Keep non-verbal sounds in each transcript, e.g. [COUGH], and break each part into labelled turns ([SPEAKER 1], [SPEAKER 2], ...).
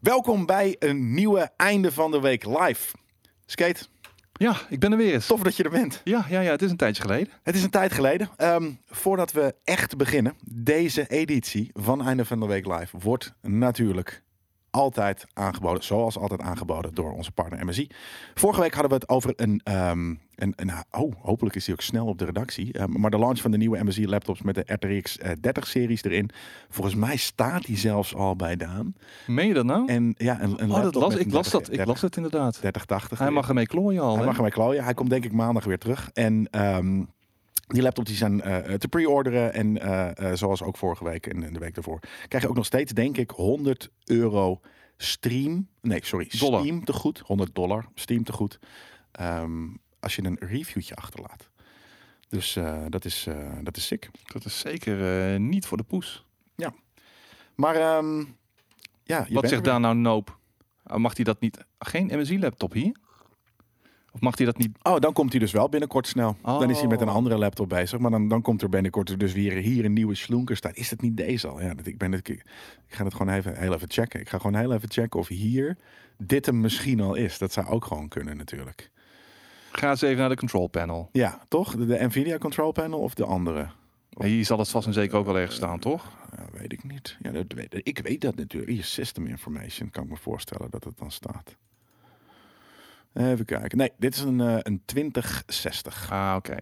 [SPEAKER 1] Welkom bij een nieuwe Einde van de Week live. Skate,
[SPEAKER 2] Ja, ik ben er weer eens.
[SPEAKER 1] tof dat je er bent.
[SPEAKER 2] Ja, ja, ja, het is een tijdje geleden.
[SPEAKER 1] Het is een tijd geleden. Ehm, voordat we echt beginnen, deze editie van Einde van de Week live wordt natuurlijk altijd aangeboden, zoals altijd aangeboden door onze partner MSI. Vorige week hadden we het over een, ehm, een, een oh, hopelijk is die ook snel op de redactie, Ehm, maar de launch van de nieuwe MSI laptops met de RTX eh, 30-series erin. Volgens mij staat die zelfs al bij Daan.
[SPEAKER 2] Meen je dat nou?
[SPEAKER 1] En ja, een, een
[SPEAKER 2] oh, dat
[SPEAKER 1] laptop
[SPEAKER 2] las,
[SPEAKER 1] met
[SPEAKER 2] ik
[SPEAKER 1] een
[SPEAKER 2] las
[SPEAKER 1] 30
[SPEAKER 2] dat. Ik las dat inderdaad.
[SPEAKER 1] 3080.
[SPEAKER 2] Hij mag ermee klooien al.
[SPEAKER 1] Hij
[SPEAKER 2] hè?
[SPEAKER 1] mag ermee klooien. Hij komt denk ik maandag weer terug. En ehm, die laptops die zijn eh, te pre-orderen. En eh, eh, zoals ook vorige week en en de week daarvoor. Krijg je ook nog steeds, denk ik, 100 euro stream. Nee, sorry.
[SPEAKER 2] Dollar.
[SPEAKER 1] Steam te goed. 100 dollar Steam te goed. Ehm, als je een reviewtje achterlaat. Dus eh, dat, is, eh, dat is sick.
[SPEAKER 2] Dat is zeker eh, niet voor de poes.
[SPEAKER 1] Maar ehm, ja, je
[SPEAKER 2] Wat
[SPEAKER 1] bent
[SPEAKER 2] zegt
[SPEAKER 1] er weer.
[SPEAKER 2] daar nou Noop? Ah, Mag hij dat niet? Geen MSI-laptop hier? Of mag hij dat niet?
[SPEAKER 1] Oh, dan komt hij dus wel binnenkort snel. Dan is hij met een
[SPEAKER 2] Oh.
[SPEAKER 1] andere laptop bezig. Maar dan, dan komt er binnenkort dus weer hier een nieuwe slunker staan. Is dat niet deze al? Ja, dat, ik, ben, het- ik, ik ga het gewoon even, heel even checken. Ik ga gewoon heel even checken of hier dit hem misschien al is. Dat zou ook gewoon kunnen natuurlijk.
[SPEAKER 2] Ga eens even naar de control panel.
[SPEAKER 1] Ja, toch? De, de Nvidia Control Panel of de andere?
[SPEAKER 2] Hier zal het vast en zeker ook wel ergens staan, toch?
[SPEAKER 1] Ja, weet ik niet. Ja, dat weet, ik weet dat natuurlijk. Hier, System Information, kan ik me voorstellen dat het dan staat. Even kijken. Nee, dit is een, eh, een 2060.
[SPEAKER 2] Ah, oké.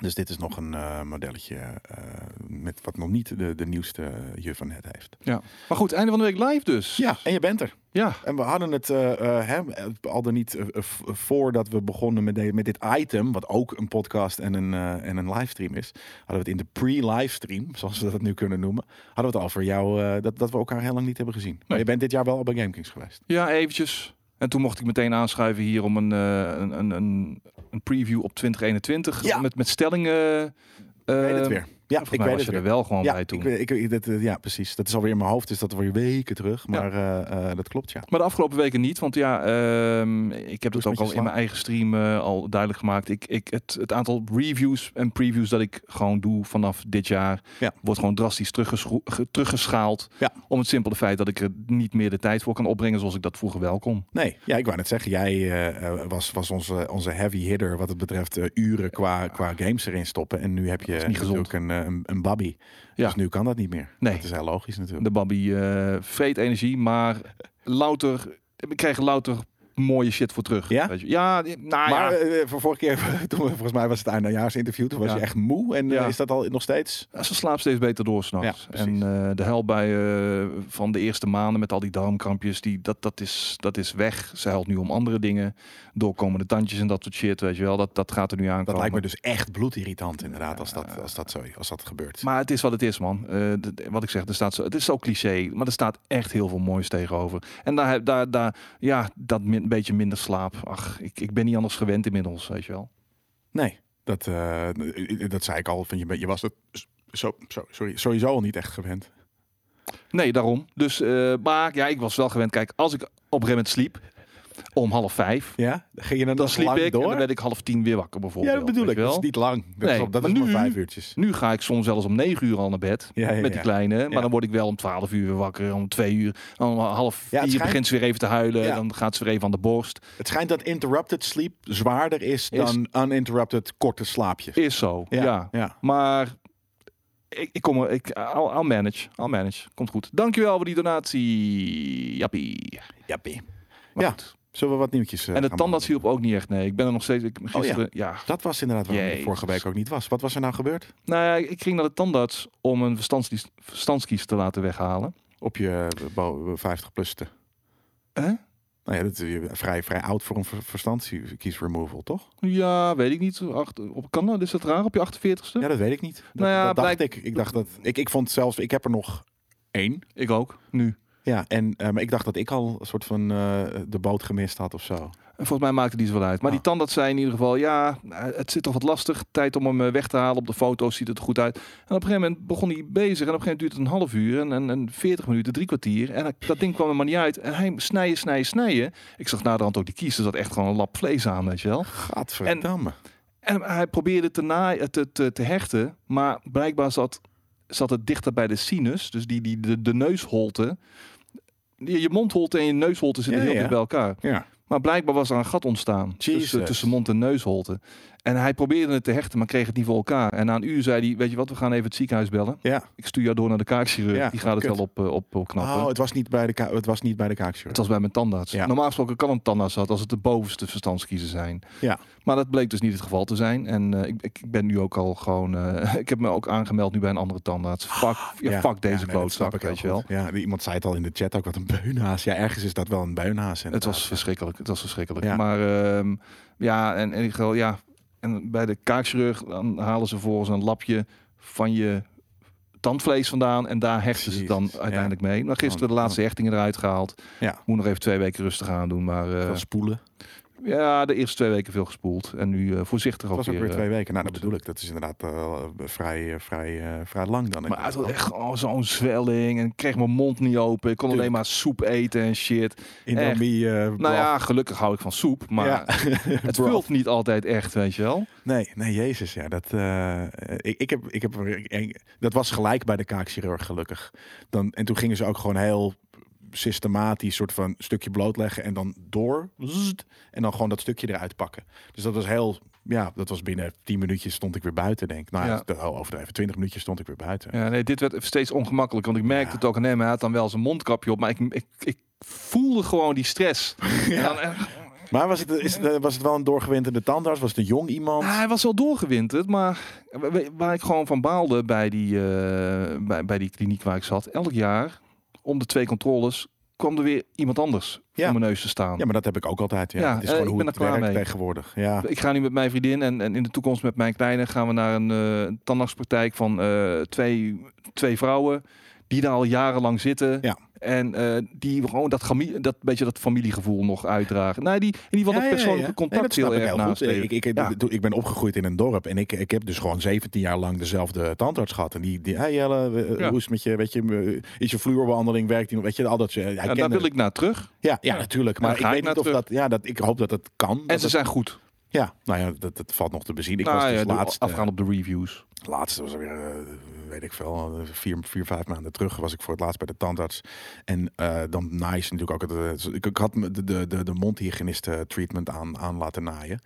[SPEAKER 1] Dus dit is nog een eh, modelletje eh, met wat nog niet de, de nieuwste eh, juf van het heeft.
[SPEAKER 2] Ja. Maar goed, einde van de week live dus.
[SPEAKER 1] Ja, en je bent er.
[SPEAKER 2] Ja.
[SPEAKER 1] En we hadden het eh, eh, hè, al dan niet eh, eh, v- voordat we begonnen met, de- met dit item, wat ook een podcast en een, eh, en een livestream is, hadden we het in de pre-livestream, zoals we dat nu kunnen noemen, hadden we het al voor jou eh, dat, dat we elkaar heel lang niet hebben gezien. Maar
[SPEAKER 2] Nee.
[SPEAKER 1] je bent dit jaar wel al bij GameKings geweest.
[SPEAKER 2] Ja, eventjes. En toen mocht ik meteen aanschuiven hier om een, eh, een, een, een, een preview op 2021
[SPEAKER 1] Ja.
[SPEAKER 2] met, met stellingen. eh,
[SPEAKER 1] Ik weet het weer. Ja, ik
[SPEAKER 2] Volgens mij
[SPEAKER 1] weet
[SPEAKER 2] was
[SPEAKER 1] het
[SPEAKER 2] je
[SPEAKER 1] weer.
[SPEAKER 2] er wel gewoon
[SPEAKER 1] Ja,
[SPEAKER 2] bij toen.
[SPEAKER 1] ik, weet- ik, ik- dat, eh, ja, precies. Dat is alweer in mijn hoofd, dus dat weer weken terug. Maar eh, eh, dat klopt, ja.
[SPEAKER 2] Maar de afgelopen weken niet, want ja, ehm, ik heb
[SPEAKER 1] Doe eens
[SPEAKER 2] het
[SPEAKER 1] met
[SPEAKER 2] ook
[SPEAKER 1] je
[SPEAKER 2] al in
[SPEAKER 1] slaap.
[SPEAKER 2] mijn eigen stream eh, al duidelijk gemaakt. Ik, ik, het, het aantal reviews en previews dat ik gewoon doe vanaf dit jaar
[SPEAKER 1] Ja.
[SPEAKER 2] wordt gewoon drastisch teruggeschro- ge- teruggeschaald.
[SPEAKER 1] Ja.
[SPEAKER 2] Om het simpele feit dat ik er niet meer de tijd voor kan opbrengen zoals ik dat vroeger wel kon.
[SPEAKER 1] Nee, ja, ik wou net zeggen, jij eh, eh, was, was onze, onze heavy hitter wat het betreft eh, uren qua, qua games erin stoppen. En nu heb je
[SPEAKER 2] is niet gezond.
[SPEAKER 1] natuurlijk een, eh, een, een babby.
[SPEAKER 2] Ja.
[SPEAKER 1] Dus nu kan dat niet meer.
[SPEAKER 2] Nee.
[SPEAKER 1] Dat is heel logisch natuurlijk.
[SPEAKER 2] De Babby eh vreet energie, maar louter, ik krijg er louter mooie shit voor terug.
[SPEAKER 1] Ja?
[SPEAKER 2] Weet je. Ja, nou ja.
[SPEAKER 1] maar eh, voor vorige keer, [LAUGHS] toen we, volgens mij was het eindejaarsinterview, toen was
[SPEAKER 2] Ja.
[SPEAKER 1] je echt moe. En eh,
[SPEAKER 2] Ja.
[SPEAKER 1] is dat al nog steeds?
[SPEAKER 2] Ja, Ze slaapt steeds beter door s'nachts.
[SPEAKER 1] eh, Ja, precies.
[SPEAKER 2] en eh, de huilbuien van de eerste maanden met al die darmkrampjes, die, dat, dat, is, dat is weg. Ze huilt nu om andere dingen. Doorkomende tandjes en dat soort shit, weet je wel. Dat, dat gaat er nu aankomen.
[SPEAKER 1] Dat lijkt me dus echt bloedirritant inderdaad, als dat, als dat, zo, als dat gebeurt.
[SPEAKER 2] Maar het is wat het is, man. Eh, d- d- wat ik zeg, er staat zo, het is zo cliché, maar er staat echt heel veel moois tegenover. En daar, heb- daar, daar ja, dat min- beetje minder slaap. Ach, ik, ik ben niet anders gewend inmiddels, weet je wel.
[SPEAKER 1] Nee, dat, eh, dat zei ik al, van je, bent- je was het zo, zo, sorry, sowieso al niet echt gewend.
[SPEAKER 2] Nee, daarom. Dus, eh, maar ja, ik was wel gewend. Kijk, als ik op een gegeven moment sliep, om half vijf,
[SPEAKER 1] Ja? Ging je dan,
[SPEAKER 2] Dan
[SPEAKER 1] nog
[SPEAKER 2] sliep
[SPEAKER 1] lang
[SPEAKER 2] ik en
[SPEAKER 1] door?
[SPEAKER 2] dan werd ik half tien weer wakker bijvoorbeeld.
[SPEAKER 1] ja, dat bedoel
[SPEAKER 2] weet
[SPEAKER 1] ik. Dus
[SPEAKER 2] je
[SPEAKER 1] Dat
[SPEAKER 2] Wel.
[SPEAKER 1] is niet lang. Dat
[SPEAKER 2] Nee,
[SPEAKER 1] is, al- dat
[SPEAKER 2] maar
[SPEAKER 1] is maar
[SPEAKER 2] nu-
[SPEAKER 1] vijf uurtjes.
[SPEAKER 2] Nu ga ik soms zelfs om negen uur al naar bed.
[SPEAKER 1] Ja, ja,
[SPEAKER 2] met die
[SPEAKER 1] ja.
[SPEAKER 2] kleine. Maar
[SPEAKER 1] Ja.
[SPEAKER 2] dan word ik wel om twaalf uur weer wakker. Om twee uur. Om half vier
[SPEAKER 1] het schijnt-
[SPEAKER 2] begint ze weer even te huilen.
[SPEAKER 1] Ja.
[SPEAKER 2] Dan gaat ze weer even aan de borst.
[SPEAKER 1] Het schijnt dat interrupted sleep zwaarder is, dan uninterrupted korte slaapjes.
[SPEAKER 2] Is zo. Ja.
[SPEAKER 1] ja.
[SPEAKER 2] Maar ik, ik kom er. Ik, I'll, I'll manage. I'll manage. Komt goed. Dankjewel voor die donatie. Jappie.
[SPEAKER 1] Jappie.
[SPEAKER 2] Maar
[SPEAKER 1] Ja.
[SPEAKER 2] goed.
[SPEAKER 1] Zullen we Oh, wat nieuwtjes eh,
[SPEAKER 2] En de
[SPEAKER 1] gaan
[SPEAKER 2] tandarts hielp ook niet echt. Nee, ik ben er nog steeds. Ik, gisteren, ja.
[SPEAKER 1] behandelen? Dat was inderdaad waarom ik
[SPEAKER 2] Jezus.
[SPEAKER 1] vorige week ook niet was. Wat was er nou gebeurd?
[SPEAKER 2] Nou ja, ik ging naar de tandarts om een verstandskies, verstandskies te laten weghalen.
[SPEAKER 1] Op je eh, bo- 50 plus te.
[SPEAKER 2] Hè?
[SPEAKER 1] Nou ja, dat is eh, vrij, vrij oud voor een ver- verstandskies removal, toch?
[SPEAKER 2] Ja, weet ik niet. Acht, op, kan dat? Is dat raar op je 48ste?
[SPEAKER 1] Ja, dat weet ik niet. Dat,
[SPEAKER 2] Nou ja,
[SPEAKER 1] dat dacht
[SPEAKER 2] blijk-
[SPEAKER 1] ik. Ik dacht dat ik, ik vond zelfs, ik heb er nog één.
[SPEAKER 2] Ik ook, nu.
[SPEAKER 1] Ja, en eh, maar ik dacht dat ik al een soort van eh, de boot gemist had of zo.
[SPEAKER 2] En volgens mij maakte die zoveel uit. Maar
[SPEAKER 1] Ah.
[SPEAKER 2] die tandarts zei in ieder geval, ja, eh, het zit toch wat lastig. Tijd om hem eh, weg te halen. Op de foto's ziet het er goed uit. En op een gegeven moment begon hij bezig. En op een gegeven moment duurt het een half uur en, en, en 40 minuten, drie kwartier. En hij- dat ding kwam er maar niet uit. En hij snijden, snijden, snijden. Ik zag naderhand ook die kies. Er zat echt gewoon een lap vlees aan, weet je wel.
[SPEAKER 1] Gadverdamme.
[SPEAKER 2] En hij probeerde te, na, te, te, te hechten, maar blijkbaar zat, zat het dichter bij de sinus, dus die, die, de, de neusholte, je, je mondholte en je neusholte zitten
[SPEAKER 1] Ja,
[SPEAKER 2] heel
[SPEAKER 1] ja.
[SPEAKER 2] dicht bij elkaar.
[SPEAKER 1] Ja.
[SPEAKER 2] Maar blijkbaar was er een gat ontstaan tussen,
[SPEAKER 1] Jesus.
[SPEAKER 2] tussen mond en neusholte. En hij probeerde het te hechten, maar kreeg het niet voor elkaar. En na een uur zei hij, weet je wat, we gaan even het ziekenhuis bellen.
[SPEAKER 1] ja.
[SPEAKER 2] Ik stuur jou door naar de kaakchirurg,
[SPEAKER 1] Ja,
[SPEAKER 2] die gaat het
[SPEAKER 1] kut.
[SPEAKER 2] wel op, eh, op, opknappen.
[SPEAKER 1] Oh, het was niet bij de, ka- het was niet bij de kaakchirurg.
[SPEAKER 2] Het was bij mijn tandarts.
[SPEAKER 1] Ja.
[SPEAKER 2] Normaal gesproken kan een tandarts dat als het de bovenste verstandskiezen zijn.
[SPEAKER 1] Ja.
[SPEAKER 2] Maar dat bleek dus niet het geval te zijn. En eh, ik, ik ben nu ook al gewoon... eh, [LAUGHS] ik heb me ook aangemeld nu bij een andere tandarts. Fuck, ja, fuck deze
[SPEAKER 1] Ah, nee, dat snap
[SPEAKER 2] klootzak,
[SPEAKER 1] ik
[SPEAKER 2] weet je
[SPEAKER 1] heel
[SPEAKER 2] wel.
[SPEAKER 1] goed. Ja, die- iemand zei het al in de chat ook, wat een beunhaas. Ja, ergens is dat wel een beunhaas. eh,
[SPEAKER 2] Het
[SPEAKER 1] inderdaad.
[SPEAKER 2] was verschrikkelijk, het was verschrikkelijk.
[SPEAKER 1] Ja.
[SPEAKER 2] Maar ehm, ja, en, en ik wil- ja, en bij de kaakchirurg dan halen ze volgens een lapje van je tandvlees vandaan en daar hechten ze het dan
[SPEAKER 1] Jezus, ja.
[SPEAKER 2] uiteindelijk mee. Nou, gisteren de
[SPEAKER 1] Oh,
[SPEAKER 2] laatste hechtingen eruit gehaald.
[SPEAKER 1] Ja.
[SPEAKER 2] Moet nog even twee weken rustig aan doen, maar eh,
[SPEAKER 1] Van spoelen.
[SPEAKER 2] ja, de eerste twee weken veel gespoeld en nu eh, voorzichtig
[SPEAKER 1] Het
[SPEAKER 2] ook
[SPEAKER 1] was ook
[SPEAKER 2] weer.
[SPEAKER 1] weer
[SPEAKER 2] eh,
[SPEAKER 1] twee weken. Nou, dat
[SPEAKER 2] goed.
[SPEAKER 1] bedoel ik. Dat is inderdaad eh, vrij, eh, vrij, eh, vrij lang dan.
[SPEAKER 2] maar het was echt oh, zo'n zwelling en ik kreeg mijn mond niet open. Ik kon
[SPEAKER 1] Tuurlijk.
[SPEAKER 2] alleen maar soep eten en shit.
[SPEAKER 1] Indomie, eh
[SPEAKER 2] Nou
[SPEAKER 1] broth.
[SPEAKER 2] ja, gelukkig hou ik van soep, maar
[SPEAKER 1] Ja. [LAUGHS]
[SPEAKER 2] het
[SPEAKER 1] Broth.
[SPEAKER 2] vult niet altijd echt, weet je wel.
[SPEAKER 1] Nee, nee, Jezus, ja. Dat, eh, ik, ik heb, ik heb, ik- dat was gelijk bij de kaakchirurg, gelukkig. Dan, en toen gingen ze ook gewoon heel systematisch soort van stukje blootleggen en dan door. zzzt, en dan gewoon dat stukje eruit pakken. Dus dat was heel, ja, dat was binnen 10 minuutjes stond ik weer buiten, denk ik. Nou ja,
[SPEAKER 2] Ja.
[SPEAKER 1] dat- oh, overdreven, 20 minuutjes stond ik weer buiten.
[SPEAKER 2] Ja, nee, dit werd steeds ongemakkelijk. Want ik merkte
[SPEAKER 1] Ja.
[SPEAKER 2] het ook aan hem. Hij had dan wel zijn mondkapje op. Maar ik, ik, ik voelde gewoon die
[SPEAKER 1] [LAUGHS]
[SPEAKER 2] stress. En dan eh, echt-
[SPEAKER 1] Maar was het, is het, eh, was het wel een doorgewinterde tandarts? Was het een jong iemand?
[SPEAKER 2] Nou, hij was wel doorgewinterd. Maar we- waar ik gewoon van baalde bij die, eh, bij, bij die kliniek waar ik zat. Elk jaar, om de twee controles, kwam er weer iemand anders
[SPEAKER 1] Ja.
[SPEAKER 2] voor mijn neus te staan.
[SPEAKER 1] Ja, maar dat heb ik ook altijd. Ja.
[SPEAKER 2] Ja,
[SPEAKER 1] het is
[SPEAKER 2] eh,
[SPEAKER 1] gewoon
[SPEAKER 2] ik
[SPEAKER 1] hoe
[SPEAKER 2] ben
[SPEAKER 1] het
[SPEAKER 2] er klaar
[SPEAKER 1] werkt
[SPEAKER 2] mee.
[SPEAKER 1] tegenwoordig. Ja,
[SPEAKER 2] Ik ga nu met mijn vriendin en, en in de toekomst met mijn kleine gaan we naar een eh, tandartspraktijk van eh, twee, twee vrouwen die daar al jarenlang zitten.
[SPEAKER 1] Ja.
[SPEAKER 2] En eh, die gewoon dat, gami- dat beetje dat familiegevoel nog uitdragen. Nee, die in ieder geval dat persoonlijke
[SPEAKER 1] ja. Nee, dat
[SPEAKER 2] contact
[SPEAKER 1] snap
[SPEAKER 2] heel
[SPEAKER 1] ik
[SPEAKER 2] erg
[SPEAKER 1] goed.
[SPEAKER 2] nastreven.
[SPEAKER 1] Ik, ik, ik,
[SPEAKER 2] Ja.
[SPEAKER 1] toen- ik ben opgegroeid in een dorp en ik, ik heb dus gewoon 17 jaar lang dezelfde tandarts gehad. En die, die hey Jelle, eh,
[SPEAKER 2] Ja.
[SPEAKER 1] hoe is het met je, weet je, eh, is je vloerbehandeling, werkt die nog, weet je, al dat. ze- Hij
[SPEAKER 2] En
[SPEAKER 1] kende
[SPEAKER 2] daar wil
[SPEAKER 1] het.
[SPEAKER 2] ik naar terug.
[SPEAKER 1] ja, ja, natuurlijk.
[SPEAKER 2] daar
[SPEAKER 1] Maar ik
[SPEAKER 2] ga ik
[SPEAKER 1] weet
[SPEAKER 2] naar
[SPEAKER 1] niet of
[SPEAKER 2] terug.
[SPEAKER 1] dat, ja, dat, ik hoop dat dat kan.
[SPEAKER 2] En
[SPEAKER 1] dat
[SPEAKER 2] ze
[SPEAKER 1] het-
[SPEAKER 2] zijn goed.
[SPEAKER 1] ja, nou ja, dat, dat valt nog te bezien. Ik
[SPEAKER 2] Nou
[SPEAKER 1] was
[SPEAKER 2] ja,
[SPEAKER 1] dus
[SPEAKER 2] doe-
[SPEAKER 1] laatst, eh,
[SPEAKER 2] afgaan op de reviews.
[SPEAKER 1] laatst was er weer, eh, weet ik veel, eh, vier, vier, vijf maanden terug was ik voor het laatst bij de tandarts. En eh, dan naai je ze natuurlijk ook. het, eh, ik, ik had me de, de, de, de mondhygiënist eh, treatment aan, aan laten naaien.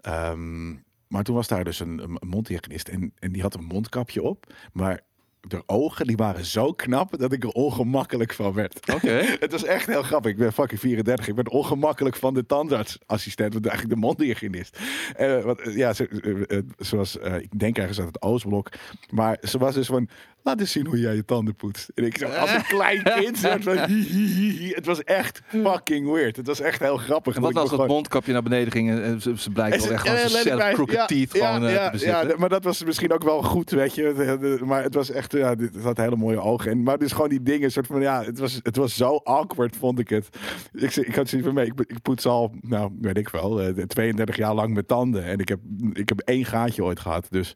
[SPEAKER 1] Ehm, maar toen was daar dus een, een mondhygiënist en, en die had een mondkapje op. Maar de ogen die waren zo knap dat ik er ongemakkelijk van werd.
[SPEAKER 2] Oké.
[SPEAKER 1] [LAUGHS] Het was echt heel grappig. Ik ben fucking 34. Ik ben ongemakkelijk van de tandartsassistent. Want eigenlijk de mondhygiënist. Eh want, eh, ja, ze, eh, eh, ze was, eh, ik denk ergens uit het Oostblok. Maar ze was dus van, laat eens zien hoe jij je tanden poetst. En ik zo, als
[SPEAKER 2] [LAUGHS]
[SPEAKER 1] een klein kind. soort van, [LAUGHS] hi, hi, hi, hi. Het was echt fucking weird. Het was echt heel grappig.
[SPEAKER 2] En
[SPEAKER 1] dat
[SPEAKER 2] wat
[SPEAKER 1] ik
[SPEAKER 2] nou als
[SPEAKER 1] me
[SPEAKER 2] dat
[SPEAKER 1] gewoon-
[SPEAKER 2] mondkapje naar beneden ging en eh, ze, ze blijkt wel echt gewoon
[SPEAKER 1] eh,
[SPEAKER 2] zo'n
[SPEAKER 1] let ik bij-
[SPEAKER 2] self-crooked
[SPEAKER 1] ja,
[SPEAKER 2] teeth
[SPEAKER 1] ja,
[SPEAKER 2] gewoon eh,
[SPEAKER 1] ja,
[SPEAKER 2] te bezitten.
[SPEAKER 1] ja, d- maar dat was misschien ook wel goed, weet je. De- de- Maar het was echt, ja, dit- het had hele mooie ogen. En, maar dus gewoon die dingen, soort van, ja, het was, het was zo awkward, vond ik het. Ik, zei- ik had zoiets van, nee, ik, be- ik poets al, nou, weet ik wel, eh, 32 jaar lang met tanden. En ik heb, ik heb één gaatje ooit gehad, dus...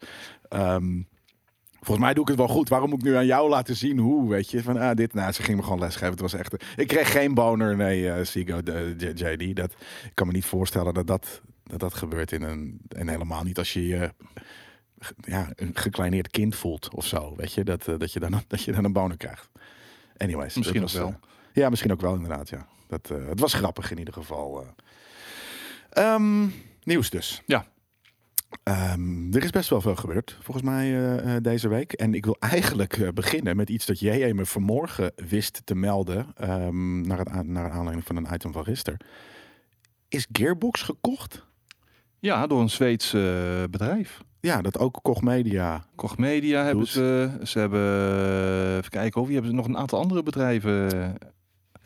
[SPEAKER 1] ehm, Volgens mij doe ik het wel goed. Waarom moet ik nu aan jou laten zien hoe, weet je? Van, ah, dit, nou, ze ging me gewoon lesgeven. Het was echt... Ik kreeg geen boner, nee, eh Sigo, de- J- JD. Dat, ik kan me niet voorstellen dat dat, dat, dat gebeurt in een... En helemaal niet als je je ge- ja, een gekleineerd kind voelt of zo, weet je? Dat, eh, dat, je, dan, dat je dan een [LAUGHS] boner krijgt. Anyways. dat
[SPEAKER 2] Misschien ook
[SPEAKER 1] was,
[SPEAKER 2] wel.
[SPEAKER 1] eh, ja, misschien ook wel, inderdaad, ja. Dat, eh, het was grappig in ieder geval. eh. Ehm, nieuws dus. Ehm, er is best wel veel gebeurd, volgens mij, eh, eh, deze week. En ik wil eigenlijk eh, beginnen met iets dat jij me vanmorgen wist te melden. ehm, naar, het aan- naar aanleiding van een item van gisteren. Is Gearbox gekocht?
[SPEAKER 2] Ja, door een Zweeds eh, bedrijf.
[SPEAKER 1] Ja, dat ook Koch Media.
[SPEAKER 2] Koch Media hebben
[SPEAKER 1] Doet.
[SPEAKER 2] ze. Ze hebben, eh, even kijken, over, die hebben ze nog een aantal andere bedrijven.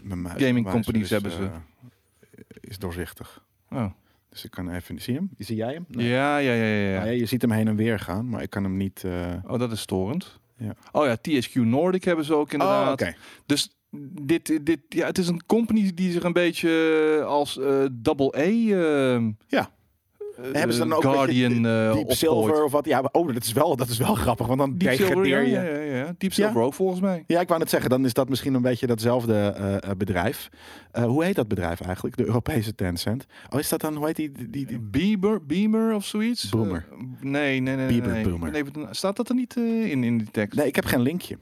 [SPEAKER 1] Mijn muis-
[SPEAKER 2] Gaming
[SPEAKER 1] mijn muis
[SPEAKER 2] companies
[SPEAKER 1] is,
[SPEAKER 2] hebben ze.
[SPEAKER 1] eh, is doorzichtig.
[SPEAKER 2] Oh.
[SPEAKER 1] Dus ik kan even. Zie je hem? Zie jij hem? Nee.
[SPEAKER 2] Ja, ja, ja, ja.
[SPEAKER 1] Ah,
[SPEAKER 2] ja.
[SPEAKER 1] ja, je ziet hem heen en weer gaan, maar ik kan hem niet. eh,
[SPEAKER 2] Oh, dat is storend.
[SPEAKER 1] Ja.
[SPEAKER 2] Oh ja, THQ Nordic hebben ze ook inderdaad.
[SPEAKER 1] Oh, oké.
[SPEAKER 2] Dus dit, dit, ja, het is een company die zich een beetje eh, als eh double A. eh,
[SPEAKER 1] Ja.
[SPEAKER 2] eh,
[SPEAKER 1] Hebben ze dan ook een
[SPEAKER 2] Guardian eh,
[SPEAKER 1] Deep
[SPEAKER 2] opgooit.
[SPEAKER 1] Silver of wat? Ja, maar- oh, dat is wel, dat is wel grappig, want dan
[SPEAKER 2] Deep Silver, ja,
[SPEAKER 1] degradeer je.
[SPEAKER 2] ja, ja, ja. Deep Silver ook volgens mij.
[SPEAKER 1] Ja, ik wou net zeggen, dan is dat misschien een beetje datzelfde eh, eh, bedrijf. Eh, hoe heet dat bedrijf eigenlijk? De Europese Tencent. Oh, is dat dan, hoe heet die? die, die, die-
[SPEAKER 2] Bieber, Beamer of zoiets?
[SPEAKER 1] Boomer.
[SPEAKER 2] Eh, nee, nee, nee. nee,
[SPEAKER 1] Bieber,
[SPEAKER 2] nee.
[SPEAKER 1] Boomer.
[SPEAKER 2] Nee, staat dat er niet eh, in, in die tekst?
[SPEAKER 1] Nee, ik heb geen linkje.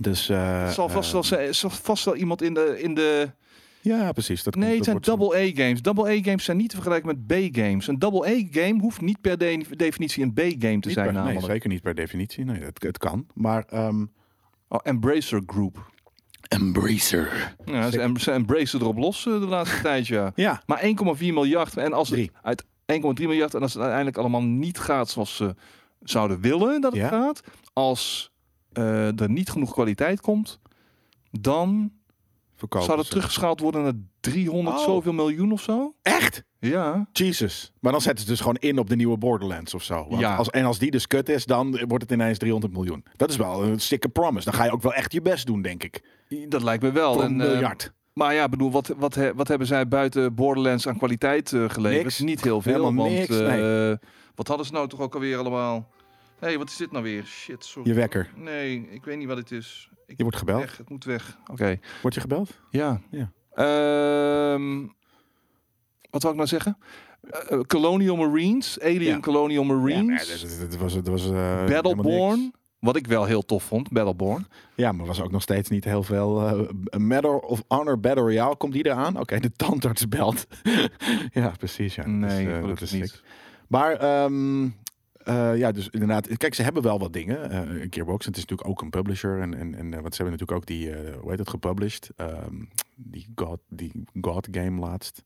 [SPEAKER 1] Dus, eh,
[SPEAKER 2] Er zal vast
[SPEAKER 1] eh,
[SPEAKER 2] wel, er zal vast wel iemand in de, in de
[SPEAKER 1] Ja, precies. Dat
[SPEAKER 2] Nee,
[SPEAKER 1] komt-
[SPEAKER 2] het
[SPEAKER 1] dat
[SPEAKER 2] zijn
[SPEAKER 1] wordt zo.
[SPEAKER 2] double A-games. Double A-games zijn niet te vergelijken met B-games. Een double A-game hoeft niet per de- definitie een B-game te
[SPEAKER 1] Niet
[SPEAKER 2] zijn
[SPEAKER 1] per-
[SPEAKER 2] namelijk.
[SPEAKER 1] Nee, zeker niet per definitie. Nee, het, het kan. Maar ehm
[SPEAKER 2] Oh, Embracer Group.
[SPEAKER 1] Embracer.
[SPEAKER 2] Ja, ze, em- ze embracen erop los eh, de
[SPEAKER 1] [LAUGHS]
[SPEAKER 2] laatste tijd, ja.
[SPEAKER 1] Ja,
[SPEAKER 2] Maar 1,4 miljard. En als het
[SPEAKER 1] Drie.
[SPEAKER 2] uit 1,3 miljard en als het uiteindelijk allemaal niet gaat zoals ze zouden willen dat het
[SPEAKER 1] Ja.
[SPEAKER 2] gaat. Als eh, er niet genoeg kwaliteit komt, dan
[SPEAKER 1] verkopen
[SPEAKER 2] zou dat
[SPEAKER 1] ze.
[SPEAKER 2] teruggeschaald worden naar 300
[SPEAKER 1] Oh.
[SPEAKER 2] zoveel miljoen of zo.
[SPEAKER 1] Echt?
[SPEAKER 2] Ja.
[SPEAKER 1] Jesus. Maar dan zetten ze dus gewoon in op de nieuwe Borderlands of zo. Want
[SPEAKER 2] Ja.
[SPEAKER 1] als, en als die dus kut is, dan wordt het ineens 300 miljoen. Dat is wel een stikke promise. Dan ga je ook wel echt je best doen, denk ik.
[SPEAKER 2] Dat lijkt me wel.
[SPEAKER 1] Voor
[SPEAKER 2] En,
[SPEAKER 1] een
[SPEAKER 2] eh,
[SPEAKER 1] miljard.
[SPEAKER 2] Maar ja, bedoel, wat, wat, he- wat hebben zij buiten Borderlands aan kwaliteit eh, geleverd?
[SPEAKER 1] Niks.
[SPEAKER 2] Niet heel veel.
[SPEAKER 1] Helemaal
[SPEAKER 2] want,
[SPEAKER 1] niks,
[SPEAKER 2] eh,
[SPEAKER 1] nee.
[SPEAKER 2] Wat hadden ze nou toch ook alweer allemaal? Hé, hey, wat is dit nou weer? Shit, sorry.
[SPEAKER 1] Je wekker.
[SPEAKER 2] Nee, ik weet niet wat het is. Ik
[SPEAKER 1] Je wordt gebeld.
[SPEAKER 2] Weg, het moet weg. Oké.
[SPEAKER 1] Word je gebeld?
[SPEAKER 2] Ja.
[SPEAKER 1] Ja.
[SPEAKER 2] Ehm, wat wou ik nou zeggen? Eh, eh, Colonial Marines, Alien
[SPEAKER 1] Ja.
[SPEAKER 2] Colonial Marines,
[SPEAKER 1] Ja, nee, dat- dat- dat was, dat was, eh, helemaal niks.
[SPEAKER 2] Battleborn. Wat ik wel heel tof vond, Battleborn.
[SPEAKER 1] Ja, maar was ook nog steeds niet heel veel. eh Medal of Honor Battle Royale, komt die eraan? Oké, de tandarts belt. [LAUGHS] ja, precies. Ja. Dat is,
[SPEAKER 2] Nee,
[SPEAKER 1] eh, dat
[SPEAKER 2] gelukkig
[SPEAKER 1] is niks.
[SPEAKER 2] niet.
[SPEAKER 1] Maar ehm, eh, ja, dus inderdaad. Kijk, ze hebben wel wat dingen. Eh, een Gearbox, het is natuurlijk ook een publisher. En, en, en eh, want ze hebben natuurlijk ook die, eh, hoe heet het, gepublished? Ehm, die, God, die God game laatst.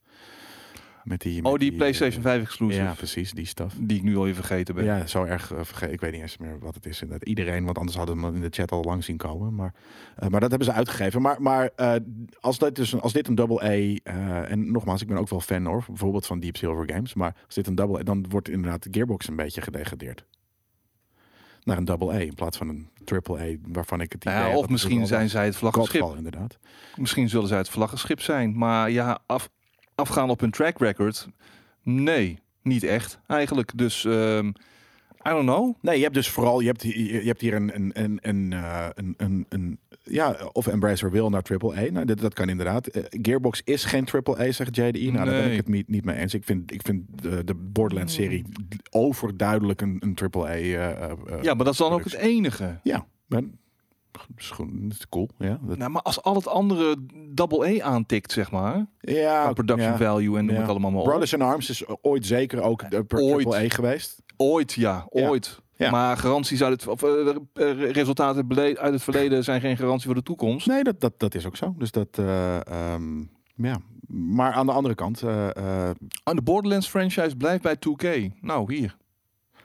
[SPEAKER 1] Met die, met
[SPEAKER 2] Oh, die
[SPEAKER 1] eh,
[SPEAKER 2] PlayStation 5 exclusive.
[SPEAKER 1] Ja, precies, die stuff.
[SPEAKER 2] Die ik nu alweer vergeten ben.
[SPEAKER 1] Ja, zo erg eh, verge- Ik weet niet eens meer wat het is. Inderdaad. Iedereen, want anders hadden we hem in de chat al lang zien komen. Maar, eh, maar dat hebben ze uitgegeven. Maar, maar eh, als, dit dus, een- als dit een double A... eh, en nogmaals, ik ben ook wel fan hoor. Bijvoorbeeld van Deep Silver Games. Maar als dit een double A... Dan wordt inderdaad de Gearbox een beetje gedegradeerd. Naar een double A in plaats van een triple A. Waarvan ik het idee
[SPEAKER 2] Nou ja,
[SPEAKER 1] heb
[SPEAKER 2] of
[SPEAKER 1] dat
[SPEAKER 2] misschien
[SPEAKER 1] het wel
[SPEAKER 2] zijn zij het
[SPEAKER 1] een
[SPEAKER 2] vlaggenschip.
[SPEAKER 1] Godfall, inderdaad.
[SPEAKER 2] Misschien zullen zij het vlaggenschip zijn. Maar ja, af, afgaan op hun track record. Nee, niet echt eigenlijk. Dus ehm, I don't know.
[SPEAKER 1] Nee, je hebt dus vooral, je hebt, je je hebt hier een, een, een, een, eh, een, een, een- ja, of Embracer wil naar AAA. Nou, dat, dat kan inderdaad. Eh, Gearbox is geen AAA, zegt JDE. Nou, daar ben
[SPEAKER 2] Nee.
[SPEAKER 1] ik het niet, niet mee eens. Ik vind, ik vind de, de Borderlands-serie overduidelijk een, een AAA. eh eh, eh,
[SPEAKER 2] Hmm. Ja, maar dat is dan ook het enige.
[SPEAKER 1] ja. Ben, is gewoon- is cool, ja. Dat,
[SPEAKER 2] Nou, maar als al het andere double A aantikt, zeg maar.
[SPEAKER 1] ja,
[SPEAKER 2] qua production
[SPEAKER 1] ja.
[SPEAKER 2] value en noem
[SPEAKER 1] Ja.
[SPEAKER 2] het allemaal maar op.
[SPEAKER 1] Brothers in Arms is ooit zeker ook de
[SPEAKER 2] Ooit.
[SPEAKER 1] AAA geweest.
[SPEAKER 2] Ooit, ja.
[SPEAKER 1] Ja.
[SPEAKER 2] Ooit.
[SPEAKER 1] Ja.
[SPEAKER 2] Maar garanties uit het... Of, eh, eh, resultaten uit het bele- uit het verleden zijn geen garantie voor de toekomst.
[SPEAKER 1] Nee, dat, dat, dat is ook zo. Dus dat, eh, ehm, ja. Maar aan de andere kant, eh, eh,
[SPEAKER 2] Oh, de Borderlands franchise blijft bij 2K. Nou, hier.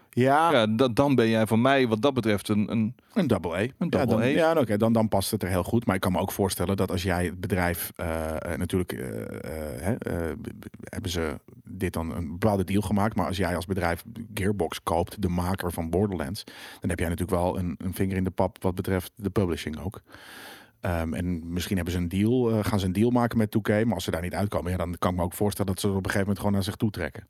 [SPEAKER 1] ja,
[SPEAKER 2] Ja, dat, dan ben jij voor mij wat dat betreft een... een
[SPEAKER 1] Een double A. ja,
[SPEAKER 2] double
[SPEAKER 1] dan,
[SPEAKER 2] A.
[SPEAKER 1] Ja, nou, oké, dan, dan past het er heel goed. Maar ik kan me ook voorstellen dat als jij het bedrijf... eh, eh, natuurlijk eh, eh, hè, eh, b- b- hebben ze dit dan een bepaalde deal gemaakt. Maar als jij als bedrijf Gearbox koopt, de maker van Borderlands... dan heb jij natuurlijk wel een, een vinger in de pap wat betreft de publishing ook. Ehm, en misschien hebben ze een deal, eh, gaan ze een deal maken met 2K. Maar als ze daar niet uitkomen, ja, dan kan ik me ook voorstellen... dat ze er op een gegeven moment gewoon naar zich toe trekken.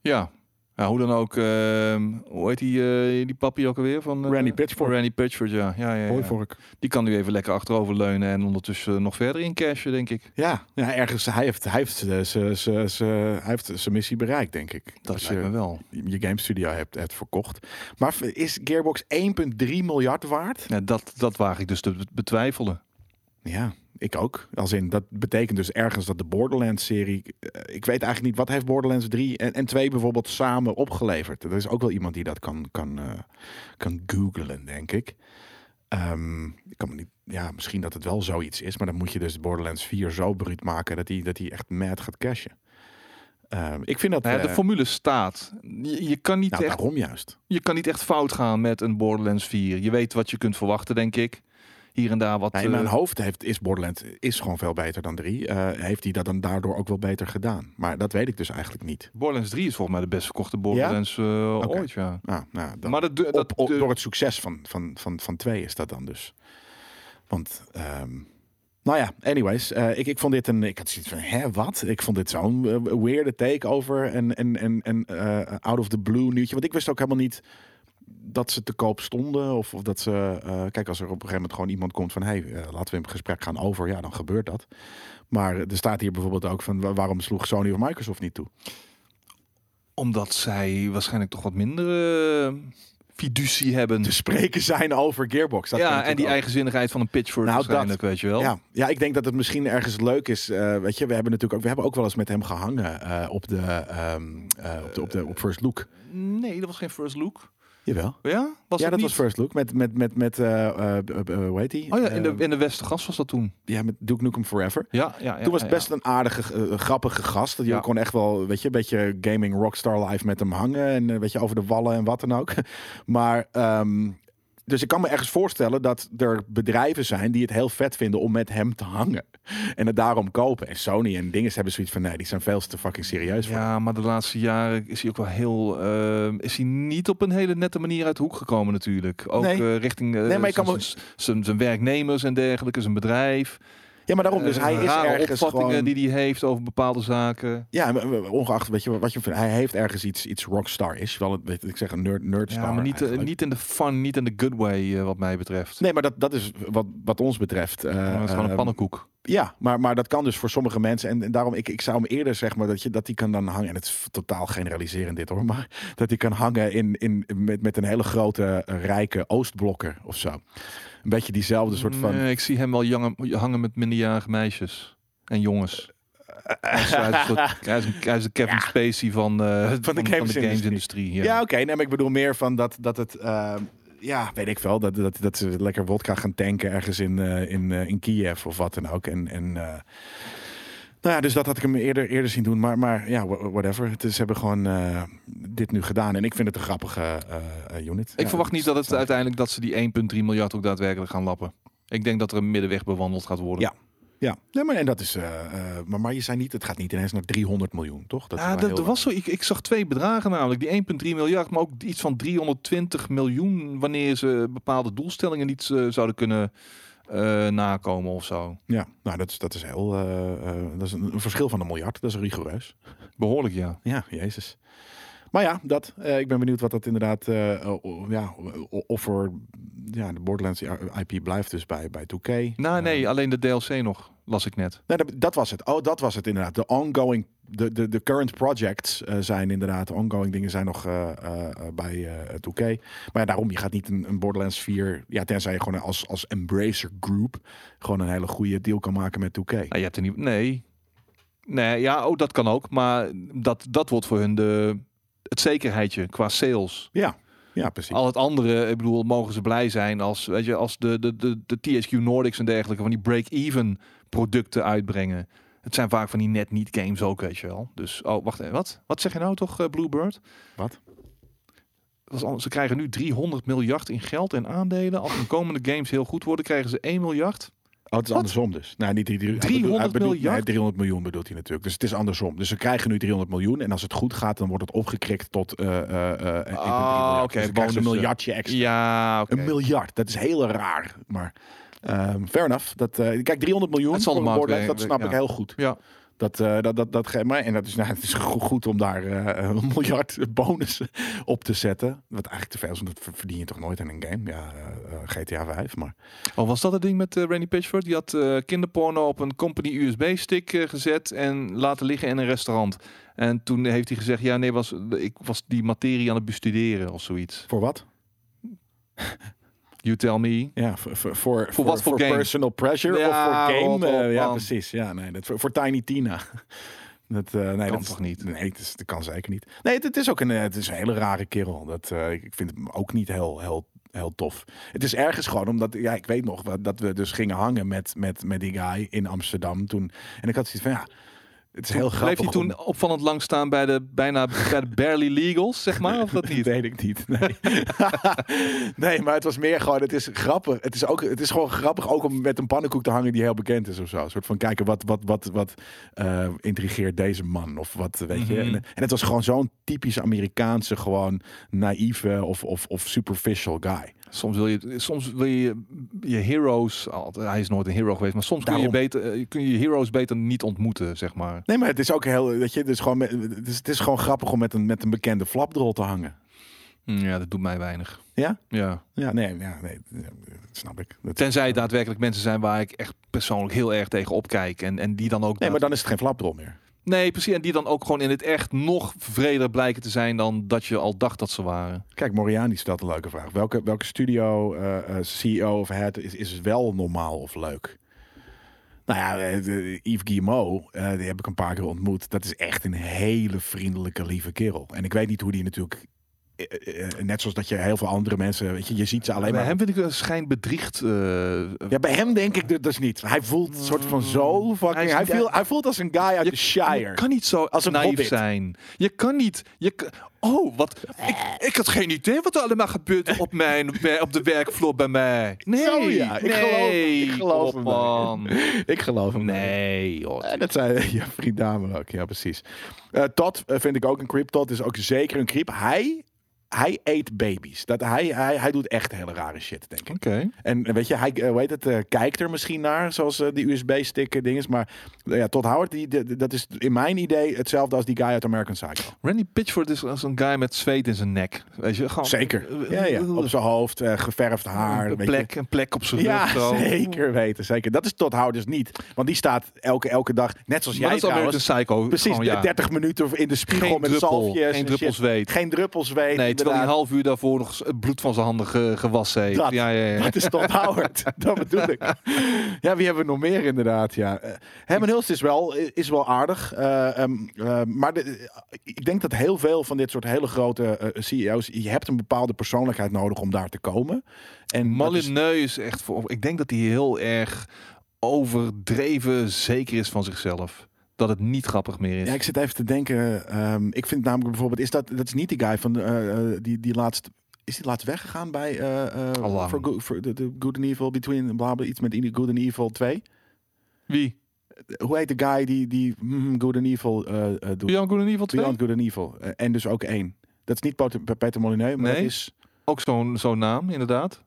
[SPEAKER 2] Ja. Ja, hoe dan ook. ehm, hoe heet die, eh, die pappie ook alweer? Van, eh,
[SPEAKER 1] Randy Pitchford.
[SPEAKER 2] Randy Pitchford, ja. ja, ja, ja.
[SPEAKER 1] Hoi, vork.
[SPEAKER 2] Die kan nu even lekker achterover leunen en ondertussen nog verder incashen, denk ik.
[SPEAKER 1] Ja, ja ergens, hij heeft, hij, heeft, eh, ze- ze- ze- hij heeft zijn missie bereikt, denk ik.
[SPEAKER 2] Dat
[SPEAKER 1] Als
[SPEAKER 2] lijkt me
[SPEAKER 1] je
[SPEAKER 2] wel.
[SPEAKER 1] je game studio hebt, hebt verkocht. Maar v- is Gearbox 1,3 miljard waard?
[SPEAKER 2] Ja, dat, dat waag ik dus te be- betwijfelen.
[SPEAKER 1] Ja, ik ook. Als in, dat betekent dus ergens dat de Borderlands-serie... eh, Ik weet eigenlijk niet, wat heeft Borderlands 3 en, en 2 bijvoorbeeld samen opgeleverd? Er is ook wel iemand die dat kan, kan, eh, kan googlen, denk ik. Ehm, ik kan me niet, ja, misschien dat het wel zoiets is, maar dan moet je dus Borderlands 4 zo bruut maken dat hij dat die echt mad gaat cashen. Ehm, ik vind dat...
[SPEAKER 2] Nou ja, de
[SPEAKER 1] eh,
[SPEAKER 2] formule staat. Je, je kan niet
[SPEAKER 1] nou,
[SPEAKER 2] echt,
[SPEAKER 1] daarom juist.
[SPEAKER 2] je kan niet echt fout gaan met een Borderlands 4. Je weet wat je kunt verwachten, denk ik. Hier en daar wat...
[SPEAKER 1] Nou, in mijn
[SPEAKER 2] eh,
[SPEAKER 1] hoofd heeft, is Borderlands is gewoon veel beter dan 3. heeft hij dat dan daardoor ook wel beter gedaan? Maar dat weet ik dus eigenlijk niet.
[SPEAKER 2] Borderlands 3 is volgens mij de best verkochte Borderlands eh,
[SPEAKER 1] Oké.
[SPEAKER 2] ooit, ja.
[SPEAKER 1] Nou, nou, dan
[SPEAKER 2] Maar dat, dat,
[SPEAKER 1] op, op-
[SPEAKER 2] de-
[SPEAKER 1] door het succes van 2 van, van, van twee is dat dan dus. Want, ehm, nou ja, anyways. eh, ik, ik vond dit een... Ik had zoiets van, hè, wat? Ik vond dit zo'n eh, weirde takeover en, en, en, en eh, out of the blue nieuwtje. Want ik wist ook helemaal niet dat ze te koop stonden. Of, of dat ze... eh, kijk, als er op een gegeven moment gewoon iemand komt van... hey, eh, laten we een gesprek gaan over. Ja, dan gebeurt dat. Maar er staat hier bijvoorbeeld ook van... wa- waarom sloeg Sony of Microsoft niet toe?
[SPEAKER 2] Omdat zij waarschijnlijk toch wat minder eh, fiducie hebben.
[SPEAKER 1] te spreken zijn over Gearbox. Dus Dat kan
[SPEAKER 2] ja, en
[SPEAKER 1] natuurlijk
[SPEAKER 2] die
[SPEAKER 1] ook.
[SPEAKER 2] eigenzinnigheid van een pitchfork
[SPEAKER 1] Nou,
[SPEAKER 2] waarschijnlijk, weet je wel.
[SPEAKER 1] Ja. ja, ik denk dat het misschien ergens leuk is. eh, weet je, we hebben natuurlijk ook, we hebben ook wel eens met hem gehangen eh, op, de, ehm, eh, op, de, op de op First Look.
[SPEAKER 2] Nee, dat was geen first look.
[SPEAKER 1] Jawel.
[SPEAKER 2] Ja? Was
[SPEAKER 1] ja, dat
[SPEAKER 2] het niet?
[SPEAKER 1] was First Look. Met, met, met, met eh, eh, eh, eh, hoe heet die?
[SPEAKER 2] Oh ja, in de,
[SPEAKER 1] Eh,
[SPEAKER 2] in de Westergas was dat toen.
[SPEAKER 1] ja, met Duke Nukem Forever.
[SPEAKER 2] Ja, ja, ja
[SPEAKER 1] Toen was
[SPEAKER 2] ja,
[SPEAKER 1] het best een aardige, eh, grappige gast. Je
[SPEAKER 2] Ja.
[SPEAKER 1] kon echt wel, weet je, een beetje gaming rockstar live met hem hangen. En eh, weet je, over de wallen en wat dan ook. [LAUGHS] Maar, ehm, dus ik kan me ergens voorstellen dat er bedrijven zijn die het heel vet vinden om met hem te hangen. [LAUGHS] En het daarom kopen. En Sony en dingen hebben zoiets van, nee, die zijn veel te fucking serieus
[SPEAKER 2] ja.
[SPEAKER 1] voor.
[SPEAKER 2] Ja, maar de laatste jaren is hij ook wel heel... eh, is hij niet op een hele nette manier uit de hoek gekomen natuurlijk. Ook
[SPEAKER 1] Nee.
[SPEAKER 2] eh, richting eh,
[SPEAKER 1] Nee, maar je
[SPEAKER 2] zijn-
[SPEAKER 1] kan wel-
[SPEAKER 2] zijn- zijn zijn werknemers en dergelijke, zijn bedrijf.
[SPEAKER 1] Ja, maar daarom, dus
[SPEAKER 2] Eh,
[SPEAKER 1] hij is
[SPEAKER 2] rare
[SPEAKER 1] ergens
[SPEAKER 2] opvattingen
[SPEAKER 1] gewoon...
[SPEAKER 2] die hij heeft over bepaalde zaken.
[SPEAKER 1] Ja, maar, eh, ongeacht weet je, wat je vindt. Hij heeft ergens iets, iets rockstar is. Wel, het- weet ik zeg, een nerd, nerdstar
[SPEAKER 2] Ja, maar niet, eh,
[SPEAKER 1] eigenlijk.
[SPEAKER 2] niet in de fun, niet in de good way eh, wat mij betreft.
[SPEAKER 1] Nee, maar dat, dat is wat, wat ons betreft. eh,
[SPEAKER 2] Maar het Oh, is gewoon een
[SPEAKER 1] ehm,
[SPEAKER 2] pannenkoek.
[SPEAKER 1] Ja, maar, maar dat kan dus voor sommige mensen. En, en daarom, ik, ik zou hem eerder zeg maar dat, je, dat die kan dan hangen. En het is f- totaal generaliserend dit hoor. [LAUGHS] Maar dat die kan hangen in, in, met, met een hele grote, eh, rijke Oostblokker of zo. Een beetje diezelfde soort van.
[SPEAKER 2] Nee, ik zie hem wel jangen- hangen met minderjarige meisjes en
[SPEAKER 1] [LAUGHS]
[SPEAKER 2] jongens. Hij is, hij is een soort- hij is een- hij is een Kevin Spacey
[SPEAKER 1] [LAUGHS]
[SPEAKER 2] van, eh, van, van de
[SPEAKER 1] gamesindustrie.
[SPEAKER 2] gamesindustrie. Ja.
[SPEAKER 1] ja, oké. nee, maar ik bedoel meer van dat, dat het. eh, ja, weet ik wel. Dat, dat, dat ze lekker wodka gaan tanken ergens in, eh, in, eh, in Kiev of wat dan ook. En. en eh, nou ja, dus dat had ik hem eerder, eerder zien doen. Maar, maar ja, wha- whatever. Het is, ze hebben gewoon eh, dit nu gedaan. En ik vind het een grappige eh, eh, unit.
[SPEAKER 2] Ik
[SPEAKER 1] Ja,
[SPEAKER 2] verwacht niet dat het
[SPEAKER 1] snap ik.
[SPEAKER 2] uiteindelijk dat ze die 1,3 miljard ook daadwerkelijk gaan lappen. Ik denk dat er een middenweg bewandeld gaat worden.
[SPEAKER 1] Ja. Ja, nee, maar, en dat is, eh, eh, maar, maar je zei niet, het gaat niet ineens naar 300 miljoen, toch? Dat is
[SPEAKER 2] Ja,
[SPEAKER 1] wel heel
[SPEAKER 2] Ah, dat, er
[SPEAKER 1] wat.
[SPEAKER 2] was zo. Ik, ik zag twee bedragen namelijk. Die 1,3 miljard, maar ook iets van 320 miljoen wanneer ze bepaalde doelstellingen niet eh, zouden kunnen eh, nakomen of zo.
[SPEAKER 1] Ja, nou, dat is, dat is heel. eh, eh, dat is een, een verschil van een miljard. Dat is rigoureus.
[SPEAKER 2] Behoorlijk ja.
[SPEAKER 1] Ja, jezus. Maar ja, dat. eh, ik ben benieuwd wat dat inderdaad. eh, o- o- ja, o- of er. Ja, de Borderlands IP blijft dus bij, bij 2K.
[SPEAKER 2] Nou
[SPEAKER 1] Eh,
[SPEAKER 2] nee, alleen de DLC nog, las ik net.
[SPEAKER 1] Nee, dat, dat was het. Oh, dat was het inderdaad. De ongoing, de, de, de current projects eh, zijn inderdaad, de ongoing dingen zijn nog eh, eh, eh, bij eh 2K. Maar ja, daarom, je gaat niet een, een Borderlands 4, ja, tenzij je gewoon als, als Embracer Group gewoon een hele goede deal kan maken met 2K.
[SPEAKER 2] Nou, je hebt er niet. Nee. Nee, ja, oh, dat kan ook. Maar dat, dat wordt voor hun de, het zekerheidje qua sales.
[SPEAKER 1] Ja, ja, precies.
[SPEAKER 2] Al het andere, ik bedoel, mogen ze blij zijn als, weet je, als de, de, de, de THQ Nordics en dergelijke van die break-even producten uitbrengen. Het zijn vaak van die net niet games ook, weet je wel. Dus, oh, wacht even, wat? Wat zeg je nou toch, eh, Bluebird?
[SPEAKER 1] Wat?
[SPEAKER 2] Dat is al- Ze krijgen nu 300 miljard in geld en aandelen. Als de komende games heel goed worden, krijgen ze 1 miljard.
[SPEAKER 1] Oh, het is andersom dus. Nou, niet die drie- hij bedoelt- hij
[SPEAKER 2] 300
[SPEAKER 1] bedoelt-
[SPEAKER 2] miljard?
[SPEAKER 1] nee, 300 miljoen bedoelt hij natuurlijk. Dus het is andersom. Dus ze krijgen nu 300 miljoen en als het goed gaat, dan wordt het opgekrikt tot eh eh eh, 1,3 miljard.
[SPEAKER 2] Ah, oké,
[SPEAKER 1] Dus dan krijgen ze een
[SPEAKER 2] bonussen.
[SPEAKER 1] miljardje extra.
[SPEAKER 2] Ja, oké.
[SPEAKER 1] Een miljard, dat is heel raar. Maar ehm fair enough. Dat, eh, kijk, 300 miljoen
[SPEAKER 2] Het zal de
[SPEAKER 1] voor een
[SPEAKER 2] markt
[SPEAKER 1] Borderlands, dat
[SPEAKER 2] weer-
[SPEAKER 1] snap
[SPEAKER 2] ja.
[SPEAKER 1] ik heel goed.
[SPEAKER 2] Ja.
[SPEAKER 1] Dat, eh, dat, dat, dat, ge- maar, en dat is, nou, het is go- goed om daar eh, een miljard bonus op te zetten. Wat eigenlijk te veel is, want dat ver- verdien je toch nooit in een game. Ja, eh, eh, GTA 5, maar...
[SPEAKER 2] Oh, was dat het ding met eh, Randy Pitchford? Die had eh, kinderporno op een company USB-stick eh, gezet en laten liggen in een restaurant. En toen heeft hij gezegd, ja nee, was, ik was die materie aan het bestuderen of zoiets.
[SPEAKER 1] Voor wat?
[SPEAKER 2] You tell me.
[SPEAKER 1] Ja, voor, voor, voor,
[SPEAKER 2] wat voor game?
[SPEAKER 1] personal pressure of
[SPEAKER 2] Ja,
[SPEAKER 1] voor game?
[SPEAKER 2] rot op,
[SPEAKER 1] Eh, ja,
[SPEAKER 2] man.
[SPEAKER 1] precies. Ja, nee, dat, voor, voor Tiny Tina. [LAUGHS] Dat, eh, nee,
[SPEAKER 2] Kan
[SPEAKER 1] dat is-
[SPEAKER 2] toch niet?
[SPEAKER 1] Nee, het is, dat kan zeker niet. Nee, het, het is ook een, eh, het is een hele rare kerel. Dat, eh, ik ik vind hem ook niet heel, heel, heel tof. Het is ergens gewoon omdat, ja, ik weet nog wat- dat we dus gingen hangen met, met, met die guy in Amsterdam toen. En ik had zoiets van, ja, het is heel grappig.
[SPEAKER 2] Bleef hij
[SPEAKER 1] om-
[SPEAKER 2] toen opvallend lang staan bij de, bijna, bij de barely legals, zeg maar, of dat niet?
[SPEAKER 1] Dat [LAUGHS] weet ik niet. Nee. nee, maar het was meer gewoon. Het is grappig. Het is, ook, het is gewoon grappig ook om met een pannenkoek te hangen die heel bekend is of zo. Een soort van kijken wat, wat, wat, wat eh, intrigeert deze man of wat weet je. En,
[SPEAKER 2] Mhm.
[SPEAKER 1] en het was gewoon zo'n typisch Amerikaanse, gewoon naïeve of, of, of superficial guy.
[SPEAKER 2] Soms wil je, soms wil je je heroes, al- hij is nooit een hero geweest, maar soms kun je,
[SPEAKER 1] Daarom.
[SPEAKER 2] beter, eh, kun je je heroes beter niet ontmoeten, zeg maar.
[SPEAKER 1] Nee, maar het is ook heel. Weet je, het is gewoon, met- het is, het is gewoon grappig om met een, met een bekende flapdrol te hangen.
[SPEAKER 2] Hm, Ja, dat doet mij weinig.
[SPEAKER 1] Ja?
[SPEAKER 2] Ja.
[SPEAKER 1] Ja, nee, ja, nee, dat snap ik. Dat-
[SPEAKER 2] Tenzij het daadwerkelijk mensen zijn waar ik echt persoonlijk heel erg tegen opkijk. En, en die dan ook.
[SPEAKER 1] Nee, maar dan is het geen flapdrol meer.
[SPEAKER 2] Nee, precies. En die dan ook gewoon in het echt nog vreder blijken te zijn dan dat je al dacht dat ze waren.
[SPEAKER 1] Kijk, Moriani stelt een leuke vraag. Welke, welke studio, eh, eh, CEO of head is, is wel normaal of leuk? Nou ja, eh, de- Yves Guillemot, eh, die heb ik een paar keer ontmoet. Dat is echt een hele vriendelijke, lieve kerel. En ik weet niet hoe die natuurlijk... eh, eh, eh, net zoals dat je heel veel andere mensen... Weet je, je ziet ze alleen
[SPEAKER 2] bij
[SPEAKER 1] maar...
[SPEAKER 2] hem vind ik een schijnbedriegt. eh
[SPEAKER 1] Ja, bij hem denk ik dat dus niet. Hij voelt een soort van zo
[SPEAKER 2] Mm, Hij
[SPEAKER 1] fucking...
[SPEAKER 2] is
[SPEAKER 1] Hij,
[SPEAKER 2] niet-
[SPEAKER 1] voelt, hij voelt als een guy uit de
[SPEAKER 2] Je- Je
[SPEAKER 1] Shire.
[SPEAKER 2] kan niet zo
[SPEAKER 1] Als een
[SPEAKER 2] naïef
[SPEAKER 1] hobbit.
[SPEAKER 2] zijn. Je kan niet. Je kan- oh, wat. Ik, ik had geen idee wat er allemaal gebeurt op,
[SPEAKER 1] [LAUGHS]
[SPEAKER 2] mijn, op de werkvloer bij mij. Nee,
[SPEAKER 1] Zo, ja. Ik geloof-
[SPEAKER 2] nee,
[SPEAKER 1] ik geloof hem
[SPEAKER 2] kom on.
[SPEAKER 1] Ik geloof hem niet.
[SPEAKER 2] Nee, joh.
[SPEAKER 1] Eh, dat zei [LAUGHS] je vriend Dame ook, ja precies. Eh Todd eh, vind ik ook een creep. Todd is ook zeker een creep. Hij, hij eet baby's. Dat, hij, hij, hij doet echt hele rare shit, denk ik.
[SPEAKER 2] Oké.
[SPEAKER 1] En eh, weet je, hij eh, hoe heet het, eh, kijkt er misschien naar, zoals eh, die USB-stick dinges. Maar eh, ja, Todd Howard, die, die- dat is in mijn idee hetzelfde als die guy uit American Psycho.
[SPEAKER 2] Randy Pitchford is als een guy met zweet in zijn nek. Weet je, gewoon,
[SPEAKER 1] Zeker. Ja, ja. Op zijn hoofd, eh, geverfd haar.
[SPEAKER 2] Eh, een
[SPEAKER 1] weet je.
[SPEAKER 2] plek, een plek op zijn
[SPEAKER 1] Ja,
[SPEAKER 2] rug. zo.
[SPEAKER 1] [LAUGHS] zeker weten, zeker. Dat is Todd Howard dus niet. Want die staat elke, elke dag, net zoals
[SPEAKER 2] Maar dat
[SPEAKER 1] jij
[SPEAKER 2] is American
[SPEAKER 1] trouwens,
[SPEAKER 2] Psycho.
[SPEAKER 1] Precies,
[SPEAKER 2] gewoon, ja.
[SPEAKER 1] 30 minuten in de spiegel
[SPEAKER 2] Geen
[SPEAKER 1] met
[SPEAKER 2] druppel,
[SPEAKER 1] zalfjes.
[SPEAKER 2] geen
[SPEAKER 1] en
[SPEAKER 2] druppel
[SPEAKER 1] shit.
[SPEAKER 2] zweet.
[SPEAKER 1] Geen druppel zweet.
[SPEAKER 2] Nee, terwijl hij een
[SPEAKER 1] inderdaad.
[SPEAKER 2] half uur daarvoor nog s- het bloed van zijn handen ge- gewassen heeft.
[SPEAKER 1] Dat-
[SPEAKER 2] ja, ja, ja.
[SPEAKER 1] Dat is Todd
[SPEAKER 2] [LAUGHS]
[SPEAKER 1] Howard. dat bedoel ik. Ja, wie hebben we nog meer inderdaad? Ja. Eh, Herman Hulst is wel, is wel aardig. eh, ehm, eh, maar de- ik denk dat heel veel van dit soort hele grote eh, CEO's... Je hebt een bepaalde persoonlijkheid nodig om daar te komen. En dat is-
[SPEAKER 2] Malineu is echt voor. Ik denk dat hij heel erg overdreven zeker is van zichzelf. Dat het niet grappig meer is.
[SPEAKER 1] Ja, ik zit even te denken. ehm, ik vind namelijk bijvoorbeeld, is dat, dat is niet die guy van eh, eh, die, die laatst. Is die laatst weggegaan bij eh, eh,
[SPEAKER 2] Allang.
[SPEAKER 1] for Good- for the, the Good and Evil Between bla bla, iets met in- Good and Evil 2?
[SPEAKER 2] Wie?
[SPEAKER 1] Hoe heet de guy die, die mm, Good and Evil eh, eh, doet?
[SPEAKER 2] Bianco in ieder geval twee.
[SPEAKER 1] Beyond Good and Evil. Eh, en dus ook één. Dat is niet Peter, Peter Molyneux, maar
[SPEAKER 2] Nee.
[SPEAKER 1] dat is eh,
[SPEAKER 2] Ook zo'n zo'n naam, inderdaad.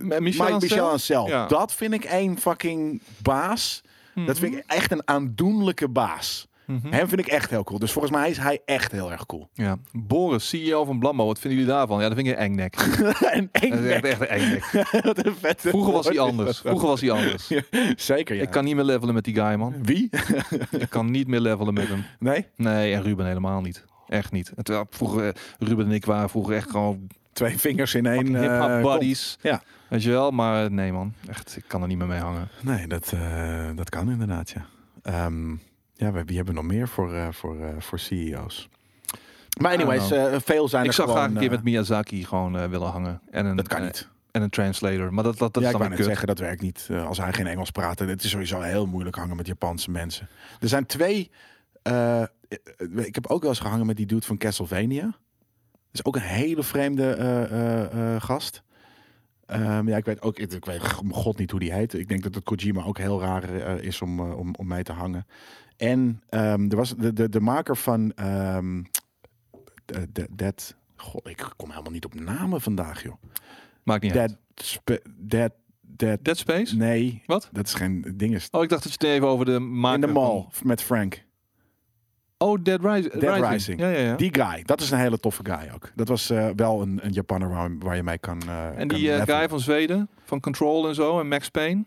[SPEAKER 2] Michel
[SPEAKER 1] Mike
[SPEAKER 2] Ancel?
[SPEAKER 1] Michel Ancel.
[SPEAKER 2] Ja.
[SPEAKER 1] Dat vind ik één fucking baas. Dat vind ik echt een aandoenlijke baas.
[SPEAKER 2] Mhm.
[SPEAKER 1] Hem vind ik echt heel cool. Dus volgens mij is hij echt heel erg cool. [LAUGHS]
[SPEAKER 2] Ja. Boris, CEO van Blammo. Wat vinden jullie daarvan? Ja, dat vind ik een engnek.
[SPEAKER 1] en
[SPEAKER 2] Dat is echt, echt een
[SPEAKER 1] [LAUGHS]
[SPEAKER 2] engnek.
[SPEAKER 1] Wat een vette
[SPEAKER 2] Vroeger was hij
[SPEAKER 1] woord. [LAUGHS]
[SPEAKER 2] anders. Vroeger was hij anders.
[SPEAKER 1] Zeker, ja.
[SPEAKER 2] Ik kan niet meer levelen met die guy, man.
[SPEAKER 1] Wie? [LAUGHS]
[SPEAKER 2] Ik kan niet meer levelen met hem.
[SPEAKER 1] Nee?
[SPEAKER 2] Nee, en Ruben helemaal niet. Echt niet. En terwijl vroeger, eh, Ruben en ik waren vroeger echt gewoon
[SPEAKER 1] Twee vingers in één.
[SPEAKER 2] hip-hop
[SPEAKER 1] eh,
[SPEAKER 2] buddies.
[SPEAKER 1] Ja.
[SPEAKER 2] Weet je wel, maar eh, nee man. Echt, ik kan er niet meer mee hangen.
[SPEAKER 1] kont. Nee, dat, eh, dat kan inderdaad, ja. Ehm, ja, we- wie hebben we nog meer voor, eh, voor, eh, voor CEO's? Maar
[SPEAKER 2] I don't
[SPEAKER 1] anyways, eh, veel zijn
[SPEAKER 2] ik
[SPEAKER 1] er
[SPEAKER 2] zou
[SPEAKER 1] gewoon...
[SPEAKER 2] graag een keer
[SPEAKER 1] eh,
[SPEAKER 2] met Miyazaki gewoon eh, willen hangen. En een,
[SPEAKER 1] dat kan
[SPEAKER 2] eh,
[SPEAKER 1] niet.
[SPEAKER 2] en een translator. Maar dat, dat, dat
[SPEAKER 1] ja,
[SPEAKER 2] is
[SPEAKER 1] ik wou
[SPEAKER 2] dan weer
[SPEAKER 1] net
[SPEAKER 2] kut.
[SPEAKER 1] zeggen, dat werkt niet eh, als hij geen Engels praat. En het is sowieso heel moeilijk hangen met Japanse mensen. Er zijn twee... eh, eh, ik heb ook wel eens gehangen met die dude van Castlevania. Dat is ook een hele vreemde eh, eh, eh, gast. Ehm, ja, ik weet ook, ik, ik weet om god niet hoe die heet. Ik denk dat het Kojima ook heel raar eh, is om, eh, om, om mee te hangen. En ehm, er was de, de, de maker van ehm de- de- Dead... God, ik kom helemaal niet op namen vandaag, joh.
[SPEAKER 2] Maakt niet uit.
[SPEAKER 1] Dead, spe, dead, dead
[SPEAKER 2] Dead Space?
[SPEAKER 1] Nee.
[SPEAKER 2] Wat? Ah,
[SPEAKER 1] Dat is geen ding. Is
[SPEAKER 2] Oh, ik dacht dat je het even over de
[SPEAKER 1] in
[SPEAKER 2] maker
[SPEAKER 1] de mall met Frank.
[SPEAKER 2] van- Oh, Dead, Rise,
[SPEAKER 1] Dead Rising.
[SPEAKER 2] Ja, ja, ja.
[SPEAKER 1] Die guy. Dat is een hele toffe guy ook. Dat was eh, wel een, een Japanner waar, waar je mee kan. eh,
[SPEAKER 2] en
[SPEAKER 1] kan
[SPEAKER 2] die eh,
[SPEAKER 1] levelen.
[SPEAKER 2] guy van Zweden, van Control en zo, en Max Payne.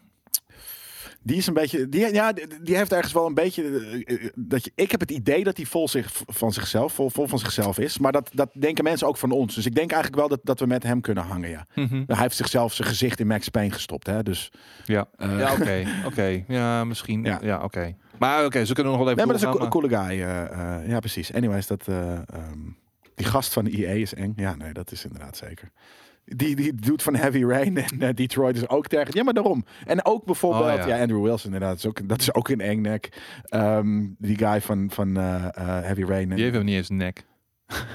[SPEAKER 1] Die is een beetje. Die, ja, die die heeft ergens wel een beetje. eh, eh, dat je, ik heb het idee dat hij vol zich, van zichzelf, vol, vol van zichzelf is. Maar dat, dat denken mensen ook van ons. Dus ik denk eigenlijk wel dat, dat we met hem kunnen hangen. Ja.
[SPEAKER 2] Mhm.
[SPEAKER 1] Hij heeft zichzelf zijn gezicht in Max Payne gestopt. Hè? Dus.
[SPEAKER 2] Ja,
[SPEAKER 1] eh,
[SPEAKER 2] ja oké. [LAUGHS] oké. Ja, misschien.
[SPEAKER 1] Ja.
[SPEAKER 2] Ja, oké. Maar oké, ze kunnen nog wel
[SPEAKER 1] Nee,
[SPEAKER 2] even
[SPEAKER 1] maar dat is een, co-
[SPEAKER 2] doorgaan,
[SPEAKER 1] coole guy. eh, eh, ja, precies. Anyways, dat, eh, ehm, die gast van EA is eng. Ja, nee, dat is inderdaad zeker. Die, die doet van Heavy Rain en eh, Detroit is ook tegen. Ja, maar daarom. En ook bijvoorbeeld, ja.
[SPEAKER 2] Oh, ja.
[SPEAKER 1] Andrew Wilson inderdaad. Is ook, dat is ook een eng nek. Ehm, die guy van, van eh, eh, Heavy Rain. En,
[SPEAKER 2] Die heeft hem niet eens een nek.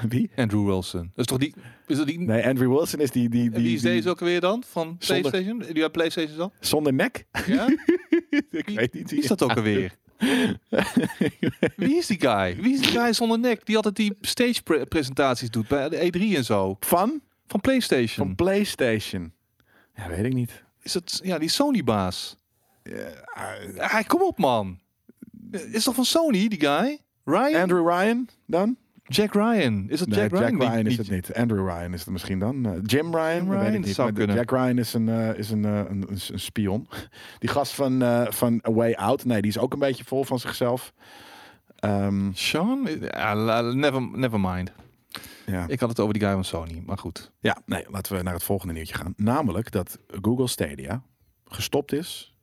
[SPEAKER 1] Wie?
[SPEAKER 2] Andrew Wilson. Dat is toch die... Is dat die...
[SPEAKER 1] Nee, Andrew Wilson is die... die, die,
[SPEAKER 2] en wie is
[SPEAKER 1] die-
[SPEAKER 2] deze ook weer dan? Van
[SPEAKER 1] Zonder-
[SPEAKER 2] PlayStation? Die uit
[SPEAKER 1] [LAUGHS]
[SPEAKER 2] PlayStation dan?
[SPEAKER 1] Zonder nek?
[SPEAKER 2] Ja?
[SPEAKER 1] Ik weet niet.
[SPEAKER 2] Wie is dat ook
[SPEAKER 1] [LAUGHS]
[SPEAKER 2] alweer? Wie is die guy? Wie is die guy zonder nek die altijd die stage pre- presentaties doet bij de E3 en zo?
[SPEAKER 1] Van?
[SPEAKER 2] Van PlayStation.
[SPEAKER 1] Van PlayStation. Ja, weet ik niet.
[SPEAKER 2] is dat ja die Sony baas?
[SPEAKER 1] Eh,
[SPEAKER 2] Ah, kom op man. Is toch van Sony die guy? Ryan?
[SPEAKER 1] Andrew Ryan dan?
[SPEAKER 2] Jack Ryan. Is het
[SPEAKER 1] Nee,
[SPEAKER 2] Jack, Ryan? Die-
[SPEAKER 1] is
[SPEAKER 2] die-
[SPEAKER 1] het niet. Andrew Ryan is het misschien dan. Eh, Jim Ryan, dat
[SPEAKER 2] Ryan
[SPEAKER 1] weet ik niet.
[SPEAKER 2] zou
[SPEAKER 1] maar
[SPEAKER 2] kunnen.
[SPEAKER 1] Jack Ryan is een, eh, is een, eh, een, een, een spion. [LAUGHS] Die gast van, eh, van A Way Out. Nee, die is ook een beetje vol van zichzelf. Ehm,
[SPEAKER 2] Sean? Ja, la- Never, never mind.
[SPEAKER 1] ja.
[SPEAKER 2] Ik had het over die guy van Sony, maar goed.
[SPEAKER 1] ja, nee, laten we naar het volgende nieuwtje gaan. Namelijk dat Google Stadia gestopt is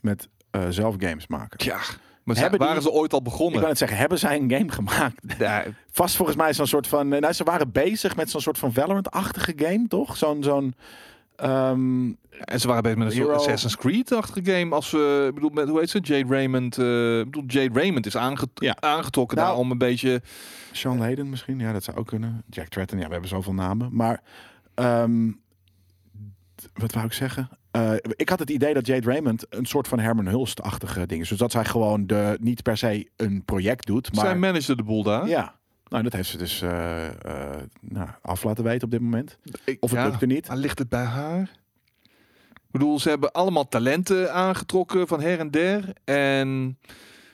[SPEAKER 1] met eh, zelf games maken.
[SPEAKER 2] Ja. Maar ze,
[SPEAKER 1] Hebben die-
[SPEAKER 2] waren ze ooit al
[SPEAKER 1] Ik
[SPEAKER 2] begonnen?
[SPEAKER 1] kan het zeggen, hebben zij een game gemaakt? [LAUGHS]
[SPEAKER 2] Ja,
[SPEAKER 1] Vast volgens mij zo'n soort van. Nou, ze waren bezig met zo'n soort van Valorant-achtige game, toch? Zo'n. zo'n ehm,
[SPEAKER 2] en ze waren bezig met een soort
[SPEAKER 1] Hero.
[SPEAKER 2] Assassin's Creed-achtige game. Als we, ik bedoel, met, hoe heet ze? Jade Raymond. eh, ik bedoel, Jade Raymond is aange-
[SPEAKER 1] Ja.
[SPEAKER 2] aangetrokken
[SPEAKER 1] Nou.
[SPEAKER 2] daar om een beetje...
[SPEAKER 1] Sean Layden misschien, ja, dat zou ook kunnen. Jack Tretton, ja, we hebben zoveel namen. Maar ehm, t- wat wou ik zeggen? Eh, ik had het idee dat Jade Raymond een soort van Herman Hulst-achtige ding is. Dus dat zij gewoon de, niet per se een project doet, maar...
[SPEAKER 2] Zij managde de boel daar.
[SPEAKER 1] ja, nou, dat heeft ze dus eh, eh, nou, af laten weten op dit moment.
[SPEAKER 2] Ik-
[SPEAKER 1] Of het
[SPEAKER 2] ja. Ah,
[SPEAKER 1] lukte niet.
[SPEAKER 2] Maar ligt het bij haar? Ik bedoel, ze hebben allemaal talenten aangetrokken van her en der. En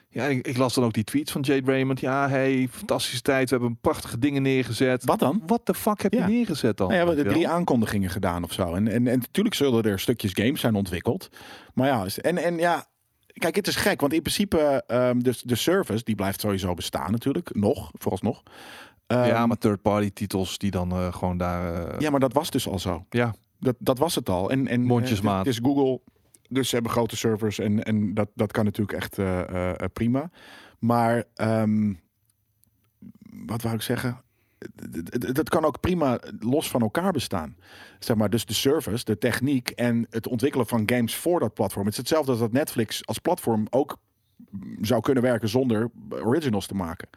[SPEAKER 2] ja, ik, ik las dan ook die tweets van Jade Raymond. Ja, hey, fantastische tijd. We hebben prachtige dingen neergezet.
[SPEAKER 1] Wat dan?
[SPEAKER 2] Wat de fuck heb
[SPEAKER 1] Ja.
[SPEAKER 2] je neergezet dan?
[SPEAKER 1] Nou ja, we
[SPEAKER 2] Weet
[SPEAKER 1] hebben
[SPEAKER 2] je
[SPEAKER 1] drie
[SPEAKER 2] wel?
[SPEAKER 1] aankondigingen gedaan of zo. En, en, en natuurlijk zullen er stukjes games zijn ontwikkeld. Maar ja, is- en, en ja, kijk, het is gek. Want in principe, ehm, dus de service, die blijft sowieso bestaan natuurlijk. Nog, vooralsnog. Ehm,
[SPEAKER 2] ja, maar third-party titels die dan eh, gewoon daar... eh,
[SPEAKER 1] ja, maar dat was dus al zo.
[SPEAKER 2] Ja.
[SPEAKER 1] Dat, dat was het al. En, en
[SPEAKER 2] Mondjesmaat.
[SPEAKER 1] eh, Het is Google, dus ze hebben grote servers. En, en dat, dat kan natuurlijk echt eh, eh, eh, prima. Maar ehm, wat wou ik zeggen? D- d- d- Dat kan ook prima los van elkaar bestaan. Zeg maar, dus de service, de techniek en het ontwikkelen van games voor dat platform. Het is hetzelfde als dat Netflix als platform ook zou kunnen werken zonder originals te maken.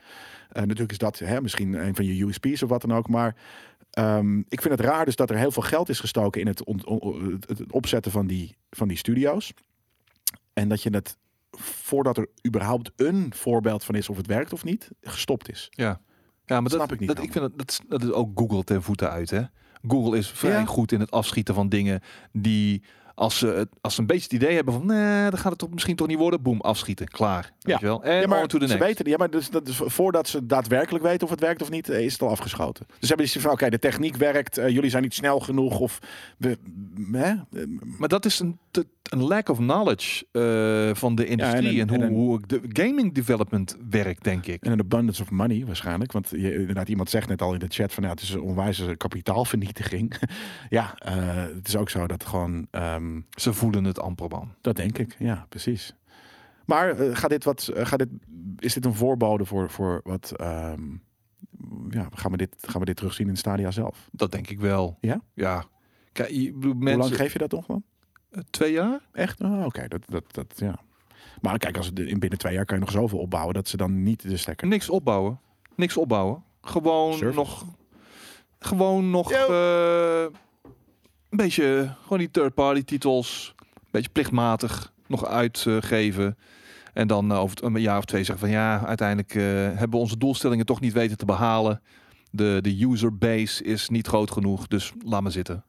[SPEAKER 1] Eh, natuurlijk is dat hè, misschien een van je USP's of wat dan ook. Maar ehm, ik vind het raar dus dat er heel veel geld is gestoken in het, ont- on- het- het opzetten van die, van die studio's. En dat je het voordat er überhaupt een voorbeeld van is of het werkt of niet, gestopt is.
[SPEAKER 2] Ja, ja maar dat,
[SPEAKER 1] Snap ik niet
[SPEAKER 2] Dat, ik
[SPEAKER 1] helemaal.
[SPEAKER 2] vind dat, dat, is, dat is ook Google ten voeten uit. Hè? Google is vrij
[SPEAKER 1] Ja.
[SPEAKER 2] goed in het afschieten van dingen die. Als ze, het- als ze een beetje het idee hebben van, nee, dan gaat het toch misschien toch niet worden. Boem, afschieten, klaar. Weet je wel? En
[SPEAKER 1] ja, maar
[SPEAKER 2] on to the
[SPEAKER 1] ze
[SPEAKER 2] next.
[SPEAKER 1] weten, ja, maar dus, dat, is vo- voordat ze daadwerkelijk weten of het werkt of niet, eh, is het al afgeschoten. Dus ze hebben ze van, oké, de techniek werkt, eh, jullie zijn niet snel genoeg of we, m- hè? Eh,
[SPEAKER 2] Maar dat is een, te- een lack of knowledge eh, van de industrie en,
[SPEAKER 1] en een-
[SPEAKER 2] hoe,
[SPEAKER 1] en een-
[SPEAKER 2] hoe ook de gaming development werkt, denk ik.
[SPEAKER 1] En een abundance of money waarschijnlijk. Want je, inderdaad, iemand zegt net al in de chat van ja, het is een onwijze kapitaalvernietiging. [LAUGHS] ja, eh, het is ook zo dat gewoon, ehm,
[SPEAKER 2] Ze voelen het amper man.
[SPEAKER 1] dat denk ik. Ja, precies. Maar eh, gaat dit wat, eh, gaat dit, is dit een voorbode voor, voor wat, ehm, ja, gaan we, dit, gaan we dit terugzien in Stadia zelf?
[SPEAKER 2] Dat denk ik wel.
[SPEAKER 1] Ja?
[SPEAKER 2] Ja. Kijk, je- ik bedoel,
[SPEAKER 1] Hoe lang
[SPEAKER 2] mensen,
[SPEAKER 1] geef je dat nog dan?
[SPEAKER 2] eh, twee jaar?
[SPEAKER 1] Echt? Oh, Oké, dat, dat, dat, ja. Maar kijk, als het in binnen twee jaar kan je nog zoveel opbouwen dat ze dan niet de stekker.
[SPEAKER 2] Niks opbouwen. Niks opbouwen. Gewoon
[SPEAKER 1] Surfen.
[SPEAKER 2] nog. Gewoon nog.
[SPEAKER 1] Yo.
[SPEAKER 2] eh, een beetje. Gewoon die third-party titels. Een beetje plichtmatig nog uitgeven. En dan eh, over t- een jaar of twee zeggen van ja, uiteindelijk eh, hebben we onze doelstellingen toch niet weten te behalen. De, de user base is niet groot genoeg, dus laat maar zitten.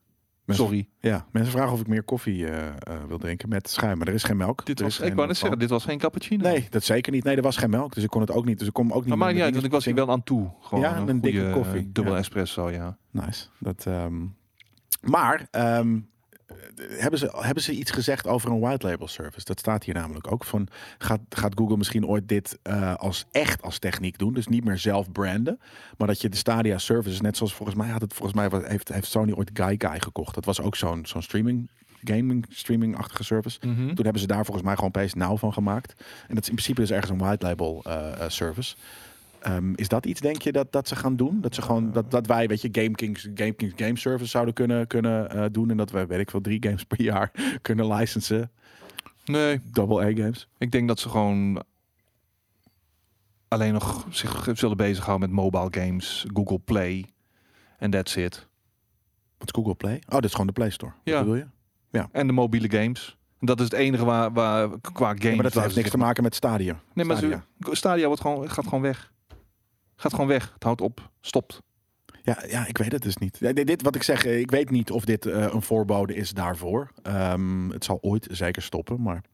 [SPEAKER 1] Mensen-
[SPEAKER 2] Sorry.
[SPEAKER 1] Ja, mensen vragen of ik meer koffie eh, eh, wil drinken met schuim, maar er is geen melk.
[SPEAKER 2] Dit
[SPEAKER 1] Er
[SPEAKER 2] was,
[SPEAKER 1] is
[SPEAKER 2] ik
[SPEAKER 1] geen
[SPEAKER 2] wou
[SPEAKER 1] van.
[SPEAKER 2] net zeggen, dit was geen cappuccino.
[SPEAKER 1] Nee, dat zeker niet. Nee, er was geen melk, dus ik kon het ook niet. Dus ik kom ook niet.
[SPEAKER 2] Maar
[SPEAKER 1] met
[SPEAKER 2] maakt niet uit,
[SPEAKER 1] dingen
[SPEAKER 2] want ik was hier wel aan toe. Gewoon
[SPEAKER 1] Ja, en een dikke
[SPEAKER 2] goede, eh,
[SPEAKER 1] koffie.
[SPEAKER 2] Dubbel
[SPEAKER 1] Ja.
[SPEAKER 2] espresso, ja.
[SPEAKER 1] Nice. Dat, ehm, Maar ehm, eh, hebben, ze, hebben ze iets gezegd over een white label service? Dat staat hier namelijk ook. Van, gaat, gaat Google misschien ooit dit eh, als echt als techniek doen? Dus niet meer zelf branden. Maar dat je de Stadia services, net zoals volgens mij had het volgens mij wat- heeft, heeft Sony ooit Guy Guy gekocht. Dat was ook zo'n zo'n streaming. Gaming, streaming-achtige service.
[SPEAKER 2] Hm?
[SPEAKER 1] Toen hebben ze daar volgens mij gewoon PS Now van gemaakt. En dat is in principe dus ergens een white label eh, eh, service. Ehm, is dat iets, denk je, dat, dat ze gaan doen? Dat, ze gewoon, dat, dat wij, weet je, GameKings, GameKings Game Service zouden kunnen, kunnen eh, doen. En dat we, weet ik veel, drie games per jaar [LAUGHS] kunnen licensen.
[SPEAKER 2] Nee,
[SPEAKER 1] Double A games.
[SPEAKER 2] Ik denk dat ze gewoon alleen nog zich zullen bezighouden met mobile games, Google Play en that's it.
[SPEAKER 1] Wat is Google Play? Oh, dat is gewoon de Play Store.
[SPEAKER 2] Ja.
[SPEAKER 1] Wat bedoel je?
[SPEAKER 2] En de mobiele games. En Dat is het enige waar, waar qua games...
[SPEAKER 1] maar dat
[SPEAKER 2] waar
[SPEAKER 1] heeft
[SPEAKER 2] ze
[SPEAKER 1] niks
[SPEAKER 2] zich-
[SPEAKER 1] te maken met Stadia.
[SPEAKER 2] Nee, maar Stadia,
[SPEAKER 1] Stadia.
[SPEAKER 2] Stadia wordt gewoon, gaat gewoon weg. Gaat gewoon weg. Het houdt op. Stopt.
[SPEAKER 1] Ja, ja, ik weet het dus niet. Ja, dit, dit wat ik zeg, eh, ik weet niet of dit eh, een voorbode is daarvoor. Ehm, het zal ooit zeker stoppen, maar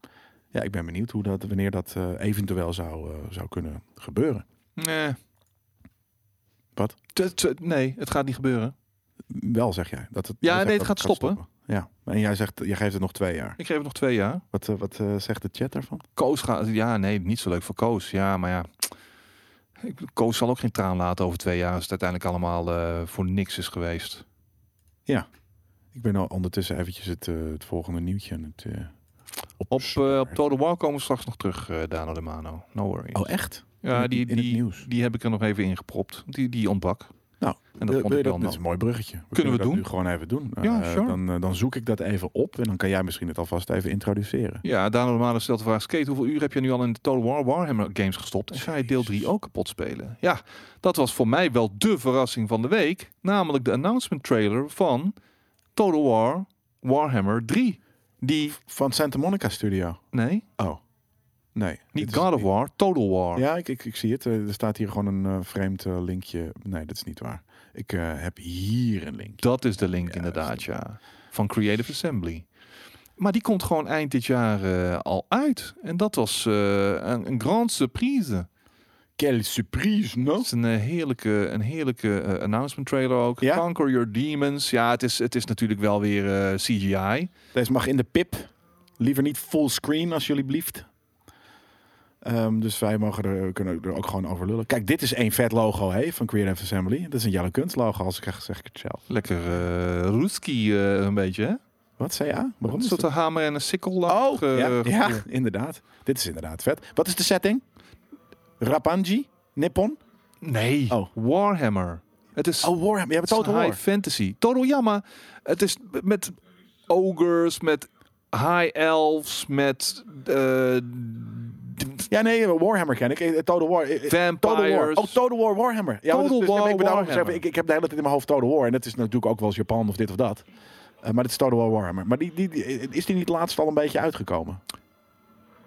[SPEAKER 1] ja, ik ben benieuwd hoe dat, wanneer dat eh, eventueel zou, eh, zou kunnen gebeuren.
[SPEAKER 2] Nee.
[SPEAKER 1] Wat?
[SPEAKER 2] T- t- Nee, het gaat niet gebeuren.
[SPEAKER 1] Wel zeg jij. Dat het,
[SPEAKER 2] Ja,
[SPEAKER 1] jij zegt
[SPEAKER 2] nee,
[SPEAKER 1] dat
[SPEAKER 2] het gaat stoppen.
[SPEAKER 1] Ja, en jij, zegt, jij geeft het nog twee jaar.
[SPEAKER 2] Ik geef het nog twee jaar.
[SPEAKER 1] Wat, eh, wat eh, zegt de chat daarvan?
[SPEAKER 2] Koos gaat... Ja, nee, niet zo leuk voor Koos. Ja, maar ja. Ik bedoel, Koos zal ook geen traan laten over twee jaar... als het uiteindelijk allemaal eh, voor niks is geweest.
[SPEAKER 1] Ik ben al ondertussen eventjes het, eh, het volgende nieuwtje aan het... eh,
[SPEAKER 2] Op, eh op
[SPEAKER 1] opzoeken.
[SPEAKER 2] Total War komen we straks nog terug, eh Dano de Mano. No worries.
[SPEAKER 1] Oh, echt? In
[SPEAKER 2] ja,
[SPEAKER 1] het-
[SPEAKER 2] die,
[SPEAKER 1] in het
[SPEAKER 2] die,
[SPEAKER 1] nieuws.
[SPEAKER 2] die heb ik er nog even ingepropt. Die, die ontbak.
[SPEAKER 1] Nou,
[SPEAKER 2] en
[SPEAKER 1] Wil-
[SPEAKER 2] dat vond
[SPEAKER 1] wil je
[SPEAKER 2] ik wel
[SPEAKER 1] dat, dit is
[SPEAKER 2] nat.
[SPEAKER 1] een mooi bruggetje. We
[SPEAKER 2] Kunnen we
[SPEAKER 1] dat
[SPEAKER 2] doen?
[SPEAKER 1] nu gewoon even doen.
[SPEAKER 2] Ja,
[SPEAKER 1] Eh,
[SPEAKER 2] sure.
[SPEAKER 1] dan, eh, dan zoek ik dat even op en dan kan jij misschien het alvast even introduceren.
[SPEAKER 2] Ja, Daniel de Maler stelt de vraag... Skate, hoeveel uur heb je nu al in de Total War Warhammer games gestopt? En ga je deel 3 ook kapot spelen? Ja, dat was voor mij wel dé verrassing van de week. Namelijk de announcement trailer van Total War Warhammer 3. Die,
[SPEAKER 1] Van Santa Monica Studio.
[SPEAKER 2] nee,
[SPEAKER 1] Oh, nee.
[SPEAKER 2] niet
[SPEAKER 1] dit is-
[SPEAKER 2] God of War, Total War.
[SPEAKER 1] Ja, ik, ik, ik zie het. Eh, Er staat hier gewoon een eh, vreemd eh, linkje. Nee, dat is niet waar. Ik eh, heb hier een link.
[SPEAKER 2] Dat is de link
[SPEAKER 1] Juist.
[SPEAKER 2] inderdaad, ja. Van Creative Assembly. Maar die komt gewoon eind dit jaar eh, al uit. En dat was eh, een, een grande surprise.
[SPEAKER 1] Quelle surprise, no?
[SPEAKER 2] Het is een eh, heerlijke, een heerlijke eh, announcement trailer ook.
[SPEAKER 1] Ja?
[SPEAKER 2] Conquer Your Demons. Ja, het is, het is natuurlijk wel weer eh, CGI.
[SPEAKER 1] Deze mag in de pip. Liever niet full screen, als jullie blieft. Ehm, dus wij mogen er, kunnen er ook gewoon over lullen. Kijk, dit is één vet logo hè, van Creative Assembly. Dat is een Jelle Kunst logo, als ik echt zeg ik het zelf.
[SPEAKER 2] Lekker eh Roetski een beetje, hè?
[SPEAKER 1] Wat, CA? Waarom
[SPEAKER 2] Een
[SPEAKER 1] is
[SPEAKER 2] soort
[SPEAKER 1] dat?
[SPEAKER 2] hamer en een sikkel. eh,
[SPEAKER 1] Oh, ja, ja, inderdaad. Dit is inderdaad vet. Wat is de setting? Rapanji? Nippon?
[SPEAKER 2] Nee,
[SPEAKER 1] Oh.
[SPEAKER 2] Warhammer. Het is
[SPEAKER 1] Oh, Warhammer. Je hebt
[SPEAKER 2] Het is
[SPEAKER 1] Total
[SPEAKER 2] high
[SPEAKER 1] War.
[SPEAKER 2] fantasy. Total Yama. Het is met ogres, met high elves, met eh, d-
[SPEAKER 1] Ja, nee, Warhammer ken ik. Eh, Total War. eh, eh, Total War.
[SPEAKER 2] vampires.
[SPEAKER 1] Oh, Total War Warhammer. Ja, maar
[SPEAKER 2] Total
[SPEAKER 1] dus- dus-
[SPEAKER 2] War
[SPEAKER 1] ik, ben daarom
[SPEAKER 2] Warhammer.
[SPEAKER 1] gezegd, ik, ik heb de hele tijd in mijn hoofd Total War. En dat is natuurlijk ook wel eens Japan of dit of dat. Eh, maar dit is Total War Warhammer. Maar die, die, die- eh, is die niet laatst al een beetje uitgekomen?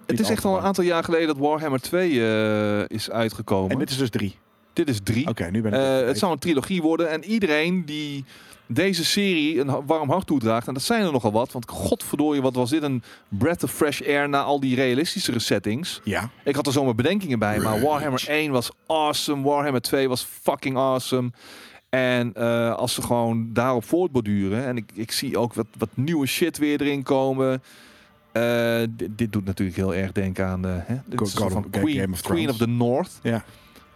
[SPEAKER 2] het is echt al een aantal jaar geleden dat Warhammer 2 eh, is uitgekomen.
[SPEAKER 1] En dit is dus drie.
[SPEAKER 2] Dit is 3.
[SPEAKER 1] Oké, nu ben ik...
[SPEAKER 2] Eh, het zou een trilogie worden. En iedereen die deze serie een ha- warm hart toedraagt, en dat zijn er nogal wat, want godverdorie, wat was dit een breath of fresh air na al die realistischere settings.
[SPEAKER 1] Ja,
[SPEAKER 2] Ik had er zomaar bedenkingen bij, maar Warhammer 1 was awesome. Warhammer 2 was fucking awesome. En eh, als ze gewoon daarop voortborduren... en ik, ik zie ook wat, wat nieuwe shit weer erin komen... Eh, dit, dit doet natuurlijk heel erg denken aan... eh, hè, dit
[SPEAKER 1] Go-
[SPEAKER 2] is een
[SPEAKER 1] God
[SPEAKER 2] soort van
[SPEAKER 1] of- Game
[SPEAKER 2] Queen,
[SPEAKER 1] of Thrones.
[SPEAKER 2] Queen of the North.
[SPEAKER 1] Ja.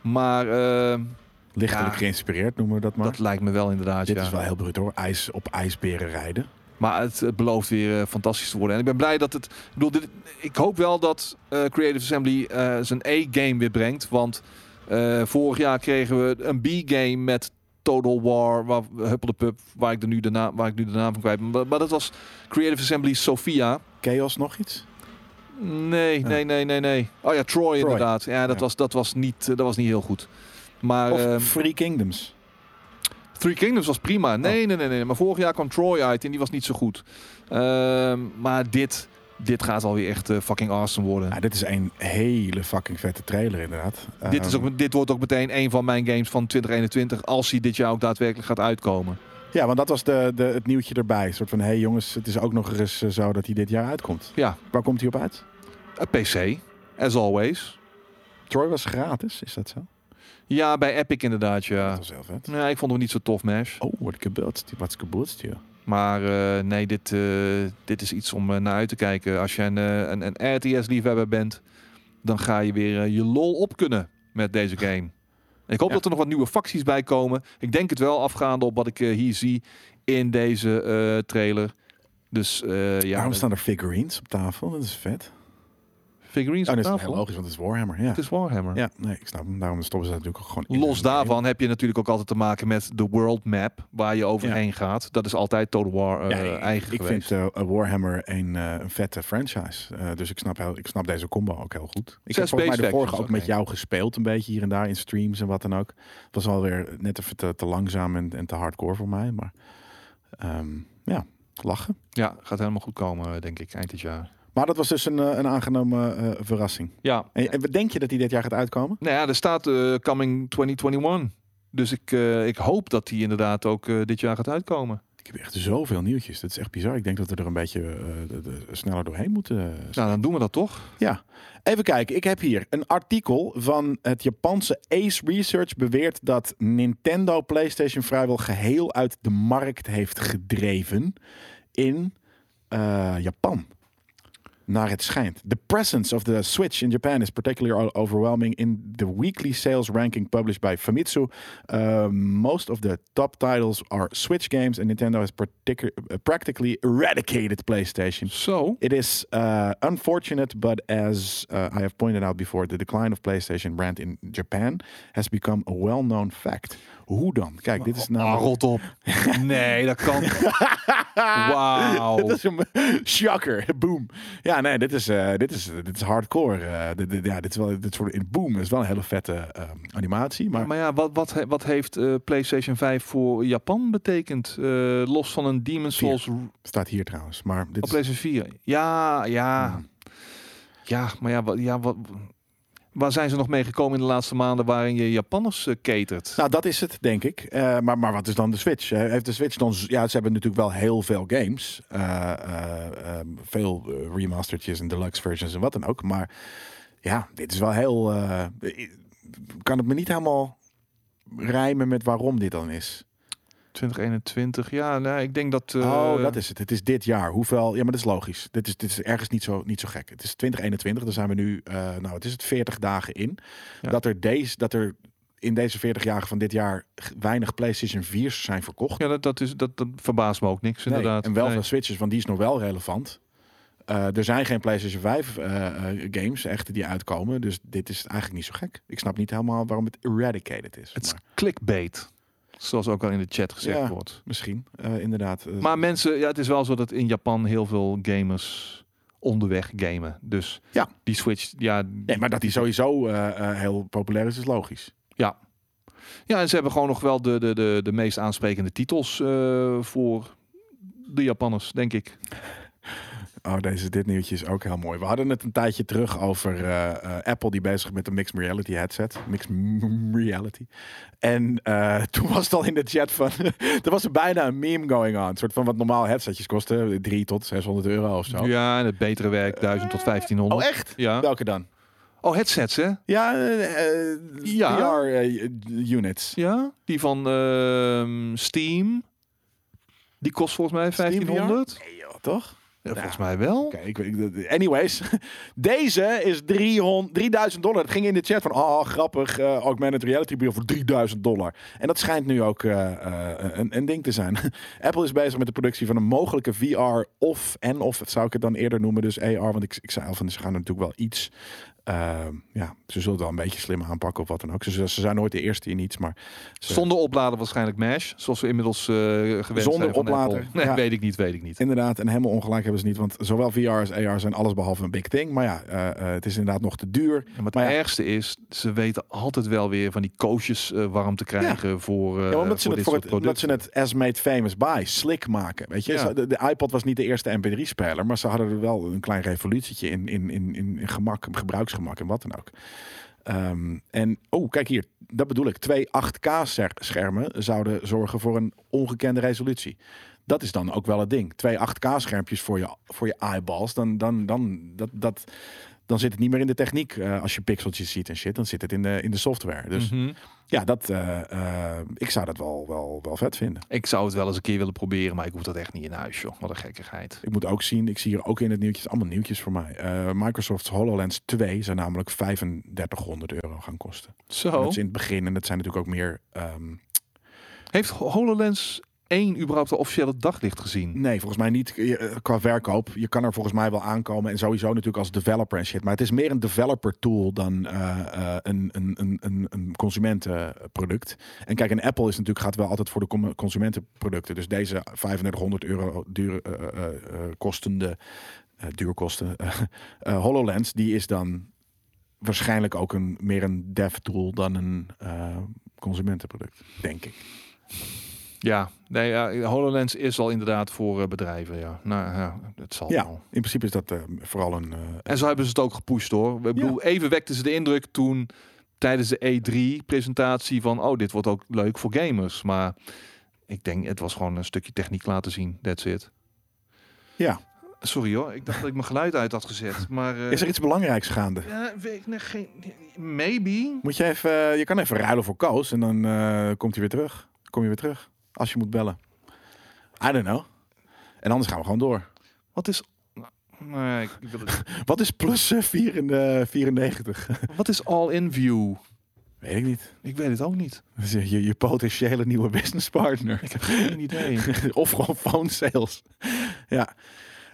[SPEAKER 2] Maar eh,
[SPEAKER 1] lichtelijk
[SPEAKER 2] Ja.
[SPEAKER 1] geïnspireerd noemen we dat maar.
[SPEAKER 2] dat lijkt me wel inderdaad,
[SPEAKER 1] dit
[SPEAKER 2] ja.
[SPEAKER 1] is wel heel bruut hoor. IJs op ijsberen rijden.
[SPEAKER 2] Maar het, het belooft weer eh, fantastisch te worden. En ik ben blij dat het. Ik, bedoel, dit- ik hoop wel dat eh, Creative Assembly eh, zijn E-game weer brengt. Want eh, vorig jaar kregen we een B-game met Total War, waar, Huppel de Pup, waar ik, er nu de naam, waar ik nu de naam van kwijt ben. Maar, maar dat was Creative Assembly Sophia.
[SPEAKER 1] Chaos nog iets?
[SPEAKER 2] Nee, nee, nee, nee, nee. Oh ja, Troy, inderdaad. Ja, dat,
[SPEAKER 1] Ja.
[SPEAKER 2] Was, dat, was niet, eh, dat was niet heel goed. Maar
[SPEAKER 1] Of
[SPEAKER 2] ehm,
[SPEAKER 1] Free Kingdoms?
[SPEAKER 2] Three Kingdoms was prima.
[SPEAKER 1] Oh.
[SPEAKER 2] Nee, nee, nee, nee. Maar vorig jaar kwam Troy uit en die was niet zo goed. Ehm, maar dit, dit gaat alweer echt eh, fucking awesome worden.
[SPEAKER 1] Nou, dit is een hele fucking vette trailer inderdaad. Ehm,
[SPEAKER 2] dit, is ook, met- dit wordt ook meteen een van mijn games van 2021. Als hij dit jaar ook daadwerkelijk gaat uitkomen.
[SPEAKER 1] Ja, want dat was de, de, het nieuwtje erbij. Een soort van, hé hey jongens, het is ook nog eens eh, zo dat hij dit jaar uitkomt.
[SPEAKER 2] Ja.
[SPEAKER 1] Waar komt hij op uit?
[SPEAKER 2] Een PC, Eh, as always.
[SPEAKER 1] Troy was gratis, is dat zo?
[SPEAKER 2] Ja, bij Epic inderdaad, ja.
[SPEAKER 1] Dat was heel vet.
[SPEAKER 2] Nee, ik vond hem niet zo tof, Mash.
[SPEAKER 1] Oh, wat gebeurt hier? Wat gebeurt hier?
[SPEAKER 2] Maar eh, nee, dit, eh, dit is iets om eh, naar uit te kijken. Als je een, eh, een, een RTS-liefhebber bent, dan ga je weer eh, je lol op kunnen met deze game. Ik hoop
[SPEAKER 1] Ja.
[SPEAKER 2] dat er nog wat nieuwe facties bij komen. Ik denk het wel, afgaande op wat ik eh, hier zie in deze eh, trailer. Dus eh ja,
[SPEAKER 1] Waarom staan er figurines op tafel? Dat is vet.
[SPEAKER 2] figurines
[SPEAKER 1] Oh,
[SPEAKER 2] op
[SPEAKER 1] dat is heel
[SPEAKER 2] tafel.
[SPEAKER 1] logisch, want het is Warhammer. Ja,
[SPEAKER 2] Het is Warhammer.
[SPEAKER 1] ja nee, ik snap hem. Daarom stoppen ze dat natuurlijk ook gewoon in
[SPEAKER 2] Los
[SPEAKER 1] hun
[SPEAKER 2] daarvan heb je natuurlijk ook altijd te maken met de world map waar je overheen gaat. Dat is altijd Total War eh,
[SPEAKER 1] game. Ja, ik-
[SPEAKER 2] eigen
[SPEAKER 1] ik
[SPEAKER 2] geweest.
[SPEAKER 1] vind eh, Warhammer een, eh, een vette franchise. Eh, dus ik snap, heel, ik snap deze combo ook heel goed. Ik heb
[SPEAKER 2] Zes
[SPEAKER 1] volgens mij de
[SPEAKER 2] Space
[SPEAKER 1] vorige
[SPEAKER 2] Factions,
[SPEAKER 1] ook met
[SPEAKER 2] oké.
[SPEAKER 1] jou gespeeld. Een beetje hier en daar in streams en wat dan ook. Het was alweer net even te, te langzaam en, en te hardcore voor mij. Maar ehm, ja, lachen.
[SPEAKER 2] Ja, gaat helemaal goed komen, denk ik, eind dit jaar.
[SPEAKER 1] Maar dat was dus een, eh, een aangenomen eh, verrassing.
[SPEAKER 2] Ja,
[SPEAKER 1] En, en denk je dat die dit jaar gaat uitkomen?
[SPEAKER 2] Nou ja, er staat eh, coming 2021. Dus ik, eh, ik hoop dat die inderdaad ook eh, dit jaar gaat uitkomen.
[SPEAKER 1] Ik Ik heb echt zoveel nieuwtjes. Dat is echt bizar. Ik denk dat we er een beetje eh, de- de- sneller doorheen moeten. eh,
[SPEAKER 2] Nou, dan doen we dat toch?
[SPEAKER 1] ja, even kijken. Ik heb hier een artikel van het Japanse Ace Research beweert dat Nintendo PlayStation vrijwel geheel uit de markt heeft gedreven in eh, Japan. Naar het schijnt. The presence of the Switch in Japan is particularly overwhelming in the weekly sales ranking published by Famitsu. Uh, most of the top titles are Switch games, and Nintendo has particu- practically eradicated PlayStation.
[SPEAKER 2] Zo.
[SPEAKER 1] It is uh, unfortunate, but as uh, I have pointed out before, the decline of PlayStation brand in Japan has become a well-known fact. Hoe dan? Kijk, dit is
[SPEAKER 2] Ah,
[SPEAKER 1] nou.
[SPEAKER 2] rot op. [LAUGHS] Nee, dat kan. Wauw.
[SPEAKER 1] [LAUGHS] Dit is een shocker. Boom. Ja, nee, dit is, eh, dit is, dit is hardcore. eh, dit, dit- ja, dit is wel, dit soort in boom is wel een hele vette eh, animatie. Maar,
[SPEAKER 2] Maar ja, wat, wat, he- wat heeft eh, PlayStation 5 voor Japan betekend? Eh, los van een Demon Souls op
[SPEAKER 1] staat hier trouwens. Maar dit is,
[SPEAKER 2] PlayStation 4. Ja, ja.
[SPEAKER 1] Hmm.
[SPEAKER 2] Ja, maar ja, wat, ja wat, waar zijn ze nog mee gekomen in de laatste maanden waarin je Japanners eh, catert?
[SPEAKER 1] nou, dat is het, denk ik. Eh, maar, maar wat is dan de Switch? Eh, heeft de Switch dan... z- Ja, ze hebben natuurlijk wel heel veel games. Eh, eh, ehm, veel eh, remasteredjes en deluxe versions en wat dan ook. Maar ja, dit is wel heel... eh, ik- kan het me niet helemaal rijmen met waarom dit dan is.
[SPEAKER 2] 2021, ja, nou, ik denk dat... eh,
[SPEAKER 1] Oh, dat is het. Het is dit jaar. Hoeveel? Ja, maar dat is logisch. Dit is, dit is ergens niet zo, niet zo gek. Het is 2021, daar zijn we nu, eh, nou, het is het 40 dagen in.
[SPEAKER 2] Ja.
[SPEAKER 1] Dat, er deze, dat er in deze 40 dagen van dit jaar g- weinig PlayStation 4's zijn verkocht.
[SPEAKER 2] Ja, dat, dat, is, dat, dat verbaast me ook niks,
[SPEAKER 1] Nee,
[SPEAKER 2] inderdaad.
[SPEAKER 1] En wel
[SPEAKER 2] Nee.
[SPEAKER 1] van Switches, want die is nog wel relevant. Eh, er zijn geen PlayStation 5 eh, eh, games echt die uitkomen. Dus dit is eigenlijk niet zo gek. Ik snap niet helemaal waarom het eradicated is.
[SPEAKER 2] Het is
[SPEAKER 1] maar
[SPEAKER 2] clickbait, zoals ook al in de chat gezegd
[SPEAKER 1] Ja.
[SPEAKER 2] wordt.
[SPEAKER 1] misschien, eh, inderdaad. Eh,
[SPEAKER 2] Maar mensen, ja, het is wel zo dat in Japan heel veel gamers onderweg gamen. Dus
[SPEAKER 1] Ja.
[SPEAKER 2] die Switch, ja,
[SPEAKER 1] nee, maar dat die sowieso eh, eh, heel populair is, is logisch.
[SPEAKER 2] ja. Ja, en ze hebben gewoon nog wel de, de, de, de meest aansprekende titels eh, voor de Japanners, denk ik.
[SPEAKER 1] Oh, deze, dit nieuwtje is ook heel mooi. We hadden het een tijdje terug over eh, eh, Apple die bezig is met een mixed reality headset. Mixed m- reality. En eh, [LAUGHS] toen was het al in de chat van... [LAUGHS] er was er bijna een meme going on. Een soort van wat normaal headsetjes kosten. 3 tot 600 euro of zo.
[SPEAKER 2] Ja, en het betere werk, 1000 tot 1500.
[SPEAKER 1] Oh, echt?
[SPEAKER 2] Ja.
[SPEAKER 1] Welke dan?
[SPEAKER 2] Oh, headsets, hè?
[SPEAKER 1] Ja, eh, eh,
[SPEAKER 2] Ja.
[SPEAKER 1] VR eh, units.
[SPEAKER 2] Ja, die van ehm, Steam. Die kost volgens mij
[SPEAKER 1] Steam
[SPEAKER 2] 1500.
[SPEAKER 1] Nee joh, toch?
[SPEAKER 2] Ja, volgens mij wel.
[SPEAKER 1] Oké, ik weet- anyways. [LAUGHS] Deze is 300, 3000 dollar. Het ging in de chat van, oh grappig, ook augmented reality bril voor 3000 dollar. En dat schijnt nu ook eh, eh, een, een ding te zijn. [LAUGHS] Apple is bezig met de productie van een mogelijke VR of en of, zou ik het dan eerder noemen, dus AR. Want ik, ik zei al van, ze gaan er natuurlijk wel iets, eh, ja, ze zullen het wel een beetje slim aanpakken of wat dan ook. Ze, ze zijn nooit de eerste in iets, maar ze-
[SPEAKER 2] Zonder oplader waarschijnlijk MASH, zoals we inmiddels eh gewend
[SPEAKER 1] Zonder
[SPEAKER 2] zijn van
[SPEAKER 1] oplader,
[SPEAKER 2] Apple. Nee,
[SPEAKER 1] ja.
[SPEAKER 2] weet ik niet, weet ik niet.
[SPEAKER 1] Inderdaad, en helemaal ongelijk hebben ze niet, want zowel VR als AR zijn allesbehalve een big thing. Maar ja, eh, eh, het is inderdaad nog te duur.
[SPEAKER 2] En wat
[SPEAKER 1] Maar ja.
[SPEAKER 2] het ergste is, ze weten altijd wel weer van die koosjes eh, warm te krijgen voor, eh
[SPEAKER 1] Ja, maar
[SPEAKER 2] voor
[SPEAKER 1] omdat, ze
[SPEAKER 2] dit
[SPEAKER 1] het voor
[SPEAKER 2] soort
[SPEAKER 1] het, omdat ze
[SPEAKER 2] producten.
[SPEAKER 1] het as made famous by slick maken. Weet je?
[SPEAKER 2] Ja.
[SPEAKER 1] Ze- De, de iPod was niet de eerste MP3-speler, maar ze hadden er wel een klein revolutietje in, in, in, in, in gemak, gebruiksgemak en wat dan ook. Ehm, en oh, kijk hier, dat bedoel ik. Twee 8K-schermen zouden zorgen voor een ongekende resolutie. Dat is dan ook wel het ding. Twee 8K-schermpjes voor je, voor je eyeballs, dan, dan, dan, dat, dat, dan zit het niet meer in de techniek. eh, als je pixeltjes ziet en shit, dan zit het in de, in de software. Dus
[SPEAKER 2] Mhm.
[SPEAKER 1] ja, dat, eh, eh, ik zou dat wel, wel, wel vet vinden.
[SPEAKER 2] Ik zou het wel eens een keer willen proberen, maar ik hoef dat echt niet in huis, joh. Wat een gekkigheid.
[SPEAKER 1] Ik moet ook zien, ik zie hier ook in het nieuwtje, het is allemaal nieuwtjes voor mij. Eh, Microsoft's HoloLens 2 zou namelijk 3500 euro gaan kosten. En
[SPEAKER 2] Zo.
[SPEAKER 1] Dat is in het begin en dat zijn natuurlijk ook meer... ehm,
[SPEAKER 2] Heeft HoloLens 1 überhaupt de officiële daglicht gezien?
[SPEAKER 1] nee, volgens mij niet eh, qua verkoop. Je kan er volgens mij wel aankomen en sowieso natuurlijk als developer en shit. Maar het is meer een developer tool dan eh, eh, een, een, een, een, een consumentenproduct. En kijk, en Apple is natuurlijk, gaat wel altijd voor de com- consumentenproducten. Dus deze 3500 euro duur, eh, eh, eh, kostende, eh duurkosten, [LAUGHS] eh, eh, HoloLens, die is dan waarschijnlijk ook een, meer een dev tool dan een eh, consumentenproduct, denk ik.
[SPEAKER 2] Ja, nee, ja, HoloLens is al inderdaad voor eh, bedrijven, ja. Nou ja, het zal
[SPEAKER 1] Ja.
[SPEAKER 2] wel.
[SPEAKER 1] In principe is dat eh, vooral een... eh,
[SPEAKER 2] En zo hebben ze het ook gepusht hoor. Ik bedoel, even wekten ze de indruk toen E tijdens de E3-presentatie van... oh, dit wordt ook leuk voor gamers. Maar Ik denk, het was gewoon een stukje techniek laten zien. That's it.
[SPEAKER 1] Ja.
[SPEAKER 2] Sorry hoor, ik dacht dat ik mijn geluid uit had gezet. Maar, eh,
[SPEAKER 1] Is er iets belangrijks gaande?
[SPEAKER 2] Ja, weet ik, nee, geen, maybe.
[SPEAKER 1] Moet je even, eh, je kan even ruilen voor Koos en dan eh, komt hij weer terug. Kom je weer terug als je moet bellen. I don't know. En anders gaan we gewoon door.
[SPEAKER 2] Wat is... Nee, ik wil het-
[SPEAKER 1] Wat is plus eh, 4 in de 94?
[SPEAKER 2] Wat is all-in view?
[SPEAKER 1] Weet ik niet.
[SPEAKER 2] Ik weet het ook niet.
[SPEAKER 1] Dat is eh, Je, je potentiële nieuwe businesspartner.
[SPEAKER 2] Ik heb geen idee.
[SPEAKER 1] [LAUGHS] of gewoon phone sales. ja.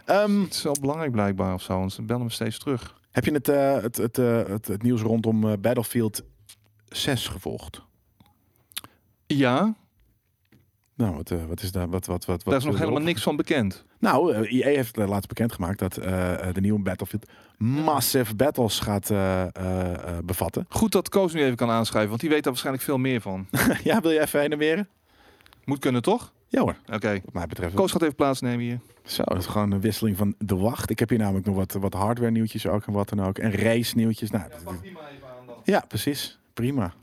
[SPEAKER 1] Ehm,
[SPEAKER 2] Het is wel belangrijk blijkbaar of zo, want ze bellen me steeds terug.
[SPEAKER 1] heb je het, eh, het, het, eh, het, het nieuws rondom eh, Battlefield 6 gevolgd?
[SPEAKER 2] Ja,
[SPEAKER 1] Nou, wat, eh, wat is daar? Wat, wat, wat, eh,
[SPEAKER 2] daar
[SPEAKER 1] wat
[SPEAKER 2] is nog helemaal niks van bekend.
[SPEAKER 1] Nou, eh, EA heeft eh, laatst bekendgemaakt dat eh, eh, de nieuwe Battlefield massive battles gaat eh, eh, eh, bevatten. [LAUGHS]
[SPEAKER 2] Goed dat Koos nu even kan aanschrijven, want die weet daar waarschijnlijk veel meer van.
[SPEAKER 1] ja, wil je even heen en weer?
[SPEAKER 2] Moet kunnen, toch?
[SPEAKER 1] Ja hoor,
[SPEAKER 2] Oké.
[SPEAKER 1] wat mij betreft.
[SPEAKER 2] Koos gaat even plaatsnemen hier.
[SPEAKER 1] Zo, dat is gewoon een wisseling van de wacht. Ik heb hier namelijk nog wat, wat hardware nieuwtjes ook en wat dan ook. En race nieuwtjes. Nou, dat-
[SPEAKER 2] Pak die maar even aan dan.
[SPEAKER 1] ja, precies. Prima.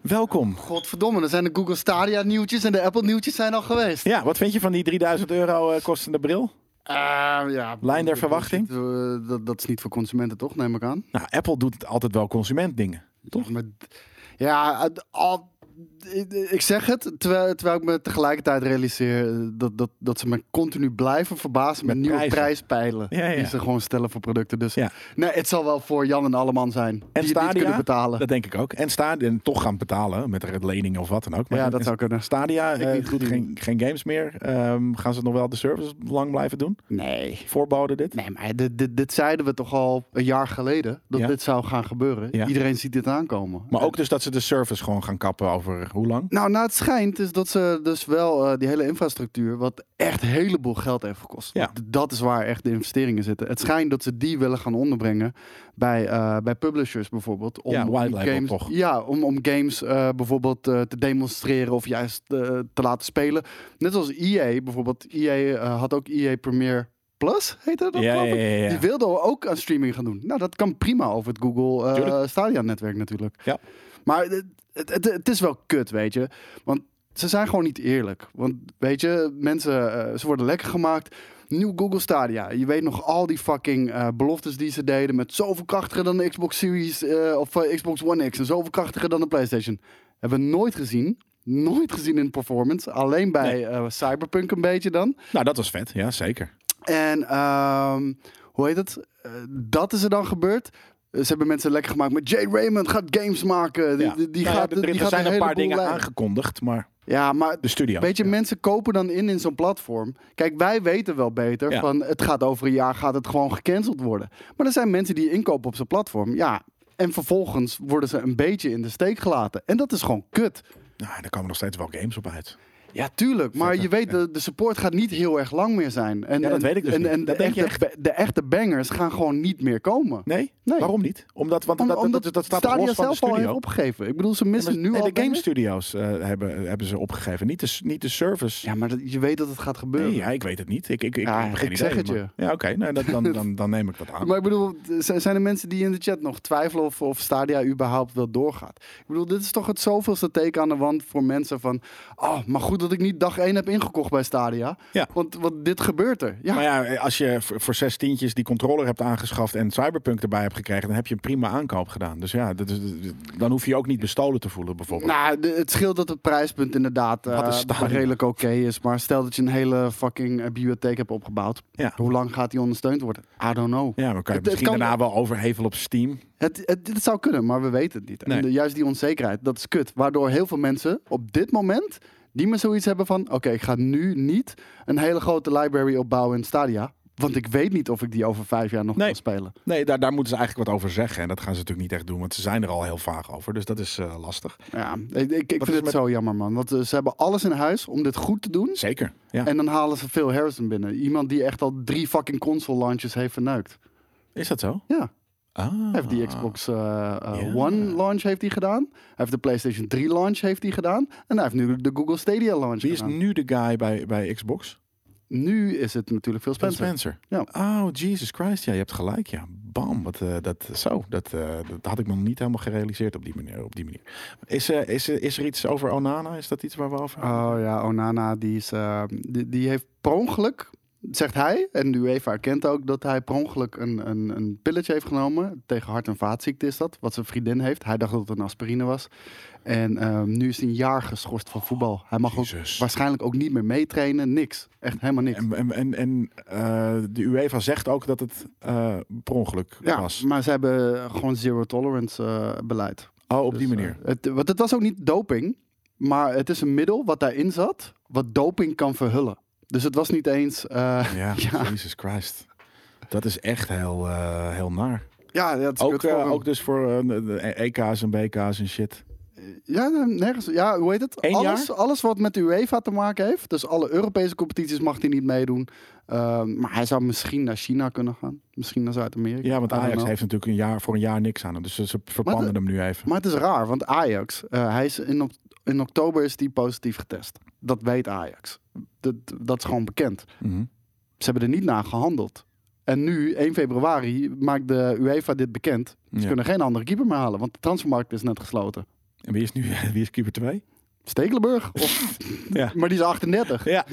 [SPEAKER 1] Welkom.
[SPEAKER 3] Godverdomme, er zijn de Google Stadia nieuwtjes en de Apple nieuwtjes zijn al geweest.
[SPEAKER 1] Ja, wat vind je van die 3000 euro eh, kostende bril?
[SPEAKER 3] Eh, ja,
[SPEAKER 1] Lijn der verwachting?
[SPEAKER 3] eh, Dat, dat is niet voor consumenten toch, neem ik aan.
[SPEAKER 1] Nou, Apple doet altijd wel consumentdingen. Toch?
[SPEAKER 3] Maar d- ja, het- al- ik- ik zeg het, terwijl, terwijl ik me tegelijkertijd realiseer eh, dat, dat, dat ze me continu blijven verbazen met,
[SPEAKER 1] Met
[SPEAKER 3] nieuwe
[SPEAKER 1] prijzen.
[SPEAKER 3] prijspeilen.
[SPEAKER 1] Ja, ja.
[SPEAKER 3] Die ze gewoon stellen voor producten. Dus
[SPEAKER 1] Ja.
[SPEAKER 3] nee, het zal wel voor Jan en Alleman zijn. die het niet
[SPEAKER 1] Stadia?
[SPEAKER 3] kunnen betalen.
[SPEAKER 1] Dat denk ik ook. En Stadia toch gaan betalen met een lening of wat dan ook. Maar
[SPEAKER 3] ja,
[SPEAKER 1] en-
[SPEAKER 3] dat
[SPEAKER 1] en
[SPEAKER 3] zou kunnen.
[SPEAKER 1] Stadia
[SPEAKER 3] Ik
[SPEAKER 1] eh,
[SPEAKER 3] niet
[SPEAKER 1] doet
[SPEAKER 3] gezien.
[SPEAKER 1] geen, geen games meer. Ehm, gaan ze nog wel de service lang blijven doen?
[SPEAKER 3] Nee.
[SPEAKER 1] Voorboden dit?
[SPEAKER 3] Nee, maar dit, dit, dit zeiden we toch al een jaar geleden. Dat
[SPEAKER 1] Ja.
[SPEAKER 3] dit zou gaan gebeuren.
[SPEAKER 1] Ja.
[SPEAKER 3] Iedereen ziet dit aankomen.
[SPEAKER 1] Maar ook dus dat ze de service gewoon gaan kappen over hoe lang?
[SPEAKER 3] Nou, na het schijnt is dat ze dus wel eh, die hele infrastructuur, wat echt een heleboel geld heeft gekost.
[SPEAKER 1] Ja.
[SPEAKER 3] Want Dat is waar echt de investeringen zitten. Het schijnt dat ze die willen gaan onderbrengen bij, eh, bij publishers bijvoorbeeld.
[SPEAKER 1] Ja,
[SPEAKER 3] om
[SPEAKER 1] white label
[SPEAKER 3] games,
[SPEAKER 1] toch?
[SPEAKER 3] Ja, om, om games eh, bijvoorbeeld eh, te demonstreren of juist eh, te laten spelen. Net als EA bijvoorbeeld. EA eh, had ook EA Premier Plus, heette dat
[SPEAKER 1] ja,
[SPEAKER 3] geloof ik?
[SPEAKER 1] ja, ja, ja.
[SPEAKER 3] Die wilden ook aan streaming gaan doen. Nou, dat kan prima over het Google eh,
[SPEAKER 1] Tuurlijk.
[SPEAKER 3] Stadia-netwerk natuurlijk.
[SPEAKER 1] Ja.
[SPEAKER 3] Maar het, het, het, het is wel kut, weet je. Want ze zijn gewoon niet eerlijk. Want weet je, mensen, eh, ze worden lekker gemaakt. Nieuw Google Stadia. Je weet nog al die fucking eh, beloftes die ze deden. Met zoveel krachtiger dan de Xbox Series eh, of eh, Xbox One X. En zoveel krachtiger dan de PlayStation. Hebben we nooit gezien. Nooit gezien in performance. Alleen bij eh, Cyberpunk een beetje dan.
[SPEAKER 1] Nou, dat was vet. Ja, zeker.
[SPEAKER 3] En ehm, hoe heet het? Eh, dat is er dan gebeurd. Eh, Ze hebben mensen lekker gemaakt met Jay Raymond gaat games maken. Die,
[SPEAKER 1] Ja.
[SPEAKER 3] die, die
[SPEAKER 1] Nou ja,
[SPEAKER 3] gaat,
[SPEAKER 1] er-
[SPEAKER 3] die
[SPEAKER 1] er
[SPEAKER 3] gaat
[SPEAKER 1] zijn een paar
[SPEAKER 3] heleboel
[SPEAKER 1] dingen
[SPEAKER 3] leiden.
[SPEAKER 1] aangekondigd, maar
[SPEAKER 3] Ja, maar
[SPEAKER 1] de studio.
[SPEAKER 3] weet je,
[SPEAKER 1] Ja.
[SPEAKER 3] mensen kopen dan in in zo'n platform. Kijk, wij weten wel beter
[SPEAKER 1] Ja.
[SPEAKER 3] van het gaat over een jaar gaat het gewoon gecanceld worden. Maar er zijn mensen die inkopen op zo'n platform. Ja, en vervolgens worden ze een beetje in de steek gelaten. En dat is gewoon kut.
[SPEAKER 1] Nou, daar komen nog steeds wel games op uit.
[SPEAKER 3] Ja, tuurlijk. Maar je weet, de, de support gaat niet heel erg lang meer zijn. En,
[SPEAKER 1] Ja, dat
[SPEAKER 3] en-
[SPEAKER 1] weet ik dus
[SPEAKER 3] en,
[SPEAKER 1] niet.
[SPEAKER 3] en de,
[SPEAKER 1] Dat denk je
[SPEAKER 3] echte, ba- de echte bangers gaan gewoon niet meer komen.
[SPEAKER 1] Nee?
[SPEAKER 3] Nee.
[SPEAKER 1] Waarom niet? Omdat, want
[SPEAKER 3] Om-
[SPEAKER 1] dat, dat,
[SPEAKER 3] omdat
[SPEAKER 1] dat, dat staat toch
[SPEAKER 3] Stadia
[SPEAKER 1] los van de
[SPEAKER 3] zelf al heeft
[SPEAKER 1] studio.
[SPEAKER 3] opgegeven. Ik bedoel, ze missen
[SPEAKER 1] Ja,
[SPEAKER 3] nu
[SPEAKER 1] maar-
[SPEAKER 3] al
[SPEAKER 1] nee, de game
[SPEAKER 3] bangers.
[SPEAKER 1] studios eh, hebben, hebben ze opgegeven. Niet de, s- niet de service.
[SPEAKER 3] Ja, maar dat- je weet dat het gaat gebeuren.
[SPEAKER 1] Nee, ja, ik weet het niet. Ik, ik, ik
[SPEAKER 3] Ja,
[SPEAKER 1] heb geen
[SPEAKER 3] ik
[SPEAKER 1] idee.
[SPEAKER 3] zeg het je.
[SPEAKER 1] maar- Ja, oké. Nou, dat- dan, dan, dan neem ik
[SPEAKER 3] [LAUGHS]
[SPEAKER 1] dat aan.
[SPEAKER 3] Maar ik bedoel, z- zijn er mensen die in de chat nog twijfelen of, of Stadia überhaupt wel doorgaat? Ik bedoel, dit is toch het zoveelste teken aan de wand voor mensen van... Oh, maar goed dat ik niet dag één heb ingekocht bij Stadia.
[SPEAKER 1] Ja.
[SPEAKER 3] Want, want dit gebeurt er. Ja,
[SPEAKER 1] Maar ja, als je voor voor zes tientjes die controller hebt aangeschaft en Cyberpunk erbij hebt gekregen, dan heb je een prima aankoop gedaan. Dus ja, dat is, dan hoef je je ook niet bestolen te voelen bijvoorbeeld.
[SPEAKER 3] Nou, de- het scheelt dat het prijspunt inderdaad eh,
[SPEAKER 1] Wat is Stadia?
[SPEAKER 3] redelijk oké is. Maar stel dat je een hele fucking eh, bibliotheek hebt opgebouwd.
[SPEAKER 1] Ja.
[SPEAKER 3] Hoe lang gaat die ondersteund worden? I don't know.
[SPEAKER 1] ja, maar kan je
[SPEAKER 3] Nou, het- het
[SPEAKER 1] misschien
[SPEAKER 3] kan-
[SPEAKER 1] daarna wel overhevelen op Steam.
[SPEAKER 3] Het, het, het zou kunnen, maar we weten het niet.
[SPEAKER 1] Nee.
[SPEAKER 3] En de- juist die onzekerheid, dat is kut. Waardoor heel veel mensen op dit moment... die maar zoiets hebben van... oké, ik ga nu niet een hele grote library opbouwen in Stadia... want ik weet niet of ik die over vijf jaar nog
[SPEAKER 1] Nee.
[SPEAKER 3] kan spelen.
[SPEAKER 1] Nee, daar, daar moeten ze eigenlijk wat over zeggen. En dat gaan ze natuurlijk niet echt doen, want ze zijn er al heel vaag over. Dus dat is eh, lastig.
[SPEAKER 3] Ja, ik, ik, ik vind
[SPEAKER 1] is
[SPEAKER 3] het
[SPEAKER 1] met-
[SPEAKER 3] zo jammer, man. Want eh, ze hebben alles in huis om dit goed te doen...
[SPEAKER 1] Zeker. Ja.
[SPEAKER 3] [LAUGHS] En dan halen ze Phil Harrison binnen. Iemand die echt al drie fucking console launches heeft verneukt.
[SPEAKER 1] Is dat zo?
[SPEAKER 3] Ja,
[SPEAKER 1] Ah.
[SPEAKER 3] hij heeft die Xbox eh, eh,
[SPEAKER 1] Ja.
[SPEAKER 3] One launch heeft hij gedaan. Hij heeft de PlayStation 3 launch heeft hij gedaan. En hij heeft nu de Google Stadia launch
[SPEAKER 1] Wie is
[SPEAKER 3] gedaan.
[SPEAKER 1] nu de guy bij, bij Xbox?
[SPEAKER 3] Nu is het natuurlijk veel
[SPEAKER 1] Phil
[SPEAKER 3] Spencer.
[SPEAKER 1] Spencer. Oh, Jesus Christ. Ja, je hebt gelijk. Ja, bam. Wat, eh, dat, zo, dat, eh, dat had ik me nog niet helemaal gerealiseerd op die manier. Op die manier. Is, eh, is, eh, is er iets over Onana? Is dat iets waar we over...
[SPEAKER 3] Oh ja, Onana, die, is, eh, die, die heeft per ongeluk, zegt hij, en de UEFA erkent ook, dat hij per ongeluk een, een, een pilletje heeft genomen. Tegen hart- en vaatziekte is dat, wat zijn vriendin heeft. Hij dacht dat het een aspirine was. En eh, nu is hij een jaar geschorst van voetbal. Hij mag ook
[SPEAKER 1] Jezus.
[SPEAKER 3] waarschijnlijk ook niet meer meetrainen, niks. Echt helemaal niks.
[SPEAKER 1] En, en, en, en eh, de UEFA zegt ook dat het eh, per ongeluk
[SPEAKER 3] Ja,
[SPEAKER 1] was.
[SPEAKER 3] maar ze hebben gewoon zero tolerance eh, beleid.
[SPEAKER 1] Oh, op die
[SPEAKER 3] Dus,
[SPEAKER 1] manier.
[SPEAKER 3] eh, het, want het was ook niet doping, maar het is een middel wat daarin zat, wat doping kan verhullen. Dus het was niet eens. eh,
[SPEAKER 1] Ja,
[SPEAKER 3] [LAUGHS] ja.
[SPEAKER 1] Jesus Christ. Dat is echt heel, eh, heel naar.
[SPEAKER 3] ja, dat is
[SPEAKER 1] Ook,
[SPEAKER 3] kut voor
[SPEAKER 1] eh,
[SPEAKER 3] hem.
[SPEAKER 1] ook dus voor eh, de- de EK's en BK's en shit.
[SPEAKER 3] Ja, nee, nergens. Ja, hoe heet het?
[SPEAKER 1] Eén
[SPEAKER 3] alles, alles wat met de UEFA te maken heeft. Dus alle Europese competities mag hij niet meedoen. Ehm, maar hij zou misschien naar China kunnen gaan. Misschien naar Zuid-Amerika.
[SPEAKER 1] Ja, want
[SPEAKER 3] I don't
[SPEAKER 1] Ajax
[SPEAKER 3] know.
[SPEAKER 1] heeft natuurlijk een jaar, voor een jaar niks aan hem. Dus ze ze verpanden hem nu even.
[SPEAKER 3] Maar het is raar, want Ajax, eh, hij is in, op- in oktober is die positief getest. Dat weet Ajax. Dat, dat is gewoon bekend.
[SPEAKER 1] Mhm.
[SPEAKER 3] ze hebben er niet naar gehandeld. En nu, 1 februari, maakt de UEFA dit bekend. Ze
[SPEAKER 1] Ja.
[SPEAKER 3] kunnen geen andere keeper meer halen, want de transfermarkt is net gesloten.
[SPEAKER 1] En wie is nu [LAUGHS] wie is keeper 2?
[SPEAKER 3] Stekelenburg?
[SPEAKER 1] [LAUGHS]
[SPEAKER 3] Of...
[SPEAKER 1] Ja.
[SPEAKER 3] Maar die
[SPEAKER 1] [LAUGHS]
[SPEAKER 3] is 38.
[SPEAKER 1] Ja.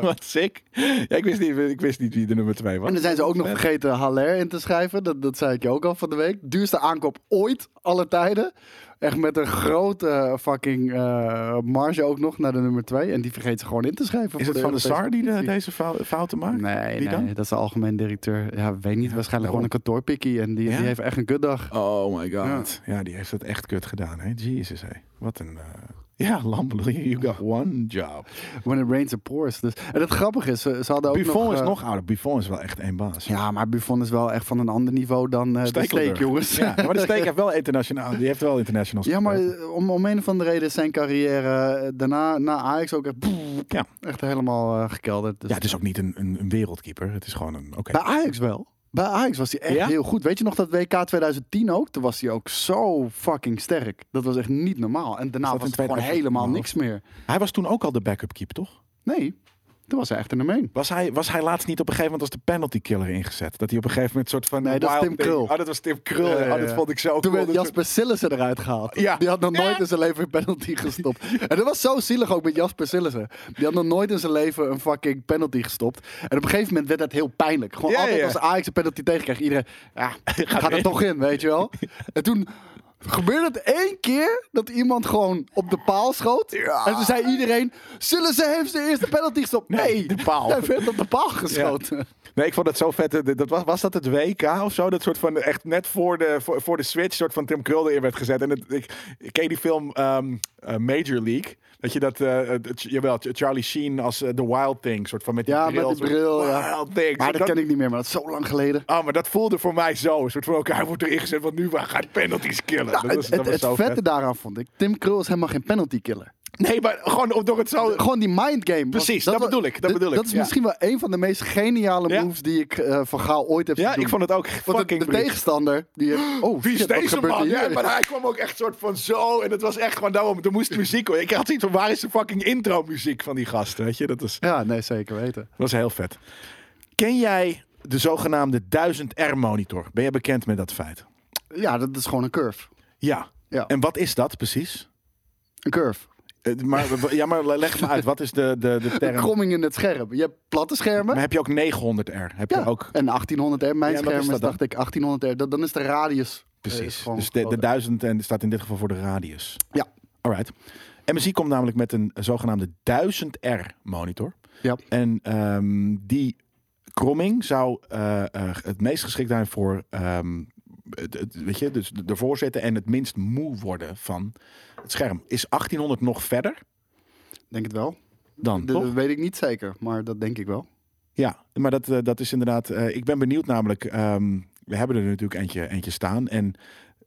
[SPEAKER 1] Wat sick. Ja, ik, wist niet, ik wist niet wie de nummer 2 was.
[SPEAKER 3] En dan zijn ze ook nog vergeten Haller in te schrijven. Dat, dat zei ik je ook al van de week. Duurste aankoop ooit, alle tijden. Echt met een grote fucking eh, marge ook nog naar de nummer 2. En die vergeet ze gewoon in te schrijven.
[SPEAKER 1] Is
[SPEAKER 3] voor Nou.
[SPEAKER 1] het van de
[SPEAKER 3] Europese
[SPEAKER 1] Sar die de-
[SPEAKER 3] competitie.
[SPEAKER 1] deze fou- fouten maakt?
[SPEAKER 3] Nee,
[SPEAKER 1] Wie dan?
[SPEAKER 3] nee, dat is de algemeen directeur. Ja, weet niet. waarschijnlijk
[SPEAKER 1] daarom.
[SPEAKER 3] gewoon een kantoorpikkie. En die,
[SPEAKER 1] Ja?
[SPEAKER 3] die heeft echt een kutdag.
[SPEAKER 1] Oh my god. Ja. die heeft het echt kut gedaan. Hè? Jezus, hé. Wat een... eh, Ja, Lambeloe, you got one job.
[SPEAKER 3] When it rains, it pours. Dus, en het grappige is, ze, ze hadden ook
[SPEAKER 1] Buffon
[SPEAKER 3] nog...
[SPEAKER 1] is
[SPEAKER 3] eh,
[SPEAKER 1] nog ouder. Buffon is wel echt één baas.
[SPEAKER 3] Ja, maar Buffon is wel echt van een ander niveau dan eh de
[SPEAKER 1] Stekelenburg.
[SPEAKER 3] steek, jongens.
[SPEAKER 1] Ja,
[SPEAKER 3] [LAUGHS]
[SPEAKER 1] maar de steek heeft wel internationaal. Die heeft wel internationals.
[SPEAKER 3] Ja, maar
[SPEAKER 1] gespeeld.
[SPEAKER 3] eh, om, om een van de reden is zijn carrière eh, daarna na Ajax ook echt, pff,
[SPEAKER 1] Ja.
[SPEAKER 3] echt helemaal eh, gekelderd. Dus-
[SPEAKER 1] ja, het is ook niet een, een, een wereldkeeper. Het is gewoon een. Oké.
[SPEAKER 3] Bij Ajax wel. Bij Ajax was hij echt
[SPEAKER 1] Ja?
[SPEAKER 3] heel goed. Weet je nog dat WK 2010 ook? Toen was hij ook zo fucking sterk. Dat was echt niet normaal. En daarna
[SPEAKER 1] Is dat
[SPEAKER 3] was
[SPEAKER 1] in Oh.
[SPEAKER 3] het gewoon
[SPEAKER 1] 2000
[SPEAKER 3] helemaal
[SPEAKER 1] normaal?
[SPEAKER 3] niks meer.
[SPEAKER 1] Hij was toen ook al de backup keeper, toch?
[SPEAKER 3] Nee, toen was hij echt een nummer
[SPEAKER 1] Was hij, was hij laatst niet op een gegeven moment als de penalty killer ingezet? Dat hij op een gegeven moment soort van.
[SPEAKER 3] Nee, dat is
[SPEAKER 1] wild
[SPEAKER 3] Tim
[SPEAKER 1] thing-
[SPEAKER 3] Krul.
[SPEAKER 1] Oh, dat was Tim Krul.
[SPEAKER 3] Ja, ja,
[SPEAKER 1] Oh, dat
[SPEAKER 3] ja.
[SPEAKER 1] vond ik zo
[SPEAKER 3] Toen
[SPEAKER 1] cool.
[SPEAKER 3] werd
[SPEAKER 1] Dat
[SPEAKER 3] Jasper Sillissen eruit gehaald.
[SPEAKER 1] Ja.
[SPEAKER 3] Die had nog nooit
[SPEAKER 1] Ja.
[SPEAKER 3] in zijn leven een penalty
[SPEAKER 1] [LAUGHS]
[SPEAKER 3] gestopt. En dat was zo zielig ook met Jasper Sillissen. Die had nog nooit in zijn leven een fucking penalty gestopt. En op een gegeven moment werd dat heel pijnlijk. Gewoon
[SPEAKER 1] Ja,
[SPEAKER 3] altijd
[SPEAKER 1] ja.
[SPEAKER 3] als Ajax een penalty tegenkreeg, iedereen...
[SPEAKER 1] [LAUGHS]
[SPEAKER 3] Ja, gaat er toch in, weet je wel. En toen... Gebeurde het één keer dat iemand gewoon op de paal schoot? En toen zei iedereen: Sillissen heeft zijn eerste penalty gestopt. Nee,
[SPEAKER 1] de paal.
[SPEAKER 3] Hij werd op de paal geschoten.
[SPEAKER 1] Nee, ik vond dat zo vet. Dat, dat was, was dat het WK of zo? Dat soort van echt net voor de, voor, voor de switch, soort van Tim Krul erin werd gezet. En het, ik, ik ken die film ehm, eh, Major League. Dat je dat, eh, het- jawel, Charlie Sheen als eh, The Wild Thing, soort van met die
[SPEAKER 3] Ja,
[SPEAKER 1] bril.
[SPEAKER 3] met die
[SPEAKER 1] soort
[SPEAKER 3] bril. Ja.
[SPEAKER 1] Wild Thing.
[SPEAKER 3] Maar
[SPEAKER 1] Zo
[SPEAKER 3] dat ken ik niet meer, maar dat is zo lang geleden.
[SPEAKER 1] Ah, maar dat voelde voor mij zo. Een soort van, oké, hij wordt erin gezet, want nu gaat penalties killen.
[SPEAKER 3] Nou,
[SPEAKER 1] dat was,
[SPEAKER 3] het
[SPEAKER 1] dat was
[SPEAKER 3] het,
[SPEAKER 1] zo
[SPEAKER 3] het vette
[SPEAKER 1] vet.
[SPEAKER 3] daaraan vond ik, Tim Krul is helemaal geen penalty killer.
[SPEAKER 1] Nee, maar gewoon om- door het zo...
[SPEAKER 3] Gewoon die mind game. was-
[SPEAKER 1] Oh, Precies, dat
[SPEAKER 3] wa-
[SPEAKER 1] bedoel ik, dat
[SPEAKER 3] d-
[SPEAKER 1] bedoel ik,
[SPEAKER 3] Dat is
[SPEAKER 1] ja.
[SPEAKER 3] misschien wel een van de meest geniale
[SPEAKER 1] Ja.
[SPEAKER 3] moves die ik eh, van Gaal ooit heb
[SPEAKER 1] Ja,
[SPEAKER 3] gezien.
[SPEAKER 1] ik vond het ook
[SPEAKER 3] Want de-
[SPEAKER 1] fucking
[SPEAKER 3] de,
[SPEAKER 1] briljant.
[SPEAKER 3] tegenstander, die
[SPEAKER 1] [GASPS]
[SPEAKER 3] heeft, oh,
[SPEAKER 1] Wie is
[SPEAKER 3] shit, wat
[SPEAKER 1] deze
[SPEAKER 3] gebeurt
[SPEAKER 1] man?
[SPEAKER 3] hier?
[SPEAKER 1] Ja, maar hij kwam ook echt soort van zo. En het was echt gewoon daarom. Er moest muziek hoor. Ik had zoiets van, waar is de fucking intro muziek van die gasten? Weet je, dat was,
[SPEAKER 3] Ja, nee, zeker weten.
[SPEAKER 1] was heel vet. Ken jij de zogenaamde 1000R monitor? Ben je bekend met dat feit?
[SPEAKER 3] Ja, dat is gewoon een curve.
[SPEAKER 1] Ja.
[SPEAKER 3] Ja.
[SPEAKER 1] En wat is dat precies?
[SPEAKER 3] Een curve.
[SPEAKER 1] Eh, [LAUGHS] Maar, ja, maar leg me uit. Wat is de, de, de
[SPEAKER 3] Een
[SPEAKER 1] term?
[SPEAKER 3] kromming in het scherm. Je hebt platte schermen.
[SPEAKER 1] Maar heb je ook 900R? Heb
[SPEAKER 3] Ja,
[SPEAKER 1] je ook...
[SPEAKER 3] en 1800R. Mijn
[SPEAKER 1] Ja, wat
[SPEAKER 3] scherm
[SPEAKER 1] is
[SPEAKER 3] is,
[SPEAKER 1] dat dan?
[SPEAKER 3] dacht ik, 1800R. Dat, dan is de radius. eh, is
[SPEAKER 1] Precies.
[SPEAKER 3] gewoon
[SPEAKER 1] dus de, de
[SPEAKER 3] groter.
[SPEAKER 1] 1000 en staat in dit geval voor de radius.
[SPEAKER 3] Ja.
[SPEAKER 1] Alright. MSI komt namelijk met een zogenaamde 1000R monitor.
[SPEAKER 3] Ja.
[SPEAKER 1] En ehm, die kromming zou eh, eh, het meest geschikt zijn voor ehm, het, het- weet je, dus de- ervoor zitten en het minst moe worden van het scherm. Is 1800 nog verder
[SPEAKER 3] Denk het wel.
[SPEAKER 1] dan?
[SPEAKER 3] Dat
[SPEAKER 1] toch?
[SPEAKER 3] weet ik niet zeker, maar dat denk ik wel.
[SPEAKER 1] Ja, maar dat, eh, dat is inderdaad. eh, ik ben benieuwd, namelijk. ehm, we hebben er natuurlijk eentje, eentje staan. En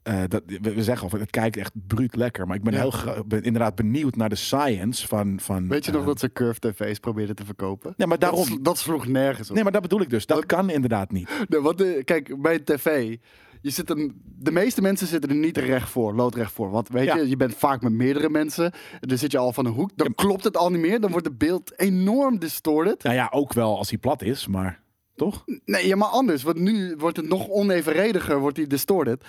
[SPEAKER 1] eh, dat, we, we zeggen al, van, het kijkt echt bruut lekker. Maar ik ben
[SPEAKER 3] Ja.
[SPEAKER 1] heel gra- ben inderdaad benieuwd naar de science van. van
[SPEAKER 3] Weet je
[SPEAKER 1] eh,
[SPEAKER 3] nog dat ze Curve TV's probeerden te verkopen?
[SPEAKER 1] Nee, maar daarom.
[SPEAKER 3] Dat, sl- dat sloeg nergens op. [LAUGHS]
[SPEAKER 1] Nee, maar dat bedoel ik dus. Dat kan inderdaad niet.
[SPEAKER 3] Nee, want, eh, kijk, bij een tv, je zit hem, de meeste mensen zitten er niet recht voor, loodrecht voor. Want weet
[SPEAKER 1] Ja.
[SPEAKER 3] je, je bent vaak met meerdere mensen. Dan zit je al van een hoek. Dan klopt het al niet meer. Dan wordt het beeld enorm distorted.
[SPEAKER 1] Nou ja, ook wel als hij plat is, maar toch?
[SPEAKER 3] Nee, ja, maar anders. Want nu wordt het nog onevenrediger, wordt die distorted.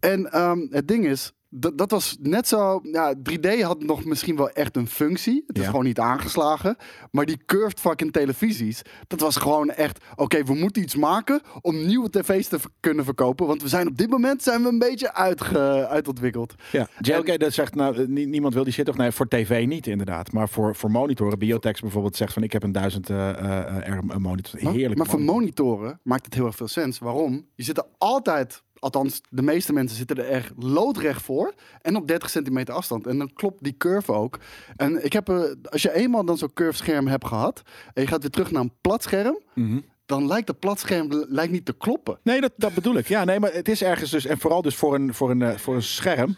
[SPEAKER 3] En ehm, het ding is, dat, dat was net zo... Ja, 3D had nog misschien wel echt een functie. Het is
[SPEAKER 1] Ja.
[SPEAKER 3] gewoon niet aangeslagen. Maar die curved fucking televisies, dat was gewoon echt... Oké, we moeten iets maken om nieuwe tv's te v- kunnen verkopen. Want we zijn op dit moment zijn we een beetje uitge, uitontwikkeld.
[SPEAKER 1] Ja. Oké, dat zegt nou, eh, nie- niemand wil die shit toch? Nee, voor tv niet inderdaad. Maar voor, voor monitoren, Biotex bijvoorbeeld zegt van ik heb een 1000 eh, eh, eh, R monitor.
[SPEAKER 3] Maar,
[SPEAKER 1] Heerlijk.
[SPEAKER 3] maar voor
[SPEAKER 1] monitor.
[SPEAKER 3] monitoren maakt het heel erg veel sens. Waarom? Je zit er altijd, althans de meeste mensen zitten er echt loodrecht voor. En op 30 centimeter afstand. En dan klopt die curve ook. En ik heb, eh, als je eenmaal dan zo'n curve scherm hebt gehad. En je gaat weer terug naar een plat scherm.
[SPEAKER 1] Mhm.
[SPEAKER 3] Dan lijkt dat plat scherm lijkt niet te kloppen.
[SPEAKER 1] Oh. Nee, dat, dat bedoel ik. Ja, nee, maar het is ergens dus. En vooral dus voor een, voor een, eh, voor een scherm.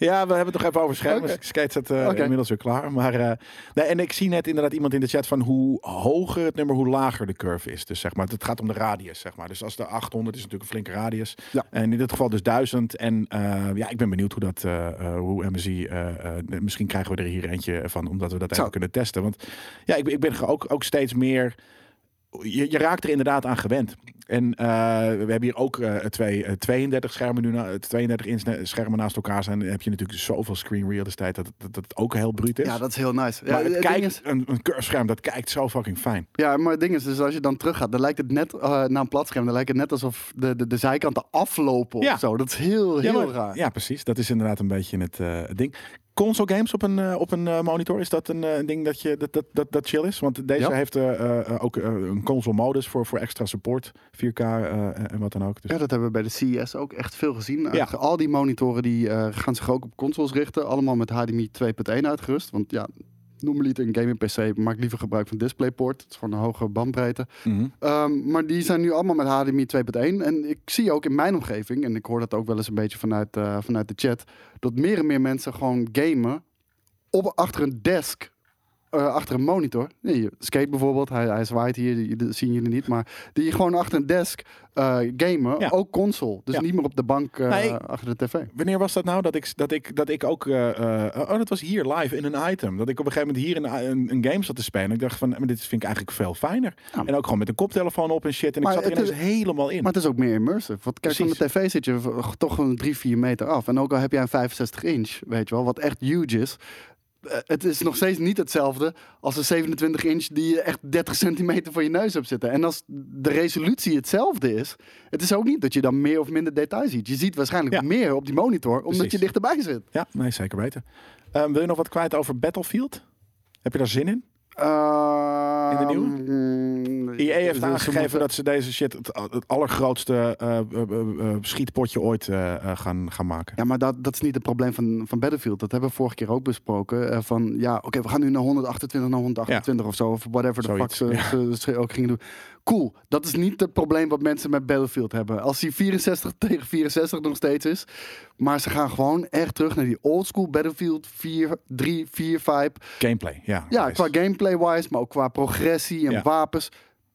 [SPEAKER 1] Ja, we hebben het nog even over schermen.
[SPEAKER 3] Oké.
[SPEAKER 1] Skate staat eh,
[SPEAKER 3] Oké.
[SPEAKER 1] inmiddels weer klaar. Maar, eh, nee, en ik zie net inderdaad iemand in de chat van hoe hoger het nummer, hoe lager de curve is. Dus zeg maar, het gaat om de radius, zeg maar. Dus als de 800 is natuurlijk een flinke radius.
[SPEAKER 3] Ja.
[SPEAKER 1] En in dit geval dus 1000. En eh, ja, ik ben benieuwd hoe dat, eh, eh, hoe MSI, eh, eh, misschien krijgen we er hier eentje van, omdat we dat
[SPEAKER 3] Zo.
[SPEAKER 1] even kunnen testen. Want ja, ik, ik ben ge- ook, ook steeds meer je, je raakt er inderdaad aan gewend. En eh, we hebben hier ook eh, twee, eh, 32 schermen nu, na, eh, 32 inch ne- schermen naast elkaar zijn. Dan heb je natuurlijk dus zoveel screen real estate dat, dat, dat het ook heel bruut is.
[SPEAKER 3] Ja, dat is heel nice. Ja,
[SPEAKER 1] maar het
[SPEAKER 3] het ding
[SPEAKER 1] kijkt,
[SPEAKER 3] is-
[SPEAKER 1] een, een curvescherm, dat kijkt zo fucking fijn.
[SPEAKER 3] ja, maar het ding is, dus als je dan terug gaat, dan lijkt het net eh, naar een plat scherm. Dan lijkt het net alsof de, de, de zijkanten aflopen
[SPEAKER 1] Ja.
[SPEAKER 3] of zo. Dat is heel, heel
[SPEAKER 1] ja, maar-
[SPEAKER 3] raar.
[SPEAKER 1] Ja, precies. Dat is inderdaad een beetje het eh, het ding. Console games op een, eh, op een eh, monitor, is dat een eh, een ding dat, je, dat, dat, dat, dat chill is? Want deze
[SPEAKER 3] Ja.
[SPEAKER 1] heeft eh, eh, eh, ook eh, een console modus voor, voor extra support, 4K eh, en wat dan ook. Dus
[SPEAKER 3] Ja, dat hebben we bij de CES ook echt veel gezien.
[SPEAKER 1] Ja.
[SPEAKER 3] Al die monitoren die eh, gaan zich ook op consoles richten. Allemaal met HDMI 2.1 uitgerust. Want ja, noem het een gaming PC. Maak liever gebruik van DisplayPort. Het is gewoon een hogere bandbreedte.
[SPEAKER 1] mhm.
[SPEAKER 3] Ehm, maar die zijn nu allemaal met HDMI 2.1. En ik zie ook in mijn omgeving, en ik hoor dat ook wel eens een beetje vanuit, eh, vanuit de chat, dat meer en meer mensen gewoon gamen op, achter een desk. eh, achter een monitor. Nee, je- skate bijvoorbeeld, hij, hij zwaait hier, die- dat zien jullie niet. Maar die gewoon achter een desk eh, gamen,
[SPEAKER 1] Ja.
[SPEAKER 3] ook console. Dus
[SPEAKER 1] Ja.
[SPEAKER 3] niet meer op de bank eh,
[SPEAKER 1] Nee.
[SPEAKER 3] achter de tv.
[SPEAKER 1] Wanneer was dat nou dat ik, dat ik, dat ik ook. eh, eh, oh, dat was hier live in een item. Dat ik op een gegeven moment hier een, een, een game zat te spelen. Ik dacht van, maar dit vind ik eigenlijk veel fijner.
[SPEAKER 3] Ja.
[SPEAKER 1] En ook gewoon met een koptelefoon op en shit. En
[SPEAKER 3] Maar
[SPEAKER 1] ik zat er
[SPEAKER 3] het
[SPEAKER 1] ineens helemaal in.
[SPEAKER 3] Maar het is ook meer immersive. Want kijk, van de
[SPEAKER 1] Precies.
[SPEAKER 3] tv zit je v- toch een 3, 4 meter af. En ook al heb jij een 65 inch, weet je wel, wat echt huge is. eh, Het is nog steeds niet hetzelfde als een 27 inch die je echt 30 centimeter voor je neus hebt zitten. En als de resolutie hetzelfde is, het is ook niet dat je dan meer of minder detail ziet. Je ziet waarschijnlijk
[SPEAKER 1] Ja.
[SPEAKER 3] meer op die monitor, omdat
[SPEAKER 1] Precies.
[SPEAKER 3] je dichterbij zit.
[SPEAKER 1] Ja, nee, zeker weten. Eh, wil je nog wat kwijt over Battlefield? Heb je daar zin in?
[SPEAKER 3] Ehm,
[SPEAKER 1] nieuwe?
[SPEAKER 3] mm,
[SPEAKER 1] EA E heeft
[SPEAKER 3] ze- ze
[SPEAKER 1] aangegeven
[SPEAKER 3] moeten-
[SPEAKER 1] dat ze deze shit het, het allergrootste eh, eh, eh, eh, schietpotje ooit eh, eh, gaan, gaan maken.
[SPEAKER 3] Ja, maar dat, dat is niet het probleem van, van Battlefield. Dat hebben we vorige keer ook besproken. eh, van ja, oké, we gaan nu naar 128, naar 128 of zo. Of whatever de fuck
[SPEAKER 1] Zoiets,
[SPEAKER 3] ze, ze, ze ook gingen doen. Cool, dat is niet het probleem wat mensen met Battlefield hebben. Als die 64 [LAUGHS] tegen 64 nog steeds is. Maar ze gaan gewoon echt terug naar die oldschool Battlefield 4, 3, 4, 5.
[SPEAKER 1] Gameplay, ja.
[SPEAKER 3] Ja,
[SPEAKER 1] Nice.
[SPEAKER 3] qua gameplay-wise, maar ook qua progressie en
[SPEAKER 1] Ja.
[SPEAKER 3] wapens.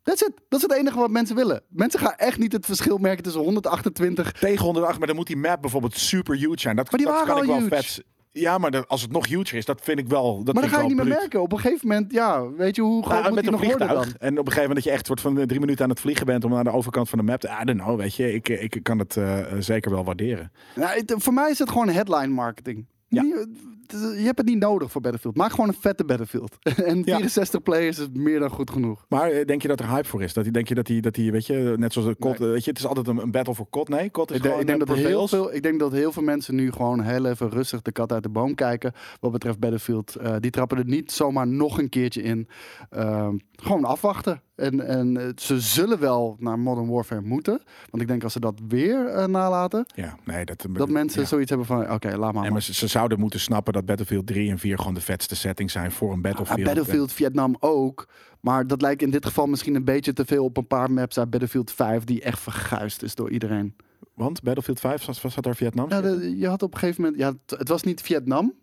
[SPEAKER 3] That's it. Dat is het enige wat mensen willen. Mensen gaan echt niet het verschil merken tussen 128
[SPEAKER 1] tegen 108, maar dan moet die map bijvoorbeeld super huge zijn. Dat,
[SPEAKER 3] Maar die
[SPEAKER 1] dat
[SPEAKER 3] waren
[SPEAKER 1] kan ik
[SPEAKER 3] al
[SPEAKER 1] wel
[SPEAKER 3] huge.
[SPEAKER 1] vet. Ja, maar dat- als het nog huger is, dat vind ik wel. Dat vind
[SPEAKER 3] Maar dan ga je
[SPEAKER 1] ik
[SPEAKER 3] niet
[SPEAKER 1] wel
[SPEAKER 3] meer
[SPEAKER 1] bruut.
[SPEAKER 3] merken. Op een gegeven moment, ja, weet je hoe groot
[SPEAKER 1] Ja,
[SPEAKER 3] moet
[SPEAKER 1] met
[SPEAKER 3] die
[SPEAKER 1] een
[SPEAKER 3] nog worden
[SPEAKER 1] vliegtuig.
[SPEAKER 3] dan?
[SPEAKER 1] En op een gegeven moment dat je echt soort van eh, drie minuten aan het vliegen bent om naar de overkant van de map te. I don't know, weet je. Ik, ik kan het eh, eh, zeker wel waarderen.
[SPEAKER 3] Nou, het- voor mij is het gewoon headline marketing.
[SPEAKER 1] Ja.
[SPEAKER 3] Niet- het is- Je hebt het niet nodig voor Battlefield. Maak gewoon een vette Battlefield. [LAUGHS] En
[SPEAKER 1] Ja.
[SPEAKER 3] 64 players is meer dan goed genoeg.
[SPEAKER 1] Maar eh, denk je dat er hype voor is? Dat, denk je dat die, dat die weet je, net zoals de COD, eh, weet je, het is altijd een, een battle voor COD. Nee, COD is
[SPEAKER 3] Ik, denk-
[SPEAKER 1] gewoon
[SPEAKER 3] ik denk
[SPEAKER 1] eh,
[SPEAKER 3] dat er heel
[SPEAKER 1] prevails.
[SPEAKER 3] veel, ik denk dat heel veel mensen nu gewoon heel even rustig de kat uit de boom kijken. Wat betreft Battlefield. Eh, die trappen er niet zomaar nog een keertje in. Ehm, gewoon afwachten. En, en eh, ze zullen wel naar Modern Warfare moeten. Want ik denk als ze dat weer eh, nalaten.
[SPEAKER 1] Ja, nee, dat, eh,
[SPEAKER 3] Dat mensen
[SPEAKER 1] ja.
[SPEAKER 3] zoiets hebben van, oké, laat maar.
[SPEAKER 1] Nee, maar ze, ze zouden moeten snappen dat Battlefield 3 en 4 gewoon de vetste setting zijn voor een
[SPEAKER 3] Ja,
[SPEAKER 1] Battlefield.
[SPEAKER 3] Ah, Battlefield Vietnam ook. Maar dat lijkt in dit geval misschien een beetje te veel op een paar maps uit Battlefield 5, die echt verguisd is door iedereen.
[SPEAKER 1] Want Battlefield 5 was, was dat daar Vietnam?
[SPEAKER 3] Ja, de- je had op een gegeven moment. Ja, het, het was niet Vietnam.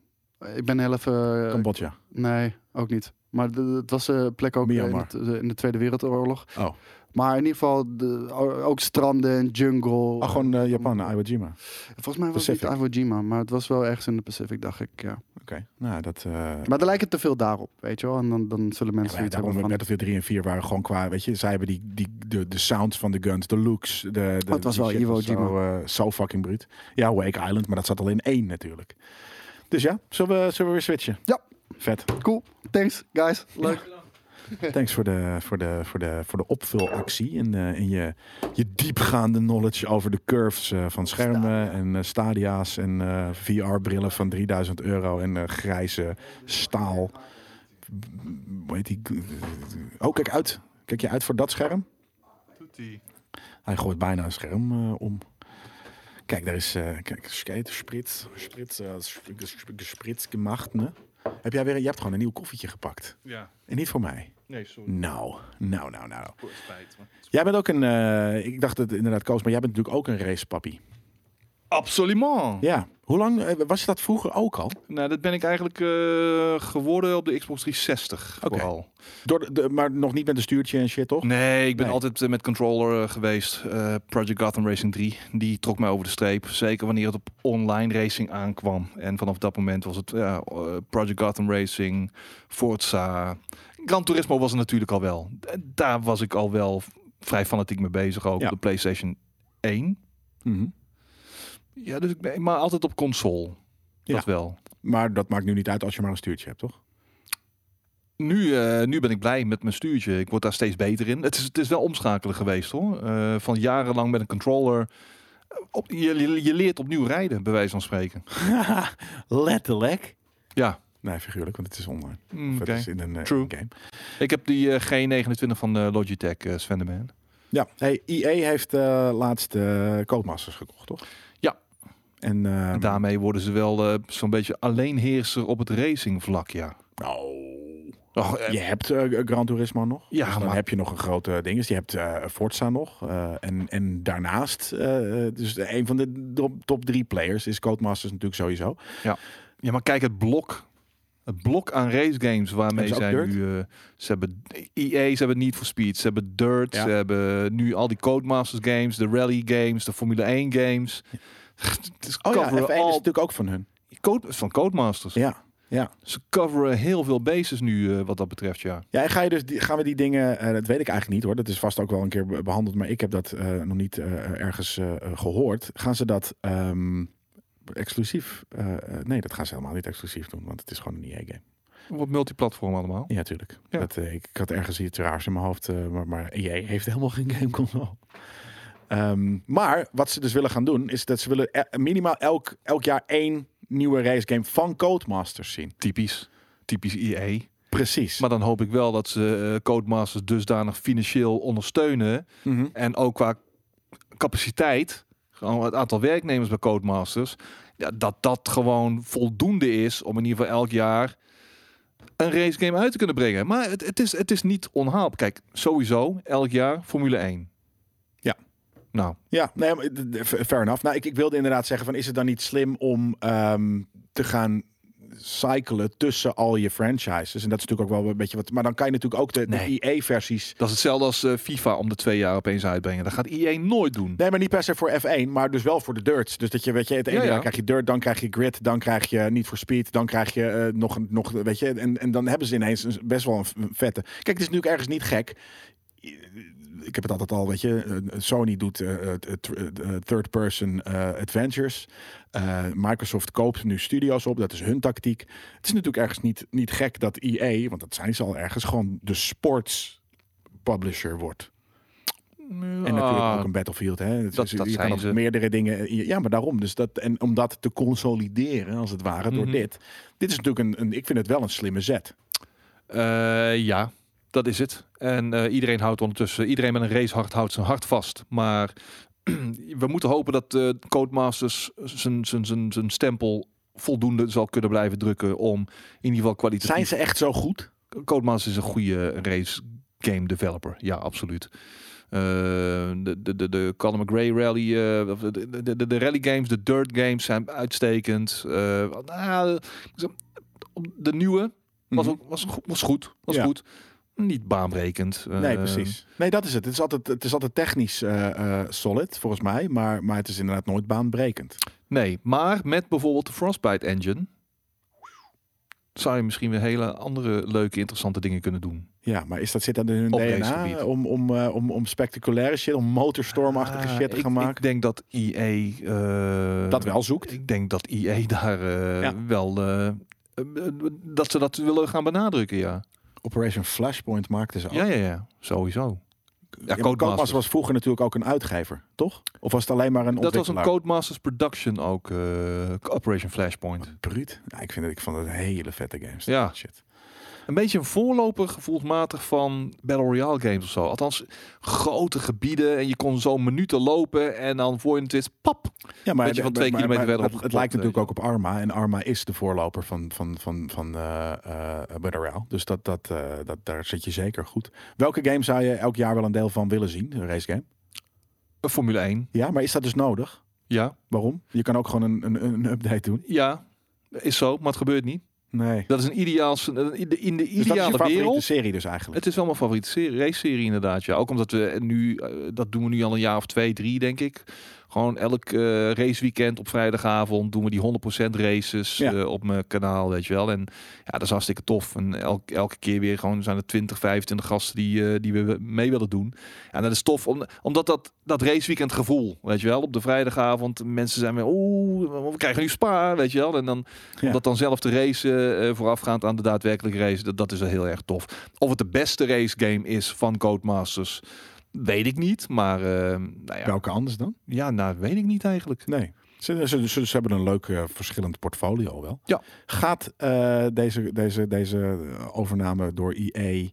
[SPEAKER 3] Ik ben heel even.
[SPEAKER 1] Cambodja.
[SPEAKER 3] nee, ook niet. Maar de- het was een plek ook eh, in
[SPEAKER 1] Myanmar.
[SPEAKER 3] het- in de Tweede Wereldoorlog.
[SPEAKER 1] Oh.
[SPEAKER 3] Maar in ieder geval de, o- ook stranden en jungle.
[SPEAKER 1] Oh, gewoon eh, Japan, Iwo Jima. Oké,
[SPEAKER 3] Volgens mij was het niet
[SPEAKER 1] Pacific.
[SPEAKER 3] Iwo Jima, maar het was wel ergens in de Pacific, dacht ik. Ja.
[SPEAKER 1] nou dat... eh,
[SPEAKER 3] Maar er lijkt het te veel daarop, weet je wel. En dan, dan
[SPEAKER 1] Ja,
[SPEAKER 3] zullen mensen
[SPEAKER 1] maar
[SPEAKER 3] zoiets
[SPEAKER 1] daarom
[SPEAKER 3] hebben
[SPEAKER 1] met
[SPEAKER 3] van...
[SPEAKER 1] Battlefield 3 en 4 waren gewoon qua, weet je, zij hebben die, die, de, de sounds van de guns, de looks. De, de,
[SPEAKER 3] Oh, het was
[SPEAKER 1] die
[SPEAKER 3] wel
[SPEAKER 1] shit
[SPEAKER 3] Iwo
[SPEAKER 1] was
[SPEAKER 3] Jima.
[SPEAKER 1] Zo, eh, zo fucking bruut. Ja, Wake Island, maar dat zat al in één natuurlijk. Dus ja, zullen we, zullen we weer switchen?
[SPEAKER 3] Ja.
[SPEAKER 1] Vet.
[SPEAKER 3] Cool, thanks guys, leuk.
[SPEAKER 1] Thanks voor de, voor de, voor de, voor de opvulactie en, eh, en je, je diepgaande knowledge over de curves eh, van schermen en eh, stadia's en VR-brillen van 3000 euro en eh, grijze staal. Hoe heet die? Oh, kijk uit. Kijk je uit voor dat scherm? Hij gooit bijna een scherm eh, om. Kijk, daar is eh kijk, skate, sprit, sprit, eh, sp- sp- gesprit gemacht. Ne? Heb jij weer? Je hebt gewoon een nieuw koffietje gepakt.
[SPEAKER 2] Ja,
[SPEAKER 1] En niet voor mij.
[SPEAKER 2] nee, sorry.
[SPEAKER 1] Nou, nou, nou, nou.
[SPEAKER 2] Voor het spijt. maar-
[SPEAKER 1] Jij bent ook een, eh, ik dacht dat het inderdaad Koos, maar jij bent natuurlijk ook een racepappie.
[SPEAKER 2] Absoluut.
[SPEAKER 1] Ja. Hoe lang eh, was dat vroeger ook al?
[SPEAKER 2] Nou, dat ben ik eigenlijk eh, geworden op de Xbox 360
[SPEAKER 1] Oké.
[SPEAKER 2] vooral.
[SPEAKER 1] Door de, de- maar nog niet met een stuurtje en shit, toch?
[SPEAKER 2] Nee, ik ben
[SPEAKER 1] Nee.
[SPEAKER 2] altijd eh, met controller eh, geweest. Eh, Project Gotham Racing 3, die trok mij over de streep. Zeker wanneer het op online racing aankwam. En vanaf dat moment was het ja, eh, Project Gotham Racing, Forza. Gran Turismo was er natuurlijk al wel. D- Daar was ik al wel v- vrij fanatiek mee bezig, ook
[SPEAKER 1] Ja.
[SPEAKER 2] op de PlayStation 1.
[SPEAKER 1] Mhm.
[SPEAKER 2] Ja, dus ik ben, maar altijd op console.
[SPEAKER 1] Ja.
[SPEAKER 2] Dat wel.
[SPEAKER 1] Maar dat maakt nu niet uit als je maar een stuurtje hebt,
[SPEAKER 2] [LAUGHS]
[SPEAKER 1] toch?
[SPEAKER 2] Nu, eh, nu ben ik blij met mijn stuurtje. Ik word daar steeds beter in. Het is, het is wel omschakelen geweest hoor. Eh, van jarenlang met een controller. Eh, Op, je, je, je leert opnieuw rijden, bij wijze van spreken.
[SPEAKER 1] Letterlijk.
[SPEAKER 2] Ja.
[SPEAKER 1] Nee, figuurlijk, want het is online.
[SPEAKER 2] Mm,
[SPEAKER 1] Of
[SPEAKER 2] oké.
[SPEAKER 1] Het is in een eh,
[SPEAKER 2] True.
[SPEAKER 1] game.
[SPEAKER 2] Ik heb die eh, G29 van eh, Logitech, eh Sven de Man.
[SPEAKER 1] Ja, hey, EA heeft eh, laatst eh Codemasters gekocht, toch?
[SPEAKER 2] Ja.
[SPEAKER 1] En ehm,
[SPEAKER 2] En daarmee worden ze wel eh, zo'n beetje alleenheerser op het racingvlak, ja.
[SPEAKER 1] Nou,
[SPEAKER 2] Och, eh,
[SPEAKER 1] je hebt eh, Gran Turismo nog.
[SPEAKER 2] Ja,
[SPEAKER 1] Dus dan
[SPEAKER 2] maar-
[SPEAKER 1] heb je nog een grote ding. Dus je hebt eh, Forza nog. eh, en, en daarnaast, eh, eh, dus een van de top, top drie players is Codemasters natuurlijk sowieso.
[SPEAKER 2] Ja, maar kijk het blok. Het blok aan racegames waarmee
[SPEAKER 1] Hebben
[SPEAKER 2] zij
[SPEAKER 1] ze ook
[SPEAKER 2] nu... eh, ze hebben EA, ze hebben Need for Speed, ze hebben Dirt,
[SPEAKER 1] Ja.
[SPEAKER 2] ze hebben nu al die Codemasters games, de Rally games, de Formule 1 games. [LAUGHS] Het is
[SPEAKER 1] Oh ja, F1
[SPEAKER 2] coveren
[SPEAKER 1] is
[SPEAKER 2] al
[SPEAKER 1] natuurlijk ook van hun.
[SPEAKER 2] code, van Codemasters.
[SPEAKER 1] Ja. Ja.
[SPEAKER 2] Ze coveren heel veel bases nu eh, wat dat betreft, ja.
[SPEAKER 1] ja, en ga je dus, die- gaan we die dingen, eh, dat weet ik eigenlijk niet hoor, dat is vast ook wel een keer be- behandeld, maar ik heb dat eh, nog niet eh, ergens eh, eh, gehoord. Gaan ze dat ehm, exclusief, eh, eh, nee dat gaan ze helemaal niet exclusief doen, want het is gewoon een E EA-game.
[SPEAKER 2] Wordt multiplatform allemaal.
[SPEAKER 1] Ja, tuurlijk.
[SPEAKER 2] Ja.
[SPEAKER 1] Dat, eh, ik, ik had ergens iets raars in mijn hoofd, eh, maar, maar EA heeft helemaal geen gameconsole. Ehm maar wat ze dus willen gaan doen, is dat ze willen e- minimaal elk, elk jaar één nieuwe racegame van Codemasters zien.
[SPEAKER 2] Typisch. Typisch EA.
[SPEAKER 1] Precies.
[SPEAKER 2] Maar dan hoop ik wel dat ze eh, Codemasters dusdanig financieel ondersteunen
[SPEAKER 1] Mhm.
[SPEAKER 2] En ook qua capaciteit, gewoon het aantal werknemers bij Codemasters, ja, dat dat gewoon voldoende is om in ieder geval elk jaar een racegame uit te kunnen brengen. Maar het, het, is, het is niet onhaalbaar. Kijk, sowieso elk jaar Formule 1.
[SPEAKER 1] Ja.
[SPEAKER 2] Nou,
[SPEAKER 1] Ja, nee, maar d- d- fair enough. Nou, ik, ik wilde inderdaad zeggen van, is het dan niet slim om ehm, te gaan cyclen tussen al je franchises? En dat is natuurlijk ook wel een beetje wat... Maar dan kan je natuurlijk ook de, E
[SPEAKER 2] Nee.
[SPEAKER 1] de EA-versies...
[SPEAKER 2] dat is hetzelfde als eh, FIFA om de twee jaar opeens uitbrengen. Dat gaat EA nooit doen.
[SPEAKER 1] Nee, maar niet per se voor F1, maar dus wel voor de dirts. Dus dat je, weet je, het ene
[SPEAKER 2] Ja, ja.
[SPEAKER 1] jaar krijg je dirt, dan krijg je grid, dan krijg je niet voor speed, dan krijg je eh, nog een, nog, weet je, en, en dan hebben ze ineens een- best wel een v- een vette. Kijk, het is natuurlijk ergens niet gek. Ik heb het altijd al, weet je, eh, Sony doet eh, eh, tr- eh, third-person eh, adventures. Eh, Microsoft koopt nu studio's op, dat is hun tactiek. Het is natuurlijk ergens niet, niet gek dat EA, want dat zijn ze al ergens, gewoon de sports publisher wordt. En
[SPEAKER 2] Ah,
[SPEAKER 1] natuurlijk ook een Battlefield. Hè? Dat,
[SPEAKER 2] dat-
[SPEAKER 1] je
[SPEAKER 2] dat
[SPEAKER 1] kan
[SPEAKER 2] zijn
[SPEAKER 1] op
[SPEAKER 2] ze.
[SPEAKER 1] meerdere dingen. Ja, maar daarom. Dus dat, en om dat te consolideren, als het ware, door
[SPEAKER 2] Mhm.
[SPEAKER 1] dit. Dit is natuurlijk een, een. Ik vind het wel een slimme zet.
[SPEAKER 2] Eh, ja, dat is het. En eh, iedereen houdt ondertussen, iedereen met een racehart houdt zijn hart vast. Maar [CLEARS THROAT] we moeten hopen dat eh Codemasters zijn- zijn- zijn zijn stempel voldoende zal kunnen blijven drukken om in ieder geval kwalitatief...
[SPEAKER 1] Zijn ze echt zo goed?
[SPEAKER 2] Codemasters is een goede race game developer. Ja, absoluut. Eh, de, de, de, de Colin McRae rally, eh, of de, de, de, de rally games, de dirt games zijn uitstekend. Eh, nou, de nieuwe was,
[SPEAKER 1] Mhm.
[SPEAKER 2] Mhm. ook, was, go- was goed. Was
[SPEAKER 1] Ja.
[SPEAKER 2] goed. niet baanbrekend. Eh,
[SPEAKER 1] Nee, precies. Nee, dat is het. Het is altijd, het is altijd technisch eh, eh, solid, volgens mij. Maar, maar het is inderdaad nooit baanbrekend.
[SPEAKER 2] Nee, maar met bijvoorbeeld de Frostbite engine zou je misschien weer hele andere leuke, interessante dingen kunnen doen.
[SPEAKER 1] Ja, maar is dat zit aan hun
[SPEAKER 2] Op
[SPEAKER 1] DNA
[SPEAKER 2] racegebied.
[SPEAKER 1] om, om, eh, om, om spectaculaire shit, om motorstormachtige
[SPEAKER 2] Ah,
[SPEAKER 1] shit te
[SPEAKER 2] ik-
[SPEAKER 1] gaan
[SPEAKER 2] Ik
[SPEAKER 1] maken?
[SPEAKER 2] denk dat EA... eh,
[SPEAKER 1] dat wel zoekt.
[SPEAKER 2] Ik denk dat EA [LAUGHS] daar eh,
[SPEAKER 1] Ja.
[SPEAKER 2] wel... eh, eh, dat ze dat willen gaan benadrukken, ja.
[SPEAKER 1] Operation Flashpoint maakte ze ook.
[SPEAKER 2] Ja, ja, ja. Sowieso.
[SPEAKER 1] Ja, maar
[SPEAKER 2] Ja, Codemasters.
[SPEAKER 1] Codemasters was vroeger natuurlijk ook een uitgever, toch? Of was het alleen maar een
[SPEAKER 2] Dat was een
[SPEAKER 1] ontwikkelaar?
[SPEAKER 2] Codemasters production ook. eh, Operation Flashpoint.
[SPEAKER 1] Bruut. Ja, ik vind het, ik vond het een hele vette games.
[SPEAKER 2] Ja.
[SPEAKER 1] Dat Shit.
[SPEAKER 2] Een beetje een voorloper gevoelsmatig van Battle Royale games of zo. Althans, grote gebieden en je kon zo minuten lopen en dan voor je het is, pap.
[SPEAKER 1] Ja, maar,
[SPEAKER 2] Weet je, van
[SPEAKER 1] maar-
[SPEAKER 2] twee
[SPEAKER 1] maar-
[SPEAKER 2] kilometer
[SPEAKER 1] maar
[SPEAKER 2] verderop
[SPEAKER 1] het,
[SPEAKER 2] eh,
[SPEAKER 1] het
[SPEAKER 2] geplopt,
[SPEAKER 1] lijkt
[SPEAKER 2] weet
[SPEAKER 1] natuurlijk ook op Arma. En Arma is de voorloper van, van, van, van eh eh, Battle Royale. Dus dat, dat, eh, dat, daar zit je zeker goed. Welke game zou je elk jaar wel een deel van willen zien? Een race game?
[SPEAKER 2] Een Formule 1.
[SPEAKER 1] Ja, maar is dat dus nodig?
[SPEAKER 2] Ja,
[SPEAKER 1] Waarom? Je kan ook gewoon een, een, een update doen.
[SPEAKER 2] ja. Is zo, maar het gebeurt niet.
[SPEAKER 1] Nee.
[SPEAKER 2] Dat is een ideaal, een- in de, in de
[SPEAKER 1] Dus dat is je
[SPEAKER 2] ideale
[SPEAKER 1] favoriete
[SPEAKER 2] wereld.
[SPEAKER 1] serie dus eigenlijk.
[SPEAKER 2] Het is wel mijn favoriete serie, race-serie inderdaad. Ja. Ook omdat we nu, eh, dat doen we nu al een jaar of twee, drie denk ik. Gewoon elk eh raceweekend op vrijdagavond doen we die 100% races
[SPEAKER 1] Ja.
[SPEAKER 2] eh, op mijn kanaal, weet je wel. En ja, dat is hartstikke tof. En elk- elke keer weer gewoon zijn er 20, 25 gasten die, eh, die we mee willen doen. En dat is tof, om, omdat dat, dat raceweekend gevoel, weet je wel. Op de vrijdagavond, mensen zijn weer, oeh, we krijgen nu Spa, weet je wel. En dan,
[SPEAKER 1] Ja.
[SPEAKER 2] om dat dan zelf te racen, eh, voorafgaand aan de daadwerkelijke race, dat, dat is wel heel erg tof. Of het de beste race game is van Codemasters, weet ik niet. Maar eh, nou ja,
[SPEAKER 1] Welke anders dan?
[SPEAKER 2] ja nou, weet ik niet eigenlijk.
[SPEAKER 1] Nee. Ze, ze, ze, ze hebben een leuk eh, verschillend portfolio wel.
[SPEAKER 2] Ja.
[SPEAKER 1] Gaat eh, deze, deze, deze overname door EA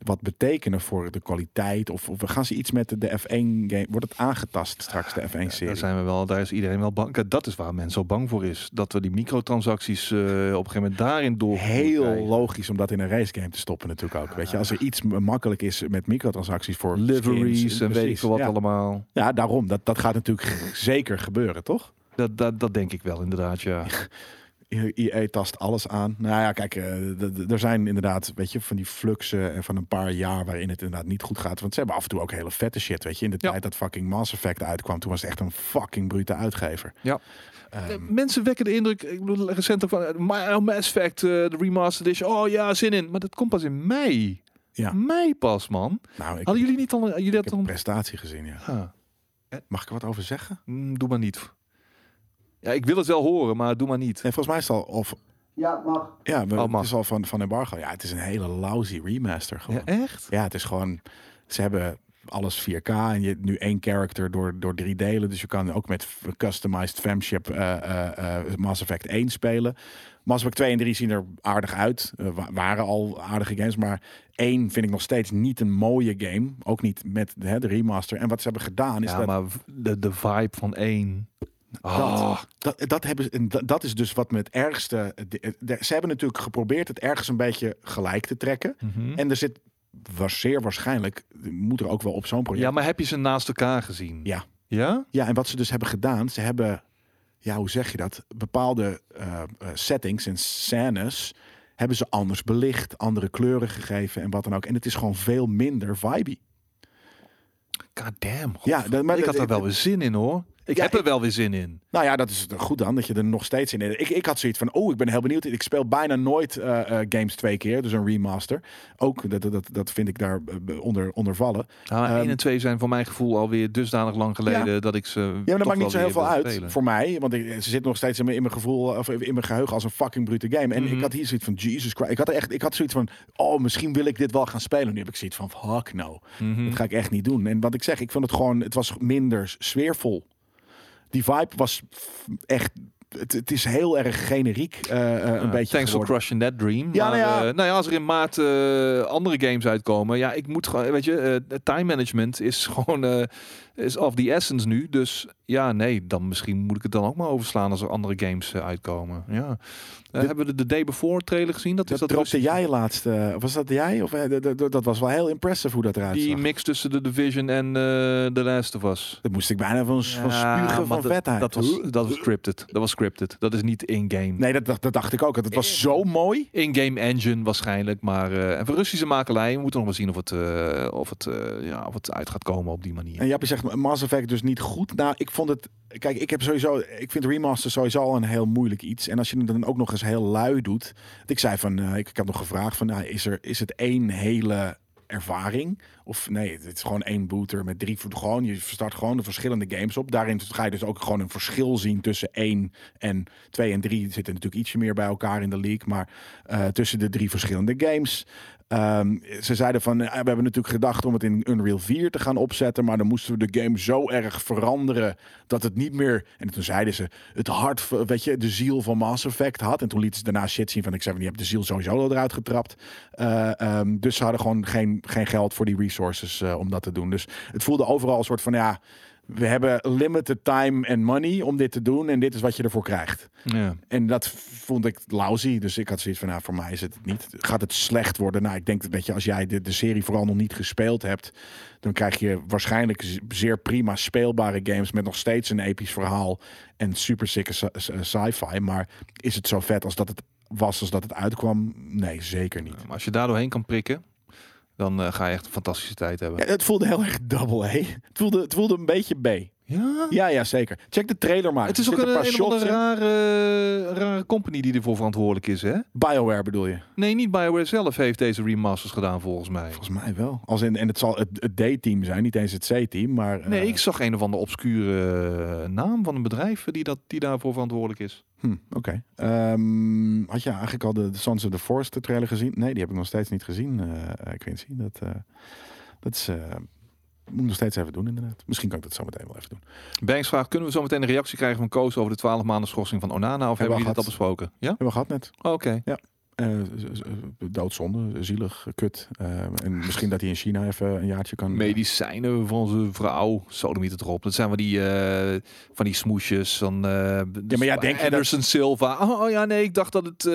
[SPEAKER 1] wat betekenen voor de kwaliteit? Of, of gaan ze iets met de F1-game? Wordt het aangetast straks, de
[SPEAKER 2] Daar,
[SPEAKER 1] F1-serie?
[SPEAKER 2] zijn we wel, daar is iedereen wel bang. Kijk, Dat is waar men zo bang voor is. Dat we die microtransacties eh, op een gegeven moment daarin door.
[SPEAKER 1] Heel logisch om dat in een racegame te stoppen natuurlijk ook. Weet je, als er iets m- makkelijk is met microtransacties voor skins,
[SPEAKER 2] Liveries en weet ik
[SPEAKER 1] precies.
[SPEAKER 2] veel wat
[SPEAKER 1] ja.
[SPEAKER 2] allemaal.
[SPEAKER 1] Ja, daarom. Dat, dat gaat natuurlijk g- zeker gebeuren, toch?
[SPEAKER 2] Dat, dat, dat denk ik wel, inderdaad. Ja.
[SPEAKER 1] IE E tast alles aan. Nou ja, kijk, eh, d- d- er zijn inderdaad, weet je, van die fluxen en van een paar jaar waarin het inderdaad niet goed gaat. Want ze hebben af en toe ook hele vette shit, weet je. In de
[SPEAKER 2] Ja.
[SPEAKER 1] tijd dat fucking Mass Effect uitkwam, toen was het echt een fucking brute uitgever.
[SPEAKER 2] Ja.
[SPEAKER 1] Ehm,
[SPEAKER 2] Eh, Mensen wekken de indruk, ik bedoel, recent ook van eh, Ma- Mass Effect, eh, de remastered edition. Oh ja, zin in. Maar dat komt pas in mei.
[SPEAKER 1] Ja.
[SPEAKER 2] Mei pas, man.
[SPEAKER 1] nou, ik,
[SPEAKER 2] Hadden jullie niet al, jullie
[SPEAKER 1] ik
[SPEAKER 2] dat
[SPEAKER 1] heb een
[SPEAKER 2] dan?
[SPEAKER 1] prestatie gezien, ja.
[SPEAKER 2] Ah.
[SPEAKER 1] Mag ik er wat over zeggen?
[SPEAKER 2] Mm, doe maar niet. Ja, ik wil het wel horen, maar doe maar niet.
[SPEAKER 1] Nee, volgens mij is het al, of,
[SPEAKER 3] Ja, mag.
[SPEAKER 1] ja, we-
[SPEAKER 2] Oh,
[SPEAKER 1] het
[SPEAKER 2] mag.
[SPEAKER 1] is al van, van embargo. Ja, het is een hele lousy remaster gewoon.
[SPEAKER 2] Ja, echt?
[SPEAKER 1] Ja, het is gewoon. Ze hebben alles 4K en je hebt nu één character door, door drie delen. Dus je kan ook met f- customized famship eh, eh, eh, Mass Effect 1 spelen. Mass Effect 2 en 3 zien er aardig uit. Eh, wa- waren al aardige games. Maar 1 vind ik nog steeds niet een mooie game. Ook niet met hè, de remaster. En wat ze hebben gedaan is
[SPEAKER 2] Ja,
[SPEAKER 1] dat,
[SPEAKER 2] maar v- de, de vibe van één. Ah,
[SPEAKER 1] dat, dat, hebben, ze- en dat, dat is dus wat met het ergste... de- de- ze hebben natuurlijk geprobeerd het ergens een beetje gelijk te trekken.
[SPEAKER 2] mhm.
[SPEAKER 1] En er zit was zeer waarschijnlijk... Moet er ook wel op zo'n project
[SPEAKER 2] Ja, maar heb je ze naast elkaar gezien?
[SPEAKER 1] oh, Ja.
[SPEAKER 2] Ja?
[SPEAKER 1] Ja, en wat ze dus hebben gedaan, ze hebben, ja, hoe zeg je dat? Bepaalde eh, eh, settings en scènes hebben ze anders belicht, andere kleuren gegeven en wat dan ook. En het is gewoon veel minder vibey.
[SPEAKER 2] God damn.
[SPEAKER 1] Ja, dat- maar
[SPEAKER 2] ik had
[SPEAKER 1] dat-
[SPEAKER 2] er wel weer zin in, hoor. Ik
[SPEAKER 1] Ja,
[SPEAKER 2] heb er wel weer zin in.
[SPEAKER 1] Nou ja, dat is goed dan, dat je er nog steeds in... Ik, ik had zoiets van, oh, ik ben heel benieuwd. Ik speel bijna nooit eh, eh, games twee keer, dus een remaster. Ook, dat, dat, dat vind ik daar eh, onder, onder vallen.
[SPEAKER 2] Nou,
[SPEAKER 1] Ehm,
[SPEAKER 2] 1 en 2 zijn voor mijn gevoel alweer dusdanig lang geleden dat ik ze.
[SPEAKER 1] Ja, maar
[SPEAKER 2] toch
[SPEAKER 1] dat maakt niet zo
[SPEAKER 2] wel
[SPEAKER 1] heel
[SPEAKER 2] weer
[SPEAKER 1] veel
[SPEAKER 2] wil
[SPEAKER 1] uit
[SPEAKER 2] spelen.
[SPEAKER 1] voor mij. Want ik, ze zit nog steeds in mijn, in mijn gevoel of in mijn geheugen als een fucking brute game. En ik
[SPEAKER 2] Mhm.
[SPEAKER 1] had hier zoiets van, Jesus Christ. Ik had, er echt, ik had zoiets van, oh, misschien wil ik dit wel gaan spelen. Nu heb ik zoiets van, fuck no.
[SPEAKER 2] Mhm.
[SPEAKER 1] Dat ga ik echt niet doen. En wat ik zeg, ik vond het gewoon, het was minder sfeervol. Die vibe was f- echt, het, het is heel erg generiek eh, eh, een
[SPEAKER 2] Ja,
[SPEAKER 1] beetje
[SPEAKER 2] Ah, Thanks for
[SPEAKER 1] geworden.
[SPEAKER 2] crushing that dream.
[SPEAKER 1] Ja,
[SPEAKER 2] maar,
[SPEAKER 1] nou ja.
[SPEAKER 2] eh, nou ja, als er in maart eh, andere games uitkomen, ja, [LAUGHS] ik moet gewoon, weet je, eh, time management is gewoon eh, is of the essence nu. Dus ja, nee, dan misschien moet ik het dan ook maar overslaan als er andere games eh, uitkomen. Ja. Eh,
[SPEAKER 1] De-
[SPEAKER 2] hebben we de, de Day Before trailer gezien? Dat,
[SPEAKER 1] Dat,
[SPEAKER 2] is dat
[SPEAKER 1] dropte
[SPEAKER 2] Russische-
[SPEAKER 1] jij laatst. eh, was dat jij? Of, eh, d- d- d- dat was wel heel impressive hoe dat eruit
[SPEAKER 2] die
[SPEAKER 1] zag.
[SPEAKER 2] mix tussen de Division en eh The Last of Us.
[SPEAKER 1] Dat moest ik bijna van, van
[SPEAKER 2] Ja,
[SPEAKER 1] spugen
[SPEAKER 2] maar
[SPEAKER 1] van vetheid.
[SPEAKER 2] Dat was, dat was scripted. Dat was scripted. Dat is niet in-game.
[SPEAKER 1] Nee, dat, dat, dat dacht ik ook. Het was zo mooi.
[SPEAKER 2] In-game engine waarschijnlijk, maar eh en voor Russische makelij. We moeten nog maar zien of het, eh, of, het, eh, ja, of het uit gaat komen op die manier.
[SPEAKER 1] En Jappie zegt Mass Effect dus niet goed. Nou, ik vond het... Kijk, ik heb sowieso... Ik vind remaster sowieso al een heel moeilijk iets. En als je het dan ook nog eens heel lui doet... Want Ik zei van... eh, ik, ik had nog gevraagd van... nou, is, er, is het één hele ervaring? Of nee, het is gewoon één booter met drie... Gewoon, je start gewoon de verschillende games op. Daarin ga je dus ook gewoon een verschil zien tussen één en twee en drie. Zitten natuurlijk ietsje meer bij elkaar in de league. Maar eh, tussen de drie verschillende games... Ehm, ze zeiden van, eh, we hebben natuurlijk gedacht om het in Unreal 4 te gaan opzetten, maar dan moesten we de game zo erg veranderen dat het niet meer. En toen zeiden ze, het hart, v- weet je, de ziel van Mass Effect had. En toen lieten ze daarna shit zien van, ik zei van, je hebt de ziel sowieso al eruit getrapt. Eh, ehm, dus ze hadden gewoon geen, geen geld voor die resources eh, om dat te doen. Dus het voelde overal een soort van, ja, we hebben limited time en money om dit te doen en dit is wat je ervoor krijgt.
[SPEAKER 2] Ja.
[SPEAKER 1] En dat vond ik lousy. Dus ik had zoiets van, nou, voor mij is het het niet. Gaat het slecht worden? Nou, ik denk dat, weet je, als jij de, de serie vooral nog niet gespeeld hebt... dan krijg je waarschijnlijk z- zeer prima speelbare games... met nog steeds een episch verhaal en super sikke sci- sci- eh, sci-fi. Maar is het zo vet als dat het was, als dat het uitkwam? Nee, zeker niet.
[SPEAKER 2] Maar als je daar doorheen kan prikken, dan eh, ga je echt een fantastische tijd hebben.
[SPEAKER 1] Ja, het voelde heel erg double A. Het voelde, het voelde een beetje B.
[SPEAKER 2] Ja?
[SPEAKER 1] Ja, ja, zeker. Check de trailer maar.
[SPEAKER 2] Het is
[SPEAKER 1] Er
[SPEAKER 2] ook een,
[SPEAKER 1] zitten
[SPEAKER 2] een, of andere
[SPEAKER 1] shots in.
[SPEAKER 2] rare, rare company die ervoor verantwoordelijk is, hè?
[SPEAKER 1] Bioware bedoel je?
[SPEAKER 2] Nee, niet Bioware zelf heeft deze remasters gedaan, volgens mij.
[SPEAKER 1] Volgens mij wel. Als in, en het zal het, het D-team zijn, niet eens het C-team, maar... eh,
[SPEAKER 2] Nee, ik zag een of andere obscure eh, naam van een bedrijf die, dat, die daarvoor verantwoordelijk is.
[SPEAKER 1] hm, Oké. Ehm, had je eigenlijk al de, de Sons of the Forest trailer gezien? Nee, die heb ik nog steeds niet gezien, eh, eh, Quincy. Dat, eh, dat is... eh, moet ik nog steeds even doen, inderdaad. Misschien kan ik dat zo meteen wel even doen.
[SPEAKER 2] Banks vraagt, kunnen we zo meteen een reactie krijgen van Koos over de 12 maanden schorsing van Onana? Of hebben
[SPEAKER 1] we
[SPEAKER 2] jullie dat al
[SPEAKER 1] gehad.
[SPEAKER 2] besproken? Ja? Oh,
[SPEAKER 1] Hebben we gehad net.
[SPEAKER 2] Oké.
[SPEAKER 1] Eh, z- z- eh, doodzonde, zielig, eh, kut. Eh, en misschien dat hij in China even een jaartje kan...
[SPEAKER 2] Medicijnen van zijn vrouw, sodomiet het erop. Dat zijn van die, eh, van die smoesjes. Van, eh,
[SPEAKER 1] ja, denk je dat-
[SPEAKER 2] Anderson Silva. Oh, oh ja, nee, ik dacht dat het, eh,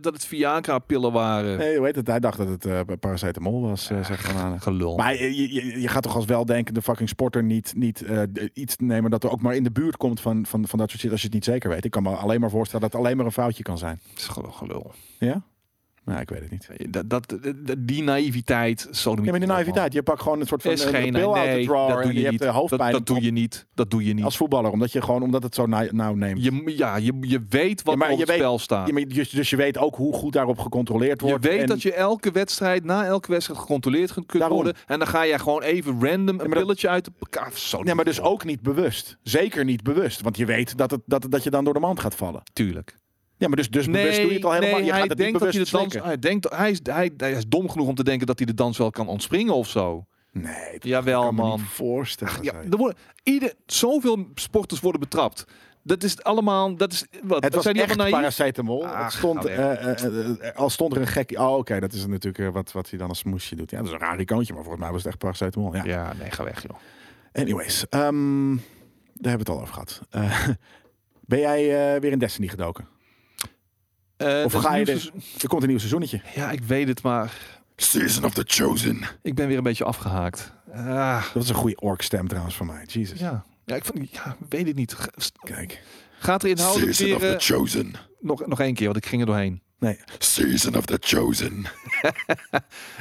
[SPEAKER 2] dat het Viagra-pillen waren.
[SPEAKER 1] Nee, hoe heet het? Hij dacht dat het eh, paracetamol was, eh, zegt Van Aanen.
[SPEAKER 2] Gelul.
[SPEAKER 1] Maar je, je, je gaat toch als weldenkende fucking sporter niet, niet eh, d- iets nemen dat er ook maar in de buurt komt van, van, van dat soort shit als je het niet zeker weet. Ik kan me alleen maar voorstellen dat het alleen maar een foutje kan zijn.
[SPEAKER 2] Het is gewoon gelul.
[SPEAKER 1] Ja? Nou, ik weet het niet.
[SPEAKER 2] Dat, dat, dat- die naïviteit, sodomiet. Oh,
[SPEAKER 1] Ja, maar de naïviteit. Je pakt gewoon een soort van
[SPEAKER 2] Is
[SPEAKER 1] eh,
[SPEAKER 2] geen
[SPEAKER 1] pil uit de
[SPEAKER 2] nee,
[SPEAKER 1] drawer
[SPEAKER 2] dat doe
[SPEAKER 1] en
[SPEAKER 2] je,
[SPEAKER 1] je
[SPEAKER 2] niet.
[SPEAKER 1] hebt eh,
[SPEAKER 2] dat,
[SPEAKER 1] hoofdpijn
[SPEAKER 2] dat doe je niet. Dat doe je niet.
[SPEAKER 1] als voetballer. Omdat je gewoon, omdat het zo na- nauw neemt.
[SPEAKER 2] je, ja, je, je weet wat
[SPEAKER 1] Ja, maar
[SPEAKER 2] er op
[SPEAKER 1] je
[SPEAKER 2] het
[SPEAKER 1] weet-
[SPEAKER 2] spel staat.
[SPEAKER 1] Ja, maar dus, dus je weet ook hoe goed daarop gecontroleerd
[SPEAKER 2] Je
[SPEAKER 1] wordt.
[SPEAKER 2] weet
[SPEAKER 1] en-
[SPEAKER 2] dat je elke wedstrijd, na elke wedstrijd gecontroleerd kunt
[SPEAKER 1] Daarom.
[SPEAKER 2] worden. En dan ga jij gewoon even random een
[SPEAKER 1] maar dat-
[SPEAKER 2] pilletje uit de... Ah, zo
[SPEAKER 1] Nee, maar dus ook niet bewust. Zeker niet bewust. Want je weet dat, het, dat, dat je dan door de mand gaat vallen.
[SPEAKER 2] Tuurlijk.
[SPEAKER 1] Ja, maar dus, dus
[SPEAKER 2] Nee,
[SPEAKER 1] bewust doe je het al helemaal.
[SPEAKER 2] nee,
[SPEAKER 1] je
[SPEAKER 2] hij
[SPEAKER 1] gaat het niet
[SPEAKER 2] denkt dat
[SPEAKER 1] bewust
[SPEAKER 2] hij de dans...
[SPEAKER 1] slikken.
[SPEAKER 2] Hij, denkt, hij, is, hij, hij is dom genoeg om te denken dat hij de dans wel kan ontspringen of zo.
[SPEAKER 1] Nee, dat
[SPEAKER 2] Jawel,
[SPEAKER 1] kan me
[SPEAKER 2] man.
[SPEAKER 1] niet voorstellen.
[SPEAKER 2] Ja,
[SPEAKER 1] zoiets.
[SPEAKER 2] er worden, ieder, zoveel sporters worden betrapt. Dat is allemaal... Dat is, wat,
[SPEAKER 1] Het was
[SPEAKER 2] zijn die
[SPEAKER 1] echt
[SPEAKER 2] allemaal naïef?
[SPEAKER 1] paracetamol.
[SPEAKER 2] Ach, nou
[SPEAKER 1] het stond,
[SPEAKER 2] ga weg.
[SPEAKER 1] eh, eh, eh, eh, al stond er een gek... Oh, oké, dat is natuurlijk eh, wat, wat hij dan als smoesje doet. Ja, dat is een raar icoontje, maar volgens mij was het echt paracetamol. Ja.
[SPEAKER 2] Ja, nee, ga weg, joh.
[SPEAKER 1] Anyways, ehm, daar hebben we het al over gehad. Eh, [LAUGHS] ben jij eh, weer in Destiny gedoken?
[SPEAKER 2] Eh,
[SPEAKER 1] Of
[SPEAKER 2] dat
[SPEAKER 1] ga je
[SPEAKER 2] nieuws
[SPEAKER 1] Er komt een nieuw seizoennetje.
[SPEAKER 2] is- Ja, ik weet het, maar
[SPEAKER 1] Season of the Chosen.
[SPEAKER 2] ik ben weer een beetje afgehaakt. Ah,
[SPEAKER 1] Dat is een goede ork stem trouwens van mij. Jesus.
[SPEAKER 2] ja. Ja, ik vond, ja, weet het niet. Ga-
[SPEAKER 1] Kijk.
[SPEAKER 2] Gaat er inhoudelijk weer... eh,
[SPEAKER 1] Chosen.
[SPEAKER 2] nog, nog één keer, want ik ging er doorheen.
[SPEAKER 1] Nee. Season of the Chosen.
[SPEAKER 2] [LAUGHS]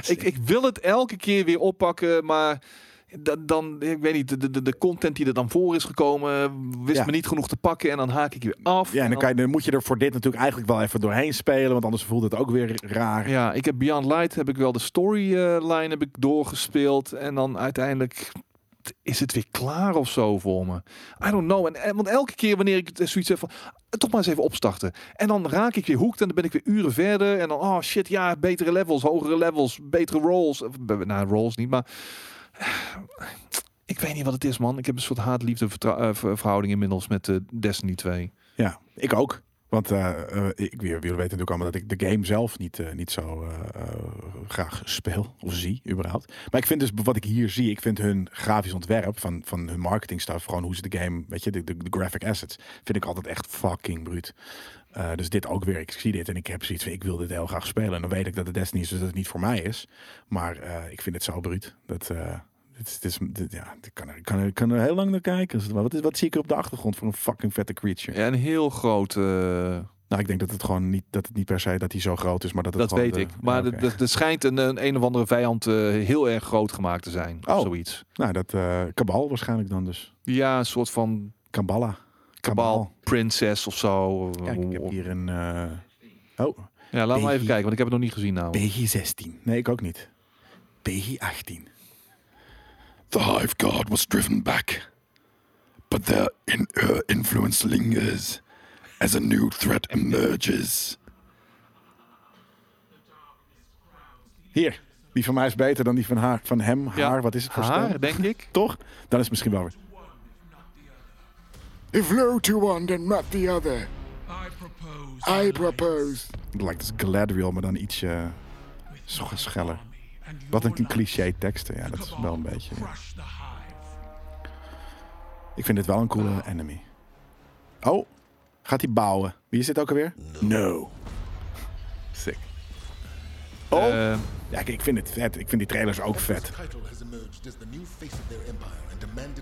[SPEAKER 2] Ik, ik wil het elke keer weer oppakken, maar da- dan, ik weet niet, de, de, de content die er dan voor is gekomen, wist
[SPEAKER 1] Ja.
[SPEAKER 2] me niet genoeg te pakken en dan haak ik weer af.
[SPEAKER 1] Ja, en dan, kan je, dan moet je er voor dit natuurlijk eigenlijk wel even doorheen spelen. Want anders voelt het ook weer raar.
[SPEAKER 2] Ja, ik heb Beyond Light, heb ik wel de storyline heb ik doorgespeeld en dan uiteindelijk is het weer klaar of zo voor me. I don't know. En, en- want elke keer wanneer ik het- zoiets heb van, eh, toch maar eens even opstarten. En dan raak ik weer hoekt en dan ben ik weer uren verder en dan, oh shit, ja, betere levels, hogere levels, betere rolls. Of, eh, Nou, rolls niet, maar [SIGHS] ik weet niet wat het is, man. Ik heb een soort haat-liefde vertra- eh, ver- verhouding inmiddels met eh, Destiny 2.
[SPEAKER 1] Ja, ik ook. Want eh, eh, ik, jullie weten natuurlijk allemaal dat ik de game zelf niet, eh, niet zo eh, eh, graag speel of zie, überhaupt. Maar ik vind dus wat ik hier zie, ik vind hun grafisch ontwerp van, van hun marketingstaf, gewoon hoe ze de game, weet je, de, de, de graphic assets, vind ik altijd echt fucking bruut. Eh, dus dit ook weer, ik zie dit en ik heb zoiets van, ik wil dit heel graag spelen. En dan weet ik dat het Destiny is, dus dat het niet voor mij is. Maar eh, ik vind het zo bruut. Dat, eh, het, is- het is, dit- ja, ik kan, er- ik kan, er- ik kan er heel lang naar kijken. Is het wel- Wat, is, wat zie ik er op de achtergrond voor een fucking vette creature?
[SPEAKER 2] Ja, een heel groot. eh,
[SPEAKER 1] Nou, ik denk dat het gewoon niet, dat het niet per se dat hij zo groot is, maar dat het
[SPEAKER 2] dat
[SPEAKER 1] gewoon
[SPEAKER 2] weet
[SPEAKER 1] de-
[SPEAKER 2] ik. Maar
[SPEAKER 1] Ja,
[SPEAKER 2] er
[SPEAKER 1] oké.
[SPEAKER 2] er- er schijnt een, een een of andere vijand eh, heel erg groot gemaakt te zijn. Of
[SPEAKER 1] Oh.
[SPEAKER 2] zoiets.
[SPEAKER 1] Nou, dat eh, Kabal waarschijnlijk dan dus.
[SPEAKER 2] Ja, een soort van
[SPEAKER 1] Kabbalah.
[SPEAKER 2] kabal, princess of zo.
[SPEAKER 1] Kijk, ik heb hier een eh,
[SPEAKER 2] Ja, laat maar even
[SPEAKER 1] Biggie.
[SPEAKER 2] kijken, want ik heb het nog niet gezien namelijk.
[SPEAKER 1] PG-16. Nee, ik ook niet. PG-18. The Hive Guard was driven back, but their in, uh, influence lingers as a new threat emerges. Hier, die van mij is beter dan die van haar, van hem, haar.
[SPEAKER 2] Ja.
[SPEAKER 1] Wat is het voor stem?
[SPEAKER 2] Haar, denk
[SPEAKER 1] [LAUGHS]
[SPEAKER 2] ik.
[SPEAKER 1] Toch? Dan is het misschien wel weer.
[SPEAKER 4] If low to one, then not the other.
[SPEAKER 5] I propose.
[SPEAKER 4] I propose.
[SPEAKER 1] Het lijkt als Galadriel, maar dan ietsje uh, scheller.
[SPEAKER 5] and your
[SPEAKER 1] Wat een
[SPEAKER 5] light
[SPEAKER 1] cliché teksten. Ja, dat is
[SPEAKER 5] cabal
[SPEAKER 1] wel een beetje. ja.
[SPEAKER 5] Crush the hive.
[SPEAKER 1] Ik vind dit wel een coole enemy. Oh, gaat hij bouwen? Wie is dit ook alweer? No. Sick. Oh.
[SPEAKER 2] Eh,
[SPEAKER 1] Ja, kijk, ik vind het vet. Ik vind die trailers ook vet.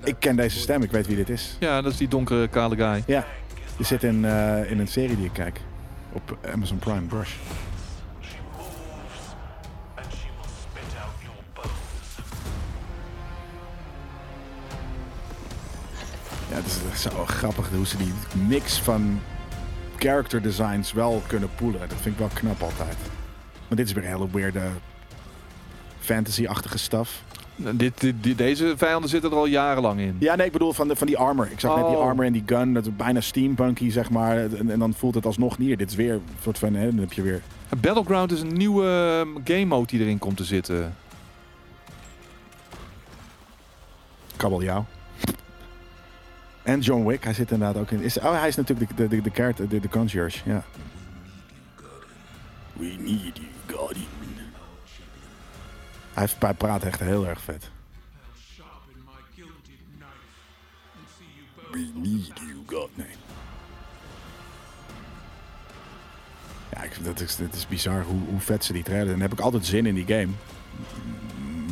[SPEAKER 1] Ik ken deze stem. Ik weet wie dit is.
[SPEAKER 2] ja, dat is die donkere kale guy.
[SPEAKER 1] Ja, die zit in, eh, in een serie die ik kijk. Op Amazon Prime, Brush.
[SPEAKER 6] She moves, and she will spit out your bones.
[SPEAKER 1] Ja, het is echt zo grappig hoe ze die mix van character designs wel kunnen poelen. Dat vind ik wel knap altijd. Maar dit is weer een hele weirde fantasy-achtige stuff.
[SPEAKER 2] Nou, Dit, dit- dit- deze vijanden zitten er al jarenlang in.
[SPEAKER 1] Ja, nee, ik bedoel van, de, van die armor. Ik zag net die
[SPEAKER 2] Oh.
[SPEAKER 1] armor en die gun. Dat is bijna steampunky, zeg maar. En, en dan voelt het alsnog niet. Dit is weer een soort van... Hè, dan heb je weer...
[SPEAKER 2] Battleground is een nieuwe ehm, game mode die erin komt te zitten.
[SPEAKER 1] kabeljauw. En John Wick, hij zit inderdaad ook in. Is, oh, hij is natuurlijk de, de, de, de, kaart, de, de concierge. Ja. We need you, Guardian. Hij, heeft- hij praat echt heel erg vet.
[SPEAKER 5] I'll sharpen my gilded knife and see you both.
[SPEAKER 1] We need you, God. Nee. Ja, ik, vind dat is, dat is bizar hoe, hoe vet ze die trailer. En dan heb ik altijd zin in die game.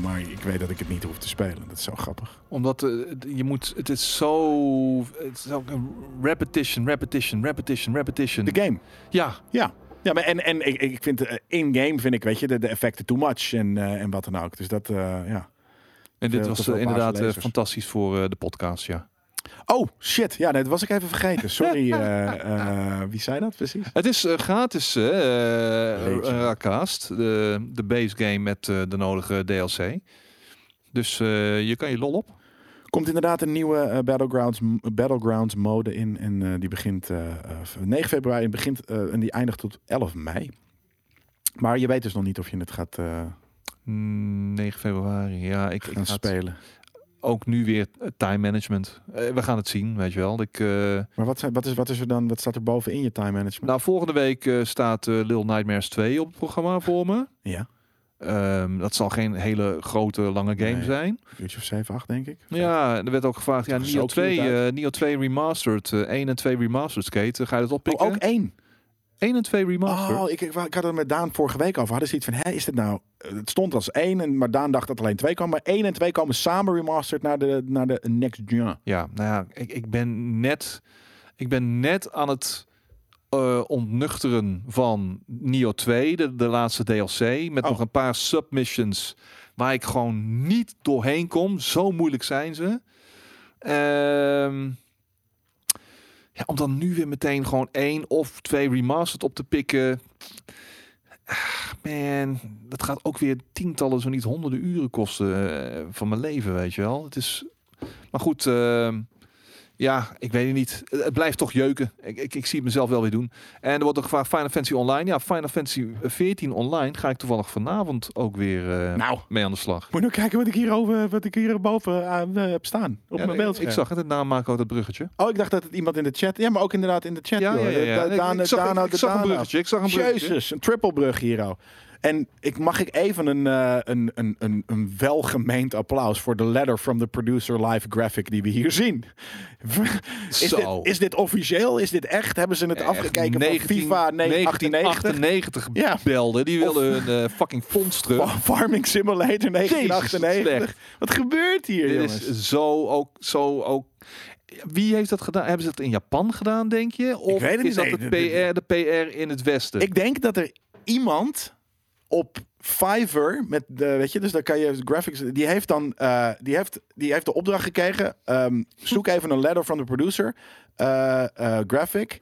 [SPEAKER 1] Maar ik weet dat ik het niet hoef te spelen. Dat is zo grappig.
[SPEAKER 2] Omdat eh, het- je moet, het is zo, het is ook een repetition, repetition, repetition, repetition.
[SPEAKER 1] De game.
[SPEAKER 2] Ja,
[SPEAKER 1] Ja. Ja, maar en, en ik, ik vind eh, in-game vind ik, weet je, de, de effecten too much en, eh, en wat dan ook. Dus dat, eh, ja.
[SPEAKER 2] en dit
[SPEAKER 1] Veel te
[SPEAKER 2] was
[SPEAKER 1] veel paarse
[SPEAKER 2] eh, inderdaad eh,
[SPEAKER 1] lasers.
[SPEAKER 2] fantastisch voor eh, de podcast, ja.
[SPEAKER 1] Oh, shit. Ja, nee, dat was ik even vergeten. [LAUGHS] Sorry. eh, eh, wie zei dat precies?
[SPEAKER 2] Het is eh, gratis, eh eh,
[SPEAKER 1] Leedje.
[SPEAKER 2] Rakast, de, de base game met eh, de nodige DLC. Dus eh, je kan je lol op.
[SPEAKER 1] Komt inderdaad een nieuwe eh, Battlegrounds, m- Battlegrounds mode in. En eh, die begint eh, eh, v- 9 februari en, begint, eh, en die eindigt tot 11 mei. Maar je weet dus nog niet of je het gaat, eh,
[SPEAKER 2] Mm, 9 februari, ja, ik, ik
[SPEAKER 1] gaan
[SPEAKER 2] ga het-
[SPEAKER 1] spelen.
[SPEAKER 2] ook nu weer eh, time management. Eh, we gaan het zien, weet je wel. Ik, eh,
[SPEAKER 1] Maar wat, zijn, wat, is, wat is er dan? Wat staat er boven in je time management?
[SPEAKER 2] nou, volgende week eh, staat eh Little Nightmares 2 op het programma voor me.
[SPEAKER 1] ja,
[SPEAKER 2] Ehm, dat zal geen hele grote, lange game
[SPEAKER 1] Nee.
[SPEAKER 2] zijn.
[SPEAKER 1] een uurtje of 7, 8 denk ik.
[SPEAKER 2] Ja, er werd ook gevraagd, ja,
[SPEAKER 1] Dat is
[SPEAKER 2] Neo
[SPEAKER 1] ook
[SPEAKER 2] 2,
[SPEAKER 1] cute
[SPEAKER 2] eh, Neo 2 Remastered, eh 1 en 2 Remastered Skate, eh, ga je dat
[SPEAKER 1] Oh,
[SPEAKER 2] oppikken?
[SPEAKER 1] ook één.
[SPEAKER 2] 1 en 2 Remastered.
[SPEAKER 1] Oh, ik, ik, ik had het met Daan vorige week over. Hadden ze iets van, hè, is dit nou... Het stond als één, en, maar Daan dacht dat alleen twee kwam. Maar één en twee komen samen remastered naar de, naar de next gen.
[SPEAKER 2] Ja, nou ja, ik, ik, ben net, ik ben net aan het eh, ontnuchteren van Nio 2, de, de laatste DLC, met
[SPEAKER 1] Oh.
[SPEAKER 2] nog een paar submissions waar ik gewoon niet doorheen kom. Zo moeilijk zijn ze. Ehm, ja, om dan nu weer meteen gewoon één of twee remastered op te pikken. Ah, Man, dat gaat ook weer tientallen, zo niet honderden uren kosten eh, van mijn leven, weet je wel. Het is maar goed, ehm, Ja, ik weet het niet. Het het blijft toch jeuken. Ik, ik, ik zie het mezelf wel weer doen. En er wordt ook gevraagd Final Fantasy Online. Ja, Final Fantasy 14 Online ga ik toevallig vanavond ook weer eh,
[SPEAKER 1] Nou.
[SPEAKER 2] mee aan de slag.
[SPEAKER 1] Moet je nou kijken wat ik hierover, wat ik hierboven aan eh, heb staan. Op
[SPEAKER 2] Ja,
[SPEAKER 1] mijn
[SPEAKER 2] ik-
[SPEAKER 1] beeldscherm.
[SPEAKER 2] Ik zag het, het namaken ook dat bruggetje.
[SPEAKER 1] Oh, ik dacht dat het iemand in de chat... Ja, maar ook inderdaad in de chat.
[SPEAKER 2] Ja,
[SPEAKER 1] joh.
[SPEAKER 2] ja, ja. ja.
[SPEAKER 1] Da-
[SPEAKER 2] Ik-
[SPEAKER 1] Daan-
[SPEAKER 2] ik, zag,
[SPEAKER 1] Dana
[SPEAKER 2] ik
[SPEAKER 1] de
[SPEAKER 2] zag dus. een
[SPEAKER 1] Dana.
[SPEAKER 2] bruggetje. Ik zag een bruggetje.
[SPEAKER 1] Jezus, een trippelbrug hier al. En ik, mag ik even een, eh, een, een, een, een welgemeend applaus voor de letter from the producer live graphic die we hier zien. [LAUGHS] Is,
[SPEAKER 2] Zo.
[SPEAKER 1] dit, is dit officieel? Is dit echt? Hebben ze het
[SPEAKER 2] Echt
[SPEAKER 1] afgekeken
[SPEAKER 2] 19
[SPEAKER 1] van FIFA [LAUGHS] 1998?
[SPEAKER 2] 1998
[SPEAKER 1] Ja.
[SPEAKER 2] belden. Die wilden hun eh, fucking fonds terug.
[SPEAKER 1] Farming Simulator 1998.
[SPEAKER 2] slecht.
[SPEAKER 1] Wat gebeurt hier,
[SPEAKER 2] Dit
[SPEAKER 1] jongens?
[SPEAKER 2] is zo ook, zo ook. Wie heeft dat gedaan? Hebben ze dat in Japan gedaan, denk je? Of
[SPEAKER 1] weet het
[SPEAKER 2] is dat
[SPEAKER 1] niet.
[SPEAKER 2] het
[SPEAKER 1] Nee,
[SPEAKER 2] PR, de PR in het Westen?
[SPEAKER 1] Ik denk dat er iemand op Fiverr met de, weet je, dus daar kan je graphics. Die heeft dan, eh, die heeft, die heeft de opdracht gekregen. ehm,
[SPEAKER 2] [LAUGHS]
[SPEAKER 1] zoek even een letter van de producer, eh, eh, graphic,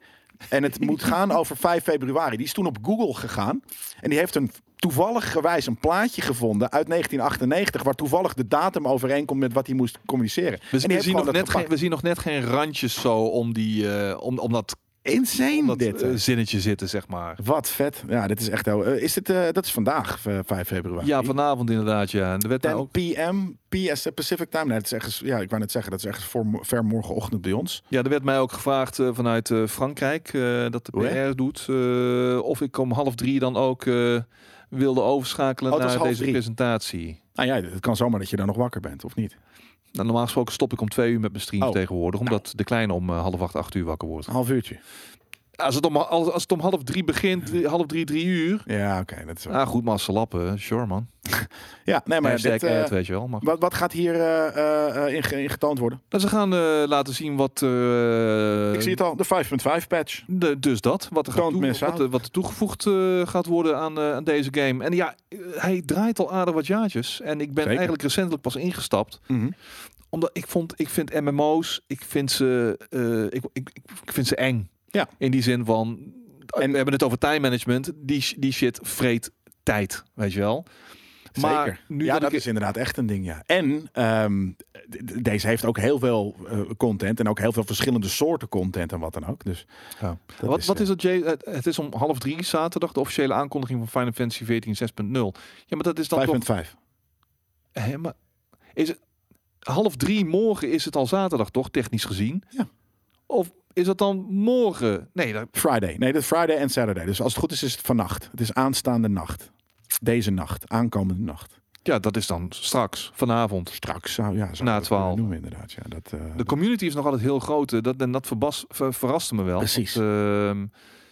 [SPEAKER 1] en het moet gaan over 5 februari. Die is toen op Google gegaan en die heeft een toevallig gewijs een plaatje gevonden uit 1998 waar toevallig de datum overeenkomt met wat hij moest communiceren.
[SPEAKER 2] we,
[SPEAKER 1] En die
[SPEAKER 2] we
[SPEAKER 1] heeft
[SPEAKER 2] zien
[SPEAKER 1] gewoon
[SPEAKER 2] nog
[SPEAKER 1] dat
[SPEAKER 2] net geen,
[SPEAKER 1] gepakt.
[SPEAKER 2] we zien nog net geen randjes zo om, die, eh, om, om dat,
[SPEAKER 1] insane
[SPEAKER 2] om dat
[SPEAKER 1] dit.
[SPEAKER 2] eh,
[SPEAKER 1] hè.
[SPEAKER 2] zinnetje zitten, zeg maar.
[SPEAKER 1] wat vet. Ja, dit is echt heel. eh, is dit, eh, dat is vandaag, eh, 5 februari.
[SPEAKER 2] Ja, vanavond inderdaad, ja. En er werd
[SPEAKER 1] 10
[SPEAKER 2] nou ook,
[SPEAKER 1] p.m. PS Pacific Time. Nee, dat is echt, ja, ik wou net zeggen, dat is echt voor, ver morgenochtend bij ons.
[SPEAKER 2] ja, er werd mij ook gevraagd eh, vanuit eh, Frankrijk eh, dat de PR
[SPEAKER 1] Hoe, hè?
[SPEAKER 2] doet. eh, of ik om half drie dan ook eh, wilde overschakelen
[SPEAKER 1] Oh, het was
[SPEAKER 2] naar
[SPEAKER 1] half
[SPEAKER 2] deze
[SPEAKER 1] drie.
[SPEAKER 2] presentatie.
[SPEAKER 1] Nou ja, het kan zomaar dat je dan nog wakker bent, of niet?
[SPEAKER 2] Nou, normaal gesproken stop ik om twee uur met mijn stream
[SPEAKER 1] Oh.
[SPEAKER 2] tegenwoordig. Omdat de kleine om eh, half acht, acht uur wakker wordt.
[SPEAKER 1] Een half uurtje.
[SPEAKER 2] Als het om, als, als het om half drie begint, drie- half drie, drie uur.
[SPEAKER 1] Ja, oké. dat is wel-
[SPEAKER 2] Ah, goed, maar als ze lappen, sure man.
[SPEAKER 1] ja, nee, maar
[SPEAKER 2] Hashtag
[SPEAKER 1] dit, eh,
[SPEAKER 2] ad, weet je wel. Maar
[SPEAKER 1] wat, wat gaat hier eh, eh, eh, in, ge- in getoond worden?
[SPEAKER 2] Nou, ze gaan eh, laten zien wat... eh,
[SPEAKER 1] ik zie het al, de 5.5 patch.
[SPEAKER 2] de- dus dat, wat er, gaat
[SPEAKER 1] Don't
[SPEAKER 2] toe-
[SPEAKER 1] miss
[SPEAKER 2] wat,
[SPEAKER 1] out.
[SPEAKER 2] er- wat er toegevoegd eh, gaat worden aan, eh, aan deze game. En ja, eh, hij draait al aardig wat jaartjes. En ik ben
[SPEAKER 1] Zeker.
[SPEAKER 2] eigenlijk recentelijk pas ingestapt.
[SPEAKER 1] Mhm.
[SPEAKER 2] Omdat ik vond, ik vind MMO's, ik vind ze, eh, ik, ik, ik vind ze eng.
[SPEAKER 1] Ja.
[SPEAKER 2] In die zin van, en
[SPEAKER 1] En-
[SPEAKER 2] we hebben het over time management. Die, sh- die shit vreet tijd, weet je wel. Maar
[SPEAKER 1] Zeker.
[SPEAKER 2] nu
[SPEAKER 1] ja,
[SPEAKER 2] dat
[SPEAKER 1] dat
[SPEAKER 2] ik-
[SPEAKER 1] is inderdaad echt een ding, ja. En ehm, d- d- deze heeft ook heel veel eh, content en ook heel veel verschillende soorten content en wat dan ook. Dus
[SPEAKER 2] Ja.
[SPEAKER 1] dat
[SPEAKER 2] wat,
[SPEAKER 1] is,
[SPEAKER 2] wat
[SPEAKER 1] eh,
[SPEAKER 2] is dat, Jay? Het, het is om half drie zaterdag de officiële aankondiging van Final Fantasy 14 6.0. Ja, maar dat is dan toch...
[SPEAKER 1] 5.5.
[SPEAKER 2] Hè, maar is het, half drie morgen is het al zaterdag, toch? Technisch gezien.
[SPEAKER 1] Ja.
[SPEAKER 2] Of is dat dan morgen? Nee, dat,
[SPEAKER 1] Friday. Nee, dat is Friday en Saturday. Dus als het goed is, is het vannacht. Het is aanstaande nacht. Deze nacht. Aankomende nacht.
[SPEAKER 2] ja, dat is dan straks, vanavond.
[SPEAKER 1] Straks zou ja, zou
[SPEAKER 2] Na
[SPEAKER 1] ik dat kunnen
[SPEAKER 2] 12.
[SPEAKER 1] noemen, inderdaad. Ja, dat, eh,
[SPEAKER 2] De
[SPEAKER 1] dat-
[SPEAKER 2] community is nog altijd heel groot. eh, Dat, en dat verbas, ver- verraste me wel.
[SPEAKER 1] Precies.
[SPEAKER 2] Want, ehm,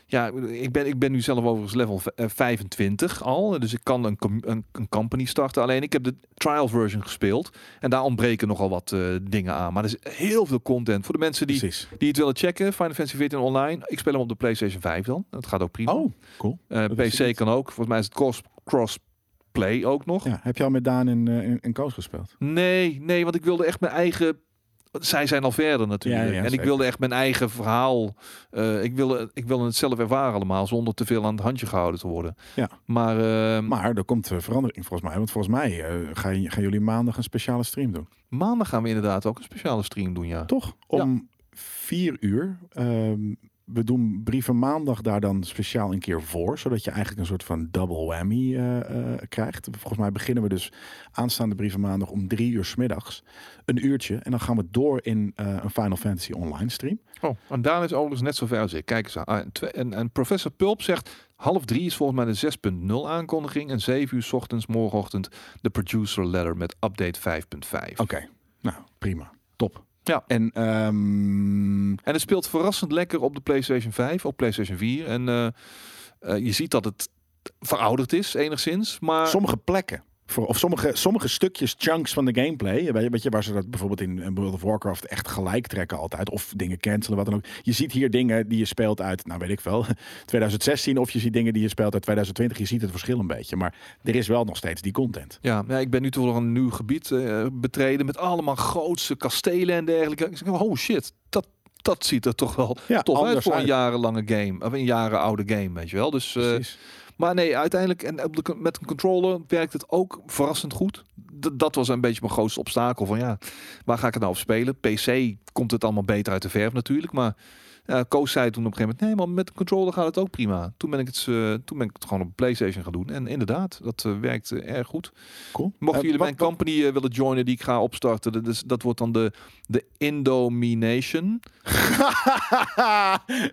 [SPEAKER 2] ja, ik ben, ik ben nu zelf overigens level v- eh, 25 al. Dus ik kan een, com- een, een company starten. Alleen ik heb de trial version gespeeld. En daar ontbreken nogal wat eh, dingen aan. Maar er is heel veel content. Voor de mensen die,
[SPEAKER 1] precies.
[SPEAKER 2] die het willen checken. Final Fantasy 14 online. Ik speel hem op de PlayStation 5 dan. Dat gaat ook prima.
[SPEAKER 1] Oh, cool.
[SPEAKER 2] Eh,
[SPEAKER 1] dat wist ik
[SPEAKER 2] PC
[SPEAKER 1] niet.
[SPEAKER 2] kan ook. Volgens mij is het cross, crossplay ook nog.
[SPEAKER 1] Ja, heb je al met Daan en, eh, en, en Koos gespeeld?
[SPEAKER 2] Nee, nee, want ik wilde echt mijn eigen. want Zij zijn al verder natuurlijk.
[SPEAKER 1] Ja, ja,
[SPEAKER 2] en ik
[SPEAKER 1] zeker.
[SPEAKER 2] wilde echt mijn eigen verhaal. eh, ik, wilde, ik wilde het zelf ervaren allemaal, zonder te veel aan het handje gehouden te worden.
[SPEAKER 1] Ja.
[SPEAKER 2] Maar, ehm,
[SPEAKER 1] Maar er komt eh, verandering volgens mij. Want volgens mij eh, gaan, j- gaan jullie maandag een speciale stream doen.
[SPEAKER 2] maandag gaan we inderdaad ook een speciale stream doen, ja.
[SPEAKER 1] Toch? Om vier uur. ehm, we doen brieven maandag daar dan speciaal een keer voor. Zodat je eigenlijk een soort van double whammy eh, eh, krijgt. Volgens mij beginnen we dus aanstaande brieven maandag om drie uur 's middags. Een uurtje. En dan gaan we door in eh, een Final Fantasy online stream.
[SPEAKER 2] Oh, en Daan is overigens net zo ver als ik. Kijk eens aan. Ah, en, twe- en, en professor Pulp zegt, half drie is volgens mij de 6.0 aankondiging. En 7 uur 's ochtends, morgenochtend, de producer letter met update 5.5.
[SPEAKER 1] Oké. Nou, prima. Top.
[SPEAKER 2] Ja.
[SPEAKER 1] En ehm,
[SPEAKER 2] En het speelt verrassend lekker op de PlayStation 5, op PlayStation 4. En eh, eh, je ziet dat het verouderd is, enigszins. Maar
[SPEAKER 1] sommige plekken. Voor, of sommige, sommige stukjes, chunks van de gameplay. Weet je, weet je, waar ze dat bijvoorbeeld in eh, World of Warcraft echt gelijk trekken altijd. Of dingen cancelen, wat dan ook. Je ziet hier dingen die je speelt uit, nou weet ik wel, [LAUGHS] 2016. Of je ziet dingen die je speelt uit 2020. Je ziet het verschil een beetje. Maar er is wel nog steeds die content.
[SPEAKER 2] ja, ja, ik ben nu toevallig een nieuw gebied eh, betreden met allemaal grootse kastelen en dergelijke. Ik zeg, oh shit, dat dat ziet er toch wel
[SPEAKER 1] Ja,
[SPEAKER 2] tof uit
[SPEAKER 1] anders
[SPEAKER 2] voor een
[SPEAKER 1] uit.
[SPEAKER 2] jarenlange game. Of een jaren oude game, weet je wel. Dus, eh,
[SPEAKER 1] Precies.
[SPEAKER 2] maar nee, uiteindelijk en op de, con- met een controller werkt het ook verrassend goed. D- dat was een beetje mijn grootste obstakel. Van ja, waar ga ik het nou op spelen? PC komt het allemaal beter uit de verf natuurlijk. Maar ja, Koos zei toen op een gegeven moment... nee, maar met de controller gaat het ook prima. Toen ben ik het, eh, toen ben ik het gewoon op PlayStation gaan doen. En inderdaad, dat eh, werkt eh, erg goed.
[SPEAKER 1] Cool.
[SPEAKER 2] Mochten
[SPEAKER 1] Eh,
[SPEAKER 2] jullie
[SPEAKER 1] wat-
[SPEAKER 2] mijn company eh, willen joinen die ik ga opstarten, dat, is, dat wordt dan de, de Indomination.
[SPEAKER 1] [LAUGHS]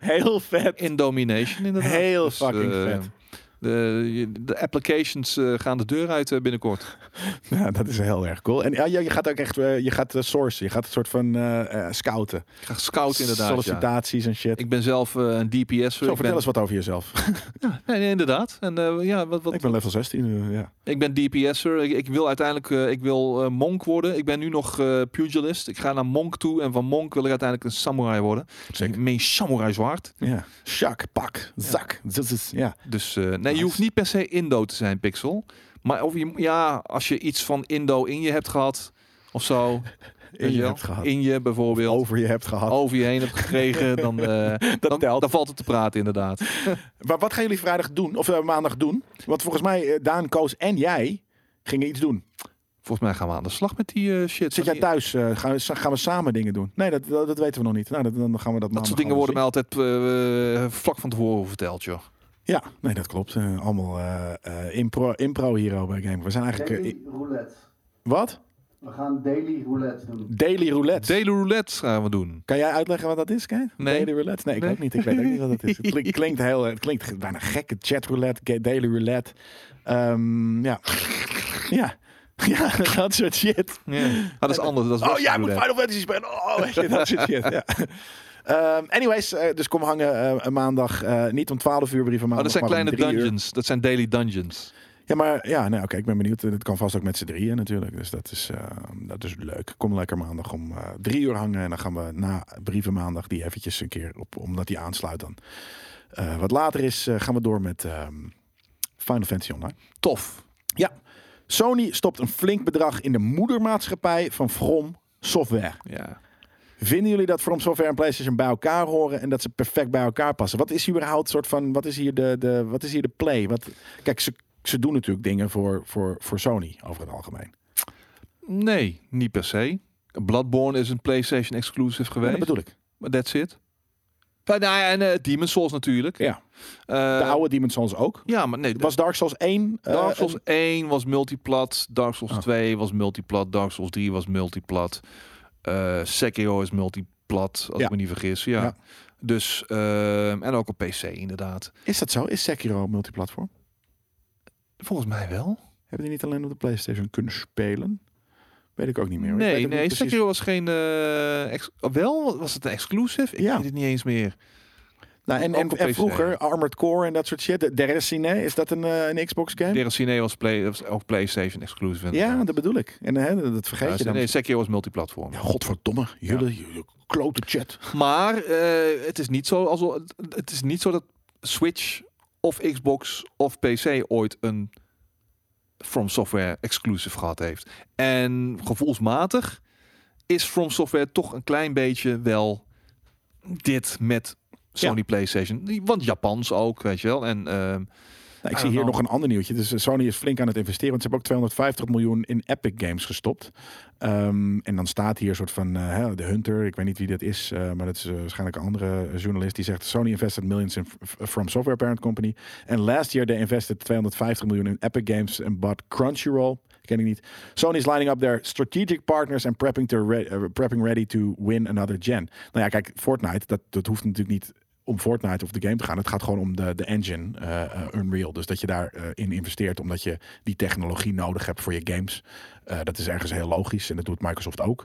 [SPEAKER 1] Heel vet.
[SPEAKER 2] Indomination inderdaad.
[SPEAKER 1] Heel fucking
[SPEAKER 2] eh,
[SPEAKER 1] vet.
[SPEAKER 2] De, je- de applications eh, gaan de deur uit eh, binnenkort.
[SPEAKER 1] Ja, Nou, dat is heel erg cool. En ja, je je gaat ook echt, eh, je gaat eh, sourcen. Je gaat een soort van eh, eh, scouten.
[SPEAKER 2] Ik ga scout inderdaad. ja.
[SPEAKER 1] Sollicitaties en shit.
[SPEAKER 2] Ik ben zelf eh, een DPS.
[SPEAKER 1] Zo, vertel eens wat over jezelf.
[SPEAKER 2] Nee, nee, inderdaad. En eh, ja, wat, wat,
[SPEAKER 1] ik ben level 16. eh, ja.
[SPEAKER 2] Ik ben DPS'er. Ik, ik wil uiteindelijk eh, ik wil, eh, monk worden. Ik ben nu nog eh, pugilist. Ik ga naar monk toe. En van monk wil ik uiteindelijk een samurai worden.
[SPEAKER 1] Sick.
[SPEAKER 2] Mijn samurai zwaard.
[SPEAKER 1] ja. Shak, pak, zak. Dit is, ja.
[SPEAKER 2] Dus eh, nee, je
[SPEAKER 1] Nice.
[SPEAKER 2] hoeft niet per se Indo te zijn, Pixel. Maar of je, ja, als je iets van Indo in je hebt gehad of zo. weet
[SPEAKER 1] je
[SPEAKER 2] wel.
[SPEAKER 1] hebt gehad.
[SPEAKER 2] In je bijvoorbeeld. Over,
[SPEAKER 1] Over je hebt gehad.
[SPEAKER 2] je heen hebt
[SPEAKER 1] [LAUGHS]
[SPEAKER 2] gekregen. dan, eh, dan,
[SPEAKER 1] telt.
[SPEAKER 2] dan valt het te praten, inderdaad.
[SPEAKER 1] Maar wat gaan jullie vrijdag doen? Of eh, maandag doen? Want volgens mij, eh, Daan, Koos en jij gingen iets doen.
[SPEAKER 2] Volgens mij gaan we aan de slag met die eh,
[SPEAKER 1] Zit
[SPEAKER 2] shit. Van
[SPEAKER 1] jij
[SPEAKER 2] die-
[SPEAKER 1] thuis? eh, gaan, we, gaan we samen dingen doen? Nee, dat, dat, dat weten we nog niet. Nou, dat, dan gaan we dat
[SPEAKER 2] dat
[SPEAKER 1] maandag
[SPEAKER 2] soort dingen worden mij
[SPEAKER 1] allemaal
[SPEAKER 2] altijd eh, eh, vlak van tevoren verteld, joh.
[SPEAKER 1] zien. Ja, nee, dat klopt. Eh, allemaal eh, eh, impro, impro hero bij Game. We zijn eigenlijk... eh, i-
[SPEAKER 3] roulette.
[SPEAKER 1] wat?
[SPEAKER 3] We gaan daily roulette doen.
[SPEAKER 1] Daily roulette.
[SPEAKER 2] Daily roulette gaan we doen.
[SPEAKER 1] Kan jij uitleggen wat dat is, Kate?
[SPEAKER 2] Nee.
[SPEAKER 1] Daily roulette? Nee, ik
[SPEAKER 2] Nee.
[SPEAKER 1] ook niet. Ik weet ook niet wat dat
[SPEAKER 2] [LAUGHS]
[SPEAKER 1] is. Het klinkt, klinkt heel, het klinkt bijna gek. Chat roulette, ga- daily roulette. Ehm, ja. ja. [LAUGHS] Ja, dat soort shit.
[SPEAKER 2] Ja. Maar Ah, dat is anders. Dat is
[SPEAKER 1] Oh,
[SPEAKER 2] Western
[SPEAKER 1] jij moet
[SPEAKER 2] roulette.
[SPEAKER 1] Final Fantasy spelen. Oh, [LAUGHS] weet je, dat soort shit. Ja. Ehm, anyways, eh, dus kom hangen eh, maandag. eh, niet om 12 uur brieven,
[SPEAKER 2] Oh,
[SPEAKER 1] maandag,
[SPEAKER 2] dat zijn
[SPEAKER 1] maar om
[SPEAKER 2] kleine
[SPEAKER 1] 3 uur.
[SPEAKER 2] dungeons. Dat zijn daily dungeons.
[SPEAKER 1] Ja, maar ja, nou, oké, ik ben benieuwd. Dat kan vast ook met z'n drieën natuurlijk. Dus dat is, eh, dat is leuk. Kom lekker maandag om eh, drie uur hangen. En dan gaan we na brieven maandag die eventjes een keer op, omdat die aansluit dan. Eh, wat later is, eh, gaan we door met ehm, Final Fantasy Online.
[SPEAKER 2] Tof.
[SPEAKER 1] Ja, Sony stopt een flink bedrag in de moedermaatschappij van From Software.
[SPEAKER 2] Ja.
[SPEAKER 1] Vinden jullie dat From Software en PlayStation bij elkaar horen en dat ze perfect bij elkaar passen? Wat is hier überhaupt soort van, wat is hier de, de, wat is hier de play? Wat, kijk, ze, ze doen natuurlijk dingen voor, voor, voor Sony over het algemeen.
[SPEAKER 2] Nee, niet per se. Bloodborne is een PlayStation exclusive
[SPEAKER 1] Ja,
[SPEAKER 2] geweest.
[SPEAKER 1] dat bedoel ik.
[SPEAKER 2] Maar that's it. Ja, nou ja, en eh Demon's Souls natuurlijk.
[SPEAKER 1] Ja.
[SPEAKER 2] Eh,
[SPEAKER 1] De oude Demon's Souls ook.
[SPEAKER 2] Ja, maar nee.
[SPEAKER 1] Was Dark Souls 1? eh,
[SPEAKER 2] Dark Souls
[SPEAKER 1] een-
[SPEAKER 2] 1 was multiplat. Dark Souls
[SPEAKER 1] Ah.
[SPEAKER 2] 2 was multiplat. Dark Souls 3 was multiplat. Eh Sekiro is multiplat, als
[SPEAKER 1] Ja.
[SPEAKER 2] ik me niet vergis. Ja.
[SPEAKER 1] Ja.
[SPEAKER 2] Dus, ehm, en ook op PC inderdaad.
[SPEAKER 1] is dat zo? Is Sekiro multiplatform?
[SPEAKER 2] Volgens mij wel.
[SPEAKER 1] Hebben die niet alleen op de PlayStation kunnen spelen? Weet ik ook niet meer. hoor. Ik weet
[SPEAKER 2] Nee,
[SPEAKER 1] ook niet
[SPEAKER 2] nee,
[SPEAKER 1] precies.
[SPEAKER 2] Sekiro was geen... eh, ex- oh, wel? Was het een exclusive? Ik
[SPEAKER 1] Ja.
[SPEAKER 2] weet het niet eens meer.
[SPEAKER 1] Nou, en,
[SPEAKER 2] ook
[SPEAKER 1] en,
[SPEAKER 2] op
[SPEAKER 1] en
[SPEAKER 2] PC.
[SPEAKER 1] vroeger Armored Core en dat soort shit. De Deresine, is dat een, eh, een Xbox game?
[SPEAKER 2] Deracine was, play, was ook PlayStation exclusive.
[SPEAKER 1] ja, dat bedoel ik. En hè, dat vergeet je dan.
[SPEAKER 2] Nee, Sekiro was multiplatform.
[SPEAKER 1] Ja, godverdomme, jullie, jullie klote chat.
[SPEAKER 2] Maar eh, het, is niet zo alsof, het is niet zo dat Switch of Xbox of PC ooit een From Software exclusive gehad heeft. En gevoelsmatig is From Software toch een klein beetje wel dit met Sony PlayStation. Want Japans ook, weet je wel. En ehm,
[SPEAKER 1] Nou, ik zie
[SPEAKER 2] I don't
[SPEAKER 1] hier
[SPEAKER 2] know.
[SPEAKER 1] nog een ander nieuwtje. Dus eh, Sony is flink aan het investeren. Want ze hebben ook 250 miljoen in Epic Games gestopt. Ehm, en dan staat hier een soort van eh, hè, de Hunter. Ik weet niet wie dat is. eh, maar dat is eh, waarschijnlijk een andere eh, journalist. Die zegt Sony invested millions in f- From Software Parent Company. En last year they invested 250 miljoen in Epic Games. En bought Crunchyroll. Ken ik niet. Sony is lining up their strategic partners and prepping, to re- eh, prepping ready to win another gen. Nou ja, kijk, Fortnite, dat, dat hoeft natuurlijk niet om Fortnite of de game te gaan. Het gaat gewoon om de, de engine, eh, eh, Unreal. Dus dat je daarin in investeert omdat je die technologie nodig hebt voor je games. Eh, dat is ergens heel logisch en dat doet Microsoft ook.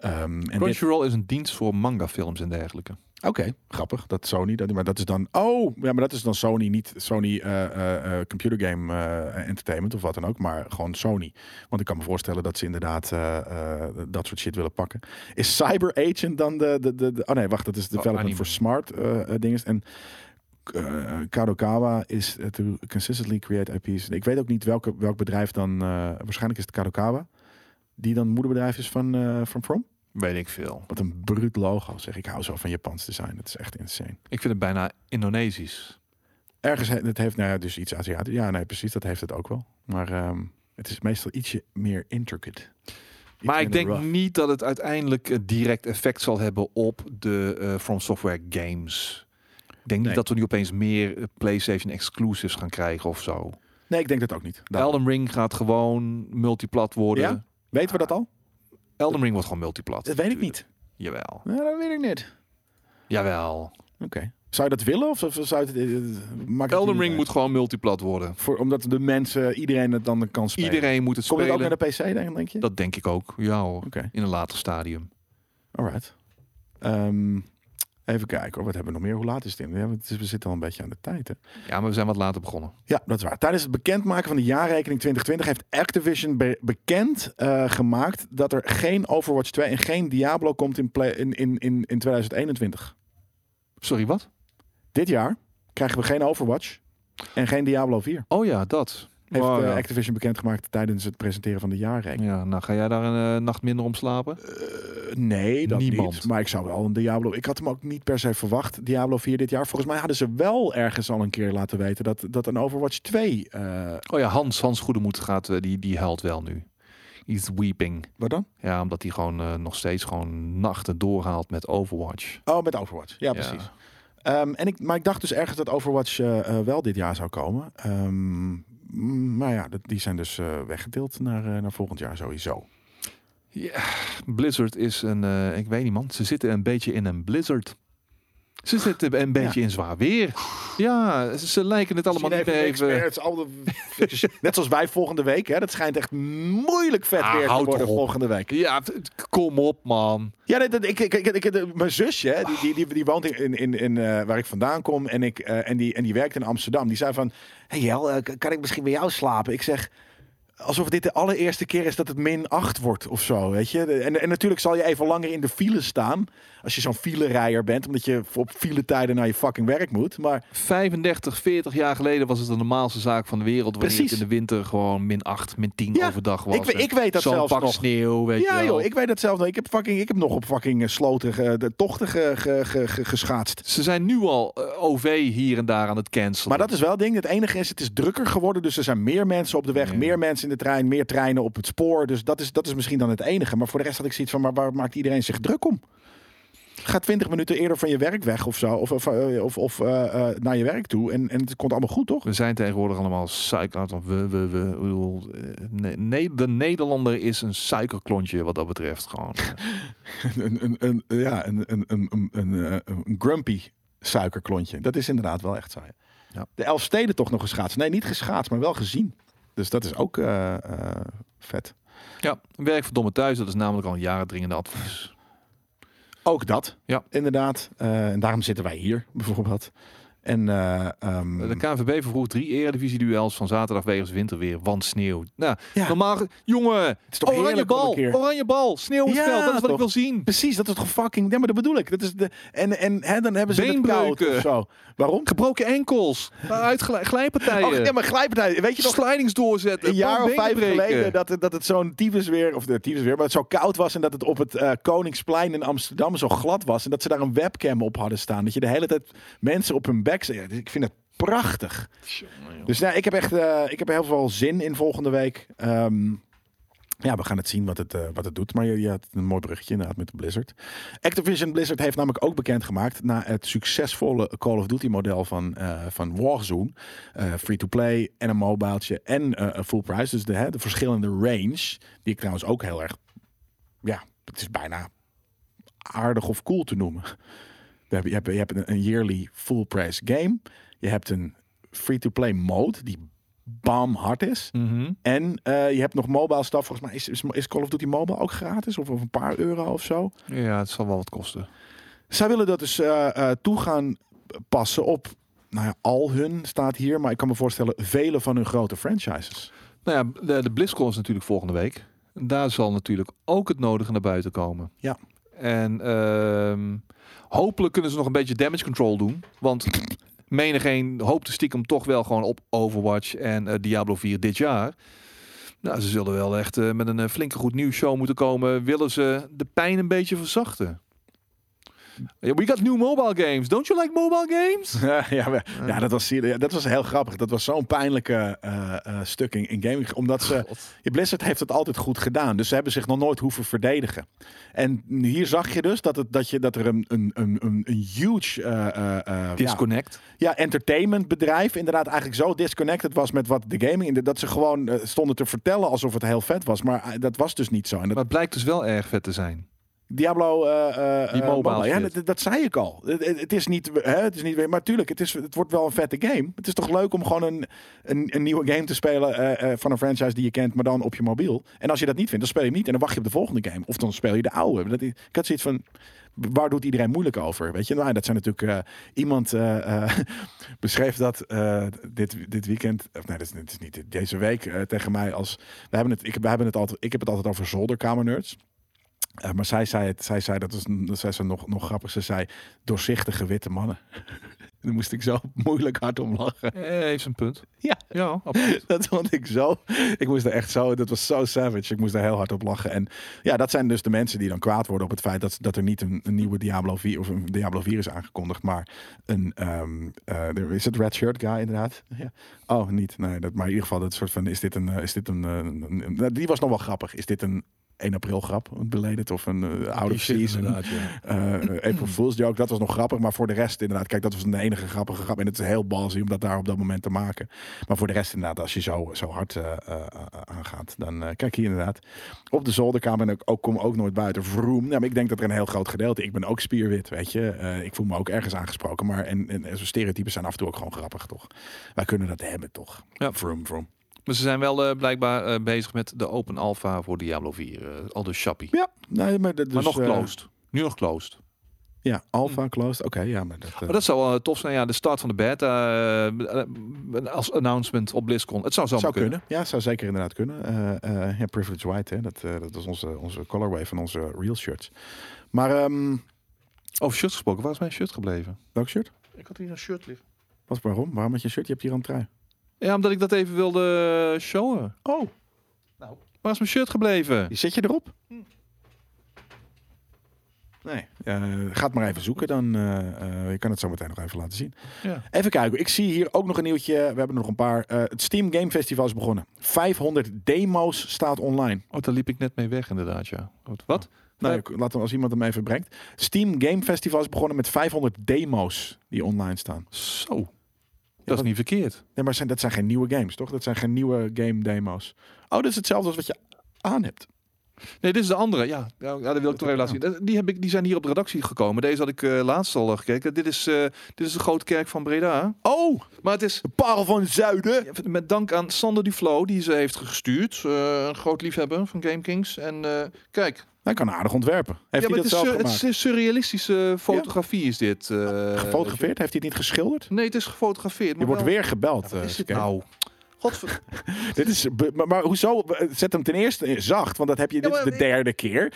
[SPEAKER 1] Ehm, en dit-
[SPEAKER 2] Crunchyroll is een dienst voor mangafilms en dergelijke.
[SPEAKER 1] Oké, grappig. Dat Sony, dat, maar dat is dan... Oh, ja, maar dat is dan Sony, niet Sony eh, eh, eh, Computer Game eh, Entertainment of wat dan ook. Maar gewoon Sony. Want ik kan me voorstellen dat ze inderdaad eh, eh, dat soort shit willen pakken. Is Cyber Agent dan de... de, de, de- oh nee, wacht. Dat is Development
[SPEAKER 2] anime.
[SPEAKER 1] voor Smart eh eh, dinges. En eh, Kadokawa is eh, to consistently create IP's. Ik weet ook niet welke, welk bedrijf dan... eh, waarschijnlijk is het Kadokawa. Die dan moederbedrijf is van eh, From From?
[SPEAKER 2] Weet ik veel.
[SPEAKER 1] Wat een bruut logo zeg. Ik hou zo van Japans design. Dat is echt insane.
[SPEAKER 2] Ik vind het bijna Indonesisch.
[SPEAKER 1] Ergens, he- het heeft nou ja, dus iets Aziatisch. Ja, nee, precies. Dat heeft het ook wel. Maar ehm, het is meestal ietsje meer intricate. Iets
[SPEAKER 2] Maar ik
[SPEAKER 1] minder
[SPEAKER 2] denk
[SPEAKER 1] rough.
[SPEAKER 2] niet dat het uiteindelijk eh, direct effect zal hebben op de eh, From Software games. Ik
[SPEAKER 1] Nee.
[SPEAKER 2] denk niet dat we nu opeens meer eh, PlayStation exclusives gaan krijgen of zo.
[SPEAKER 1] Nee, ik denk dat ook niet. Daarom.
[SPEAKER 2] Elden Ring gaat gewoon multiplat worden.
[SPEAKER 1] Nou. Ja? Weten we dat al?
[SPEAKER 2] Elden Ring wordt gewoon multiplat.
[SPEAKER 1] Dat weet ik niet.
[SPEAKER 2] Jawel.
[SPEAKER 1] Nou, dat weet ik niet.
[SPEAKER 2] Jawel.
[SPEAKER 1] Oké. Zou je dat willen? Of, of zou je het, eh, eh, maakt het
[SPEAKER 2] Elden
[SPEAKER 1] niet eh,
[SPEAKER 2] Ring
[SPEAKER 1] uit?
[SPEAKER 2] moet gewoon multiplat worden.
[SPEAKER 1] Voor, omdat de mensen, iedereen het dan kan spelen.
[SPEAKER 2] Iedereen moet het
[SPEAKER 1] Komt het ook
[SPEAKER 2] spelen.
[SPEAKER 1] naar de PC, denk, denk je?
[SPEAKER 2] Dat denk ik ook. Ja hoor.
[SPEAKER 1] Oké.
[SPEAKER 2] In een later stadium.
[SPEAKER 1] Alright. Ehm, even kijken hoor, wat hebben we nog meer? Hoe laat is het in? Ja, het is- we zitten al een beetje aan de tijd hè?
[SPEAKER 2] Ja, maar we zijn wat later begonnen.
[SPEAKER 1] Ja, dat is waar. Tijdens het bekendmaken van de jaarrekening 2020 heeft Activision be- bekend eh, gemaakt dat er geen Overwatch 2 en geen Diablo komt in, play- in, in, in, in 2021.
[SPEAKER 2] Sorry, wat?
[SPEAKER 1] Dit jaar krijgen we geen Overwatch en geen Diablo 4.
[SPEAKER 2] Oh ja, dat.
[SPEAKER 1] Heeft
[SPEAKER 2] Oh,
[SPEAKER 1] eh,
[SPEAKER 2] ja.
[SPEAKER 1] Activision bekendgemaakt tijdens het presenteren van de jaarrekening.
[SPEAKER 2] Ja, nou ga jij daar een eh, nacht minder om slapen?
[SPEAKER 1] Eh, nee, dat
[SPEAKER 2] Niemand.
[SPEAKER 1] niet. Maar ik zou wel een Diablo... Ik had hem ook niet per se verwacht, Diablo 4 dit jaar. Volgens mij hadden ze wel ergens al een keer laten weten... dat, dat een Overwatch 2... eh
[SPEAKER 2] Oh ja, Hans, Hans Goedemoed gaat, eh, die, die huilt wel nu. He's weeping.
[SPEAKER 1] wat dan?
[SPEAKER 2] Ja, omdat hij gewoon eh, nog steeds gewoon nachten doorhaalt met Overwatch.
[SPEAKER 1] Oh, met Overwatch. Ja, precies. Ehm, en ik, maar ik dacht dus ergens dat Overwatch eh, eh, wel dit jaar zou komen. Ehm, mm, maar ja, dat, die zijn dus eh, weggedeeld naar, eh, naar volgend jaar sowieso.
[SPEAKER 2] Blizzard is een, eh, ik weet niet man, ze zitten een beetje in een blizzard. Ze zitten een beetje in zwaar weer. Ja, ze, ze lijken het allemaal niet
[SPEAKER 1] Misschien
[SPEAKER 2] meer even...
[SPEAKER 1] experts, al de- [LAUGHS] Net zoals wij volgende week. Hè? Dat schijnt echt moeilijk vet
[SPEAKER 2] Ah,
[SPEAKER 1] weer te
[SPEAKER 2] houd
[SPEAKER 1] worden
[SPEAKER 2] toch op.
[SPEAKER 1] volgende week.
[SPEAKER 2] Ja, t- t- kom op man.
[SPEAKER 1] Ja, nee, dat, ik, ik, ik, ik- de- mijn zusje, hè, die, die, die, die woont in, in, in, eh, waar ik vandaan kom en, ik, eh, en, die, en die werkt in Amsterdam. Die zei van, hey Jel, eh, k- kan ik misschien bij jou slapen? Ik zeg, alsof dit de allereerste keer is dat het min 8 wordt of zo, weet je. De- En, en natuurlijk zal je even langer in de file staan als je zo'n filerijder bent, omdat je op file tijden naar je fucking werk moet. Maar
[SPEAKER 2] 35, 40 jaar geleden was het de normaalste zaak van de wereld. Wanneer
[SPEAKER 1] Precies.
[SPEAKER 2] het in de winter gewoon min 8, min 10
[SPEAKER 1] Ja,
[SPEAKER 2] overdag was.
[SPEAKER 1] ik we-
[SPEAKER 2] En
[SPEAKER 1] ik weet dat
[SPEAKER 2] zo'n
[SPEAKER 1] zelfs
[SPEAKER 2] pak
[SPEAKER 1] nog.
[SPEAKER 2] sneeuw, weet je
[SPEAKER 1] ja
[SPEAKER 2] wel.
[SPEAKER 1] joh, ik weet dat zelf nog. Ik heb, fucking, ik heb nog op fucking eh, sloten ge- de tochten ge- ge- ge- ge- geschaatst.
[SPEAKER 2] Ze zijn nu al eh, OV hier en daar aan het cancelen.
[SPEAKER 1] Maar dat is wel het ding. Het enige is, het is drukker geworden. Dus er zijn meer mensen op de weg,
[SPEAKER 2] Ja.
[SPEAKER 1] meer mensen in de trein, meer treinen op het spoor. Dus dat is, dat is misschien dan het enige. Maar voor de rest had ik zoiets van, maar waar maakt iedereen zich druk om? Ga twintig minuten eerder van je werk weg of zo. Of, of, eh, of, of eh, eh, naar je werk toe. En, en het komt allemaal goed, toch?
[SPEAKER 2] We zijn tegenwoordig allemaal suiker... We, we, we, ik bedoel, eh, nee, nee, de Nederlander is een suikerklontje wat dat betreft. Gewoon.
[SPEAKER 1] [LAUGHS] [LAUGHS]
[SPEAKER 2] eh.
[SPEAKER 1] Een, een, een, ja, een, een, een, een, een, eh, een grumpy suikerklontje. Dat is inderdaad wel echt saai.
[SPEAKER 2] Ja.
[SPEAKER 1] De Elfsteden toch nog geschaatst. Nee, niet geschaatst, maar wel gezien. Dus dat is ook eh, eh, vet.
[SPEAKER 2] ja, werk verdomme thuis. Dat is namelijk al een jaren dringende advies.
[SPEAKER 1] Ook dat.
[SPEAKER 2] Ja.
[SPEAKER 1] Inderdaad. Eh, en daarom zitten wij hier, bijvoorbeeld. En eh, ehm,
[SPEAKER 2] De KNVB vervroeg drie eredivisie-duels van zaterdag wegens winterweer, want sneeuw. Nou,
[SPEAKER 1] Ja.
[SPEAKER 2] normaal... ge- Jongen,
[SPEAKER 1] is toch
[SPEAKER 2] oranje
[SPEAKER 1] heerlijk om een
[SPEAKER 2] bal,
[SPEAKER 1] keer-
[SPEAKER 2] oranje bal, sneeuw in het
[SPEAKER 1] Ja,
[SPEAKER 2] veld. Dat is wat
[SPEAKER 1] toch?
[SPEAKER 2] ik wil zien.
[SPEAKER 1] precies, dat is toch fucking... Ja, maar dat bedoel ik. Dat is de, en en hè, dan hebben ze het koud
[SPEAKER 2] Beenbreuken.
[SPEAKER 1] of zo. Waarom?
[SPEAKER 2] Gebroken enkels, uitglijpartijen, glijpartijen,
[SPEAKER 1] Oh, ja, maar glijpartij. Weet je nog,
[SPEAKER 2] slidings doorzetten,
[SPEAKER 1] een jaar of
[SPEAKER 2] benen
[SPEAKER 1] vijf
[SPEAKER 2] breken.
[SPEAKER 1] geleden dat het, dat het zo'n tyfus weer, of de tyfus weer, maar het zo koud was en dat het op het eh, Koningsplein in Amsterdam zo glad was en dat ze daar een webcam op hadden staan. Dat je de hele tijd mensen op hun bek zag. Ja, dus ik vind het prachtig. Dus nou, ik heb echt, eh, ik heb heel veel zin in volgende week. Ehm, ja, we gaan het zien wat het, eh, wat het doet. Maar je, je had een mooi bruggetje inderdaad met de Blizzard. Activision Blizzard heeft namelijk ook bekendgemaakt... na het succesvolle Call of Duty model van, eh, van Warzone... eh, free-to-play en een mobieltje en eh, een full price. Dus de, hè, de verschillende range, die ik trouwens ook heel erg... Ja, het is bijna aardig of cool te noemen. We hebben, je hebt, je hebt een, een yearly full price game. Je hebt een free-to-play mode die hard is...
[SPEAKER 2] Mhm.
[SPEAKER 1] En eh, je hebt nog mobile stuff. Volgens mij is, is, is Call of Duty Mobile ook gratis. Of, of een paar euro of zo.
[SPEAKER 2] Ja, het zal wel wat kosten.
[SPEAKER 1] Zij willen dat dus eh, eh, toe gaan passen op... Nou ja, al hun staat hier. Maar ik kan me voorstellen vele van hun grote franchises.
[SPEAKER 2] Nou ja, de, de BlizzCon is natuurlijk volgende week. Daar zal natuurlijk ook het nodige naar buiten komen.
[SPEAKER 1] Ja.
[SPEAKER 2] En ehm, hopelijk kunnen ze nog een beetje damage control doen. Want menigeen hoopte stiekem toch wel gewoon op Overwatch en eh, Diablo 4 dit jaar. Nou, ze zullen wel echt eh, met een eh, flinke goed nieuwsshow moeten komen. Willen ze de pijn een beetje verzachten? Yeah, We got new mobile games. Don't you like mobile games?
[SPEAKER 1] ja, we- ja, dat was, serie- ja, dat was heel grappig. Dat was zo'n pijnlijke eh, eh, stuk in, in gaming. Omdat ze. je Blizzard heeft het altijd goed gedaan. Dus ze hebben zich nog nooit hoeven verdedigen. En hier zag je dus dat, het, dat, je, dat er een, een, een, een een huge. eh, eh, eh, ja,
[SPEAKER 2] Disconnect.
[SPEAKER 1] ja, entertainmentbedrijf inderdaad eigenlijk zo disconnected was met wat de gaming... Dat ze gewoon eh, stonden te vertellen alsof het heel vet was. Maar eh, dat was dus niet zo. En dat
[SPEAKER 2] Maar het blijkt dus wel erg vet te zijn.
[SPEAKER 1] Diablo... eh, eh,
[SPEAKER 2] Die
[SPEAKER 1] eh,
[SPEAKER 2] mobile
[SPEAKER 1] Ja,
[SPEAKER 2] shit.
[SPEAKER 1] dat, dat zei ik al. Het, het- het is niet... Hè, het is niet weer- maar tuurlijk, het, is, het wordt wel een vette game. Het is toch leuk om gewoon een, een, een nieuwe game te spelen... eh, eh, van een franchise die je kent, maar dan op je mobiel. En als je dat niet vindt, dan speel je hem niet. En dan wacht je op de volgende game. Of dan speel je de oude. Dat, is- ik had zoiets van... Waar doet iedereen moeilijk over? Weet je, nou, dat zijn natuurlijk eh, iemand eh, eh, [LAUGHS] beschreef dat eh, dit, dit weekend, of nee, dit is, dit is niet dit- deze week eh, tegen mij als we hebben het, ik, we hebben het altijd, ik heb het altijd over zolderkamernerds. Eh, maar zij zei het, zij zei dat was, dat zei ze nog, nog grappig. Ze zei doorzichtige witte mannen. [LAUGHS] Daar moest ik zo [LAUGHS] moeilijk hard om lachen. [LAUGHS]
[SPEAKER 2] Eh, heeft een punt.
[SPEAKER 1] Ja.
[SPEAKER 2] [LAUGHS] Ja, absoluut.
[SPEAKER 1] Dat vond ik zo. Ik moest er echt zo. Dat was zo savage. Ik moest daar heel hard op lachen. En ja, dat zijn dus de mensen die dan kwaad worden op het feit dat, dat er niet een, een nieuwe Diablo 4 of een Diablo 4 is aangekondigd. Maar een. ehm, eh, er is het Red Shirt Guy inderdaad. [LAUGHS] Ja. Oh, niet. Nee, dat, maar in ieder geval, dat soort van. Is dit een. eh, Is dit een, eh, een- een- nou, die was nog wel grappig. Is dit een 1 april grap? Een belated of een oude out of season? Eh,
[SPEAKER 2] [CLEARS THROAT]
[SPEAKER 1] April Fool's joke, dat was nog grappig. Maar voor de rest inderdaad, kijk, dat was de enige grappige grap. En het is heel balzie om dat daar op dat moment te maken. Maar voor de rest inderdaad, als je zo, zo hard eh, eh, eh, aangaat, dan eh, kijk hier inderdaad. Op de zolderkamer en ik ook, kom ook nooit buiten. Vroom. Ja, maar ik denk dat er een heel groot gedeelte, ik ben ook spierwit, weet je. Eh, ik voel me ook ergens aangesproken. Maar en, en, en zo'n stereotypen zijn af en toe ook gewoon grappig, toch? Wij kunnen dat hebben, toch?
[SPEAKER 2] Ja.
[SPEAKER 1] Vroom, vroom.
[SPEAKER 2] Maar ze zijn wel eh, blijkbaar eh, bezig met de open alpha voor Diablo 4. eh, al dus Chappie.
[SPEAKER 1] Ja, nee, maar, dat- dus,
[SPEAKER 2] maar nog Mm.
[SPEAKER 1] eh,
[SPEAKER 2] closed. nu nog closed.
[SPEAKER 1] ja, alpha closed. Oké, ja, maar dat... eh,
[SPEAKER 2] Maar dat zou wel tof zijn. Ja, de start van de beta eh, eh, als announcement op BlizzCon. Het zou zo
[SPEAKER 1] zou
[SPEAKER 2] kunnen.
[SPEAKER 1] kunnen. Ja, zou zeker inderdaad kunnen. Eh, eh, ja, Privilege White, hè? Dat, eh, dat is onze, onze colorway van onze real shirts. Maar ehm
[SPEAKER 2] Over shirts gesproken. Waar is mijn shirt gebleven?
[SPEAKER 1] welk shirt?
[SPEAKER 2] Ik had hier een shirt liggen.
[SPEAKER 1] Wat, waarom? Waarom met je shirt? Je hebt hier een trui.
[SPEAKER 2] Ja, omdat ik dat even wilde eh, showen. Nou.
[SPEAKER 1] Oh,
[SPEAKER 2] Waar is mijn shirt gebleven?
[SPEAKER 1] zit je erop?
[SPEAKER 2] Hm.
[SPEAKER 1] Nee. Eh, ga het maar even zoeken, dan eh, eh, je kan het zo meteen nog even laten zien.
[SPEAKER 2] Ja.
[SPEAKER 1] Even kijken, ik zie hier ook nog een nieuwtje. We hebben er nog een paar. Eh, het Steam Game Festival is begonnen. 500 demo's staat online.
[SPEAKER 2] Oh, daar liep ik net mee weg inderdaad, ja. Wat? Wat?
[SPEAKER 1] Nou,
[SPEAKER 2] Ja.
[SPEAKER 1] ik- laten we als iemand hem even brengt. Steam Game Festival is begonnen met 500 demo's die online staan.
[SPEAKER 2] Zo. Dat is
[SPEAKER 1] wat-
[SPEAKER 2] niet verkeerd.
[SPEAKER 1] Nee, maar zijn, dat zijn geen nieuwe games, toch? Dat zijn geen nieuwe game demo's. Oh, dat is hetzelfde als wat je aan hebt.
[SPEAKER 2] Nee, dit is de andere. Ja, ja ja, dat wil ik toch even laten zien. Eh, Die, heb ik, die zijn hier op de redactie gekomen. Deze had ik eh, laatst al eh, gekeken. Dit is, eh, dit is de Grote Kerk van Breda.
[SPEAKER 1] Oh,
[SPEAKER 2] Maar het is
[SPEAKER 1] de parel van het zuiden.
[SPEAKER 2] Met dank aan Sander Duflo, die ze heeft gestuurd. Eh, een groot liefhebber van GameKings. En eh, kijk,
[SPEAKER 1] Hij kan aardig ontwerpen. Heeft
[SPEAKER 2] ja, maar
[SPEAKER 1] hij dat
[SPEAKER 2] het, is,
[SPEAKER 1] zelf
[SPEAKER 2] sur- het
[SPEAKER 1] gemaakt?
[SPEAKER 2] is surrealistische fotografie is dit. eh, weet
[SPEAKER 1] Gefotografeerd? Heeft hij het niet geschilderd?
[SPEAKER 2] je. Nee, het is gefotografeerd.
[SPEAKER 1] Je
[SPEAKER 2] maar
[SPEAKER 1] wordt
[SPEAKER 2] wel-
[SPEAKER 1] weer gebeld.
[SPEAKER 2] Wat
[SPEAKER 1] eh,
[SPEAKER 2] is dit
[SPEAKER 1] Skate.
[SPEAKER 2] nou?
[SPEAKER 1] [LAUGHS]
[SPEAKER 2] Godver...
[SPEAKER 1] Dit is, be- maar, maar hoezo? eh, Zet hem ten eerste zacht, want dat heb je. Dit
[SPEAKER 2] maar
[SPEAKER 1] is de
[SPEAKER 2] ik-
[SPEAKER 1] derde keer.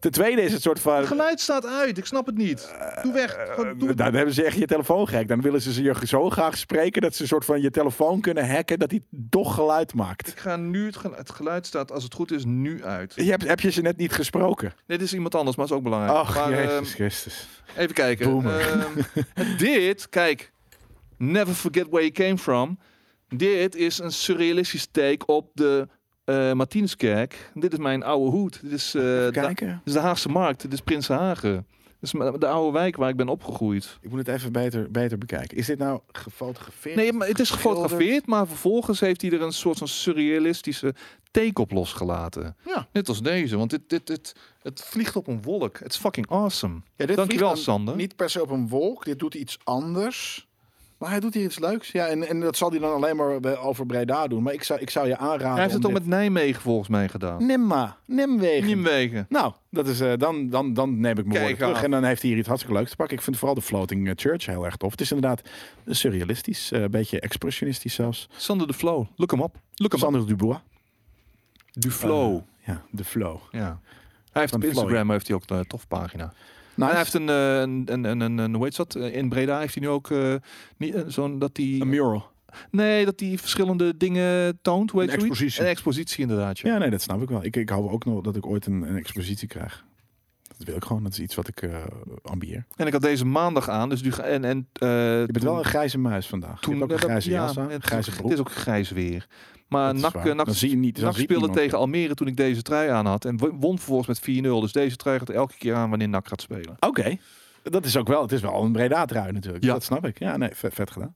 [SPEAKER 1] Ten tweede is het soort van.
[SPEAKER 2] Het geluid staat uit, ik snap het niet. Doe weg. Gewoon, doe
[SPEAKER 1] Eh,
[SPEAKER 2] het.
[SPEAKER 1] Dan hebben ze echt je telefoon gek. Dan willen ze je zo graag spreken dat ze een soort van je telefoon kunnen hacken dat hij toch geluid maakt.
[SPEAKER 2] Ik ga nu het geluid, het geluid staat, als het goed is, nu uit.
[SPEAKER 1] Je hebt, heb je ze net niet gesproken?
[SPEAKER 2] Nee, dit is iemand anders, maar is ook belangrijk.
[SPEAKER 1] Ach,
[SPEAKER 2] maar,
[SPEAKER 1] Jezus
[SPEAKER 2] ehm,
[SPEAKER 1] Christus.
[SPEAKER 2] even kijken.
[SPEAKER 1] Boomer.
[SPEAKER 2] Ehm, [LAUGHS] dit, kijk. Never forget where you came from. Dit is een surrealistisch take op de eh Martinuskerk. Dit is mijn oude hoed. Dit is, eh, de,
[SPEAKER 1] Kijken.
[SPEAKER 2] dit is de Haagse Markt. Dit is Prinsenhagen. Dit is m- de oude wijk waar ik ben opgegroeid.
[SPEAKER 1] Ik moet het even beter, beter bekijken. Is dit nou gefotografeerd?
[SPEAKER 2] Nee, maar het is gefotografeerd, maar vervolgens heeft hij er een soort van surrealistische take op losgelaten.
[SPEAKER 1] Ja.
[SPEAKER 2] Net als deze, want dit, dit, dit, het vliegt op een wolk. Het is fucking awesome.
[SPEAKER 1] Ja, dit
[SPEAKER 2] Dankjewel,
[SPEAKER 1] vliegt dan
[SPEAKER 2] Sander.
[SPEAKER 1] Niet per se op een wolk. Dit doet iets anders. Maar hij doet hier iets leuks. Ja, en, en dat zal hij dan alleen maar bij- over Breda doen. Maar ik zou, ik zou je aanraden.
[SPEAKER 2] Hij heeft het
[SPEAKER 1] om
[SPEAKER 2] ook met Nijmegen volgens mij gedaan.
[SPEAKER 1] dit- Nimma. Nimwegen.
[SPEAKER 2] Nijmegen.
[SPEAKER 1] nou, dat is, eh, dan, dan, dan neem ik mijn
[SPEAKER 2] Kijk
[SPEAKER 1] woorden terug.
[SPEAKER 2] aan.
[SPEAKER 1] En dan heeft hij hier iets hartstikke leuks te pakken. Ik vind vooral de Floating eh, Church heel erg tof. Het is inderdaad surrealistisch. eh, Een beetje expressionistisch zelfs.
[SPEAKER 2] Sander de Flow. Look hem op. Look hem op.
[SPEAKER 1] Sander Dubois.
[SPEAKER 2] De Flow.
[SPEAKER 1] Eh, Ja, de flow. Nou,
[SPEAKER 2] ja. Hij heeft
[SPEAKER 1] Van
[SPEAKER 2] op
[SPEAKER 1] de Flow,
[SPEAKER 2] Instagram heeft hij ook een tof pagina. En
[SPEAKER 1] Nou,
[SPEAKER 2] hij heeft een, eh, een, een, een, een, hoe heet dat? Eh, In Breda heeft hij nu ook eh, niet eh, zo'n dat hij
[SPEAKER 1] mural.
[SPEAKER 2] Nee, dat die verschillende dingen toont. Hoe heet
[SPEAKER 1] Een
[SPEAKER 2] zoiets?
[SPEAKER 1] expositie.
[SPEAKER 2] Een expositie, inderdaad. Ja.
[SPEAKER 1] Ja, nee, dat snap ik wel. Ik, ik hou ook nog dat ik ooit een, een expositie krijg. Dat wil ik gewoon. Dat is iets wat ik eh ambieer.
[SPEAKER 2] En ik had deze maandag aan. Dus nu ga- en, en, eh,
[SPEAKER 1] Je bent wel een grijze muis vandaag. Toen, je hebt ook
[SPEAKER 2] dat-
[SPEAKER 1] een grijze jas
[SPEAKER 2] ja,
[SPEAKER 1] aan,
[SPEAKER 2] het,
[SPEAKER 1] grijze
[SPEAKER 2] is, ook-
[SPEAKER 1] broek.
[SPEAKER 2] het is ook grijs weer. Maar
[SPEAKER 1] Dat is
[SPEAKER 2] NAC,
[SPEAKER 1] waar.
[SPEAKER 2] eh, NAC,
[SPEAKER 1] Dan zie je niet- dan
[SPEAKER 2] NAC
[SPEAKER 1] ziet
[SPEAKER 2] speelde
[SPEAKER 1] niemand
[SPEAKER 2] tegen Almere toen ik deze trui aan had. En wo- won vervolgens met 4-0. Dus deze trui gaat elke keer aan wanneer NAC gaat spelen.
[SPEAKER 1] Oké. Dat is ook wel, het is wel een breda trui natuurlijk.
[SPEAKER 2] Ja.
[SPEAKER 1] Dat snap ik. Ja, nee, vet, vet gedaan.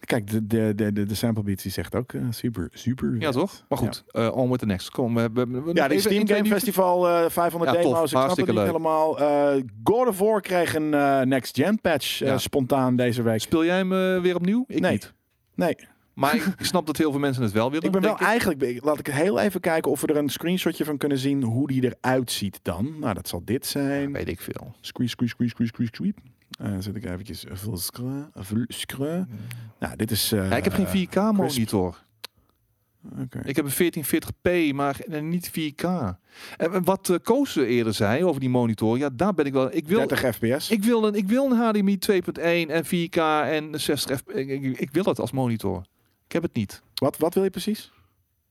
[SPEAKER 1] Kijk, de, de, de, de, de sample beats die zegt ook eh, super, super.
[SPEAKER 2] Ja, toch? Maar goed, eh on with the next. Kom, we hebben... we-
[SPEAKER 1] Ja, die
[SPEAKER 2] even-
[SPEAKER 1] Steam
[SPEAKER 2] ik weet
[SPEAKER 1] Game
[SPEAKER 2] niet-
[SPEAKER 1] Festival eh 500
[SPEAKER 2] Ja, tof.
[SPEAKER 1] demo's, ik snap het
[SPEAKER 2] Hartstikke
[SPEAKER 1] niet
[SPEAKER 2] leuk.
[SPEAKER 1] helemaal. Eh God of War kreeg een eh, next gen patch eh,
[SPEAKER 2] Ja.
[SPEAKER 1] spontaan deze week.
[SPEAKER 2] Speel jij hem eh, weer opnieuw? Ik
[SPEAKER 1] Nee.
[SPEAKER 2] niet.
[SPEAKER 1] Nee,
[SPEAKER 2] Maar ik snap dat heel veel mensen het wel willen.
[SPEAKER 1] ik ben wel
[SPEAKER 2] denk ik.
[SPEAKER 1] eigenlijk... be- Laat ik heel even kijken of we er een screenshotje van kunnen zien hoe die eruit ziet dan. Nou, dat zal dit zijn.
[SPEAKER 2] Weet ik veel.
[SPEAKER 1] Squeeze, squeeze, squeeze, squeeze, squeeze, squeeze. Eh, dan zet ik eventjes full screen, eh, full screen. Nou, dit is... eh,
[SPEAKER 2] Ja, ik heb geen 4K monitor.
[SPEAKER 1] Oké.
[SPEAKER 2] Ik heb een 1440p, maar eh, niet 4K. En wat eh, Koos eerder zei over die monitor, ja, daar ben ik wel. Ik wil,
[SPEAKER 1] 30 fps.
[SPEAKER 2] ik wil, een, ik wil een HDMI 2.1 en 4K en 60 fps. Ik, ik- ik wil dat als monitor. Ik heb het niet.
[SPEAKER 1] Wat, wat wil je precies?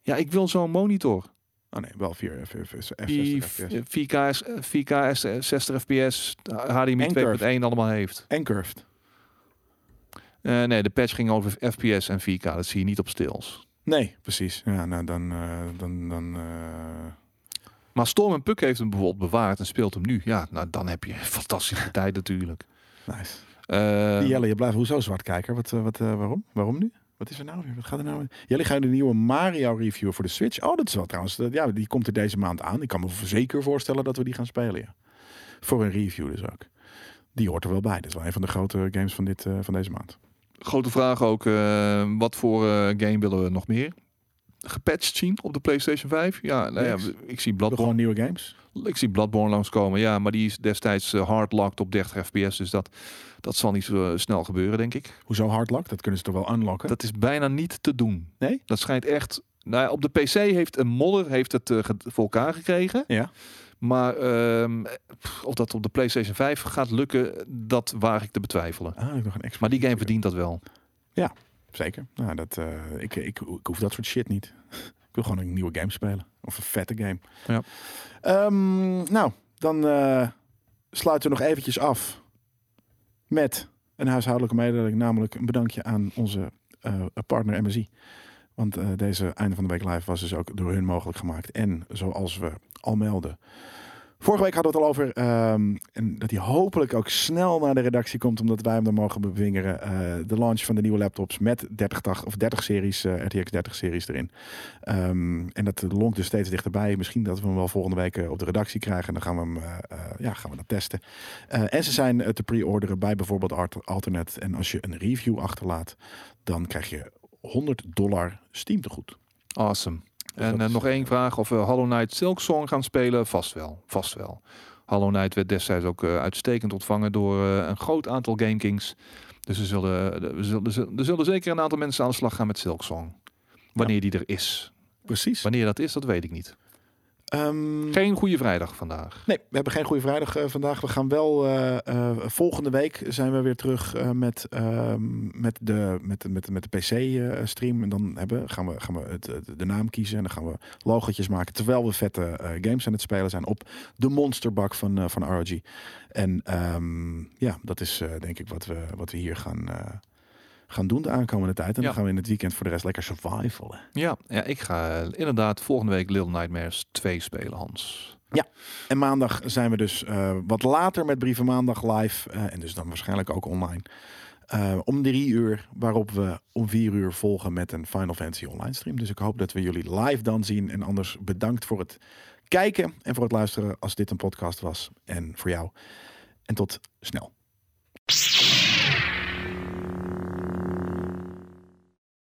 [SPEAKER 2] Ja, ik wil zo'n monitor.
[SPEAKER 1] Oh nee, wel 4 fps.
[SPEAKER 2] Die
[SPEAKER 1] 60 fps.
[SPEAKER 2] eh, 4K, is- eh, 4K is, eh, 60 fps, HDMI
[SPEAKER 1] En curved.
[SPEAKER 2] 2.1 allemaal heeft.
[SPEAKER 1] En curved.
[SPEAKER 2] Eh, nee, de patch ging over FPS en 4K. Dat zie je niet op stils.
[SPEAKER 1] Nee, precies. Ja, nou, dan... eh, dan, dan eh,
[SPEAKER 2] Maar Storm en Puk heeft hem bijvoorbeeld bewaard en speelt hem nu. Ja, nou dan heb je [LAUGHS] een fantastische tijd natuurlijk.
[SPEAKER 1] Nice.
[SPEAKER 2] Eh,
[SPEAKER 1] Die Jelle, je blijft hoezo zwartkijker? Wat, eh, wat, eh, waarom? Waarom nu? Wat is er nou weer? Wat gaat er nou weer? Jullie gaan de nieuwe Mario review voor de Switch. Oh, dat is wel trouwens. dat- ja, die komt er deze maand aan. Ik kan me zeker voorstellen dat we die gaan spelen. Ja. Voor een review dus ook. Die hoort er wel bij. Dat is wel een van de grote games van, dit, eh, van deze maand.
[SPEAKER 2] Grote vraag ook, eh, wat voor eh, game willen we nog meer? Gepatcht zien op de PlayStation 5? Ja, nou ja
[SPEAKER 1] Niks.
[SPEAKER 2] ik, zie
[SPEAKER 1] Gewoon
[SPEAKER 2] Bloodborne,
[SPEAKER 1] nieuwe games.
[SPEAKER 2] ik zie Bloodborne langskomen. Ja, maar die is destijds eh, hardlocked op 30 fps. Dus dat, dat zal niet zo eh, snel gebeuren, denk ik.
[SPEAKER 1] Hoezo hardlock? Dat kunnen ze toch wel unlocken?
[SPEAKER 2] Dat is bijna niet te doen.
[SPEAKER 1] Nee?
[SPEAKER 2] Dat schijnt echt... Nou ja, op de PC heeft een modder heeft het eh, ge- voor elkaar gekregen.
[SPEAKER 1] Ja.
[SPEAKER 2] Maar ehm, pff, of dat op de PlayStation 5 gaat lukken, dat waag ik te betwijfelen.
[SPEAKER 1] Ah, ik nog een extra.
[SPEAKER 2] Maar die game verdient dat wel.
[SPEAKER 1] Zeker. Nou, dat, eh, ik, ik, ik hoef dat soort shit niet. [LAUGHS] Ik wil gewoon een nieuwe game spelen. Of een vette game.
[SPEAKER 2] Ja.
[SPEAKER 1] Ehm, nou, dan eh, sluiten we nog eventjes af met een huishoudelijke mededeling. Namelijk een bedankje aan onze eh, partner MSI. Want eh, deze einde van de week live was dus ook door hun mogelijk gemaakt. En zoals we al melden. Vorige week hadden we het al over ehm, en dat hij hopelijk ook snel naar de redactie komt, omdat wij hem dan mogen bewingeren. Eh, de launch van de nieuwe laptops met 3080 of 30 series, eh, RTX 30 series erin. Ehm, en dat lonkt dus steeds dichterbij. Misschien dat we hem wel volgende week eh, op de redactie krijgen. En dan gaan we hem eh, eh, ja, gaan we dat testen. Eh, en ze zijn eh, te pre-orderen bij bijvoorbeeld Art- Alternet. En als je een review achterlaat, dan krijg je 100 dollar Steam tegoed.
[SPEAKER 2] Awesome.
[SPEAKER 1] Dus
[SPEAKER 2] en
[SPEAKER 1] dat
[SPEAKER 2] eh,
[SPEAKER 1] is-
[SPEAKER 2] nog één vraag. Of we Hollow Knight Silk Song gaan spelen? Vast wel. Vast wel. Hollow Knight werd destijds ook eh, uitstekend ontvangen door eh, een groot aantal GameKings. Dus er zullen, er, zullen, er zullen- er zullen zeker een aantal mensen aan de slag gaan met Silk Song. Wanneer die er is.
[SPEAKER 1] Precies.
[SPEAKER 2] Wanneer dat is, dat weet ik niet.
[SPEAKER 1] Ehm,
[SPEAKER 2] Geen goede vrijdag vandaag.
[SPEAKER 1] Nee, we hebben geen goede vrijdag eh, vandaag. We gaan wel eh, eh, volgende week zijn we weer terug eh, met, ehm, met de, met, met, met de PC-stream. en dan hebben, gaan we, gaan we het, het- de naam kiezen en dan gaan we logotjes maken. Terwijl we vette eh, games aan het spelen zijn op de monsterbak van, eh, van ROG. En ehm, ja, dat is eh, denk ik wat we, wat we hier gaan, eh, gaan doen de aankomende tijd. En
[SPEAKER 2] Ja.
[SPEAKER 1] dan gaan we in het weekend voor de rest lekker survivalen.
[SPEAKER 2] Ja, ja ik ga eh, inderdaad volgende week Little Nightmares 2 spelen, Hans.
[SPEAKER 1] En maandag zijn we dus eh, wat later met Brieven Maandag live. eh, en dus dan waarschijnlijk ook online. Eh, om drie uur, waarop we om vier uur volgen met een Final Fantasy online stream. Dus ik hoop dat we jullie live dan zien. En anders bedankt voor het kijken en voor het luisteren als dit een podcast was. En voor jou. En tot snel.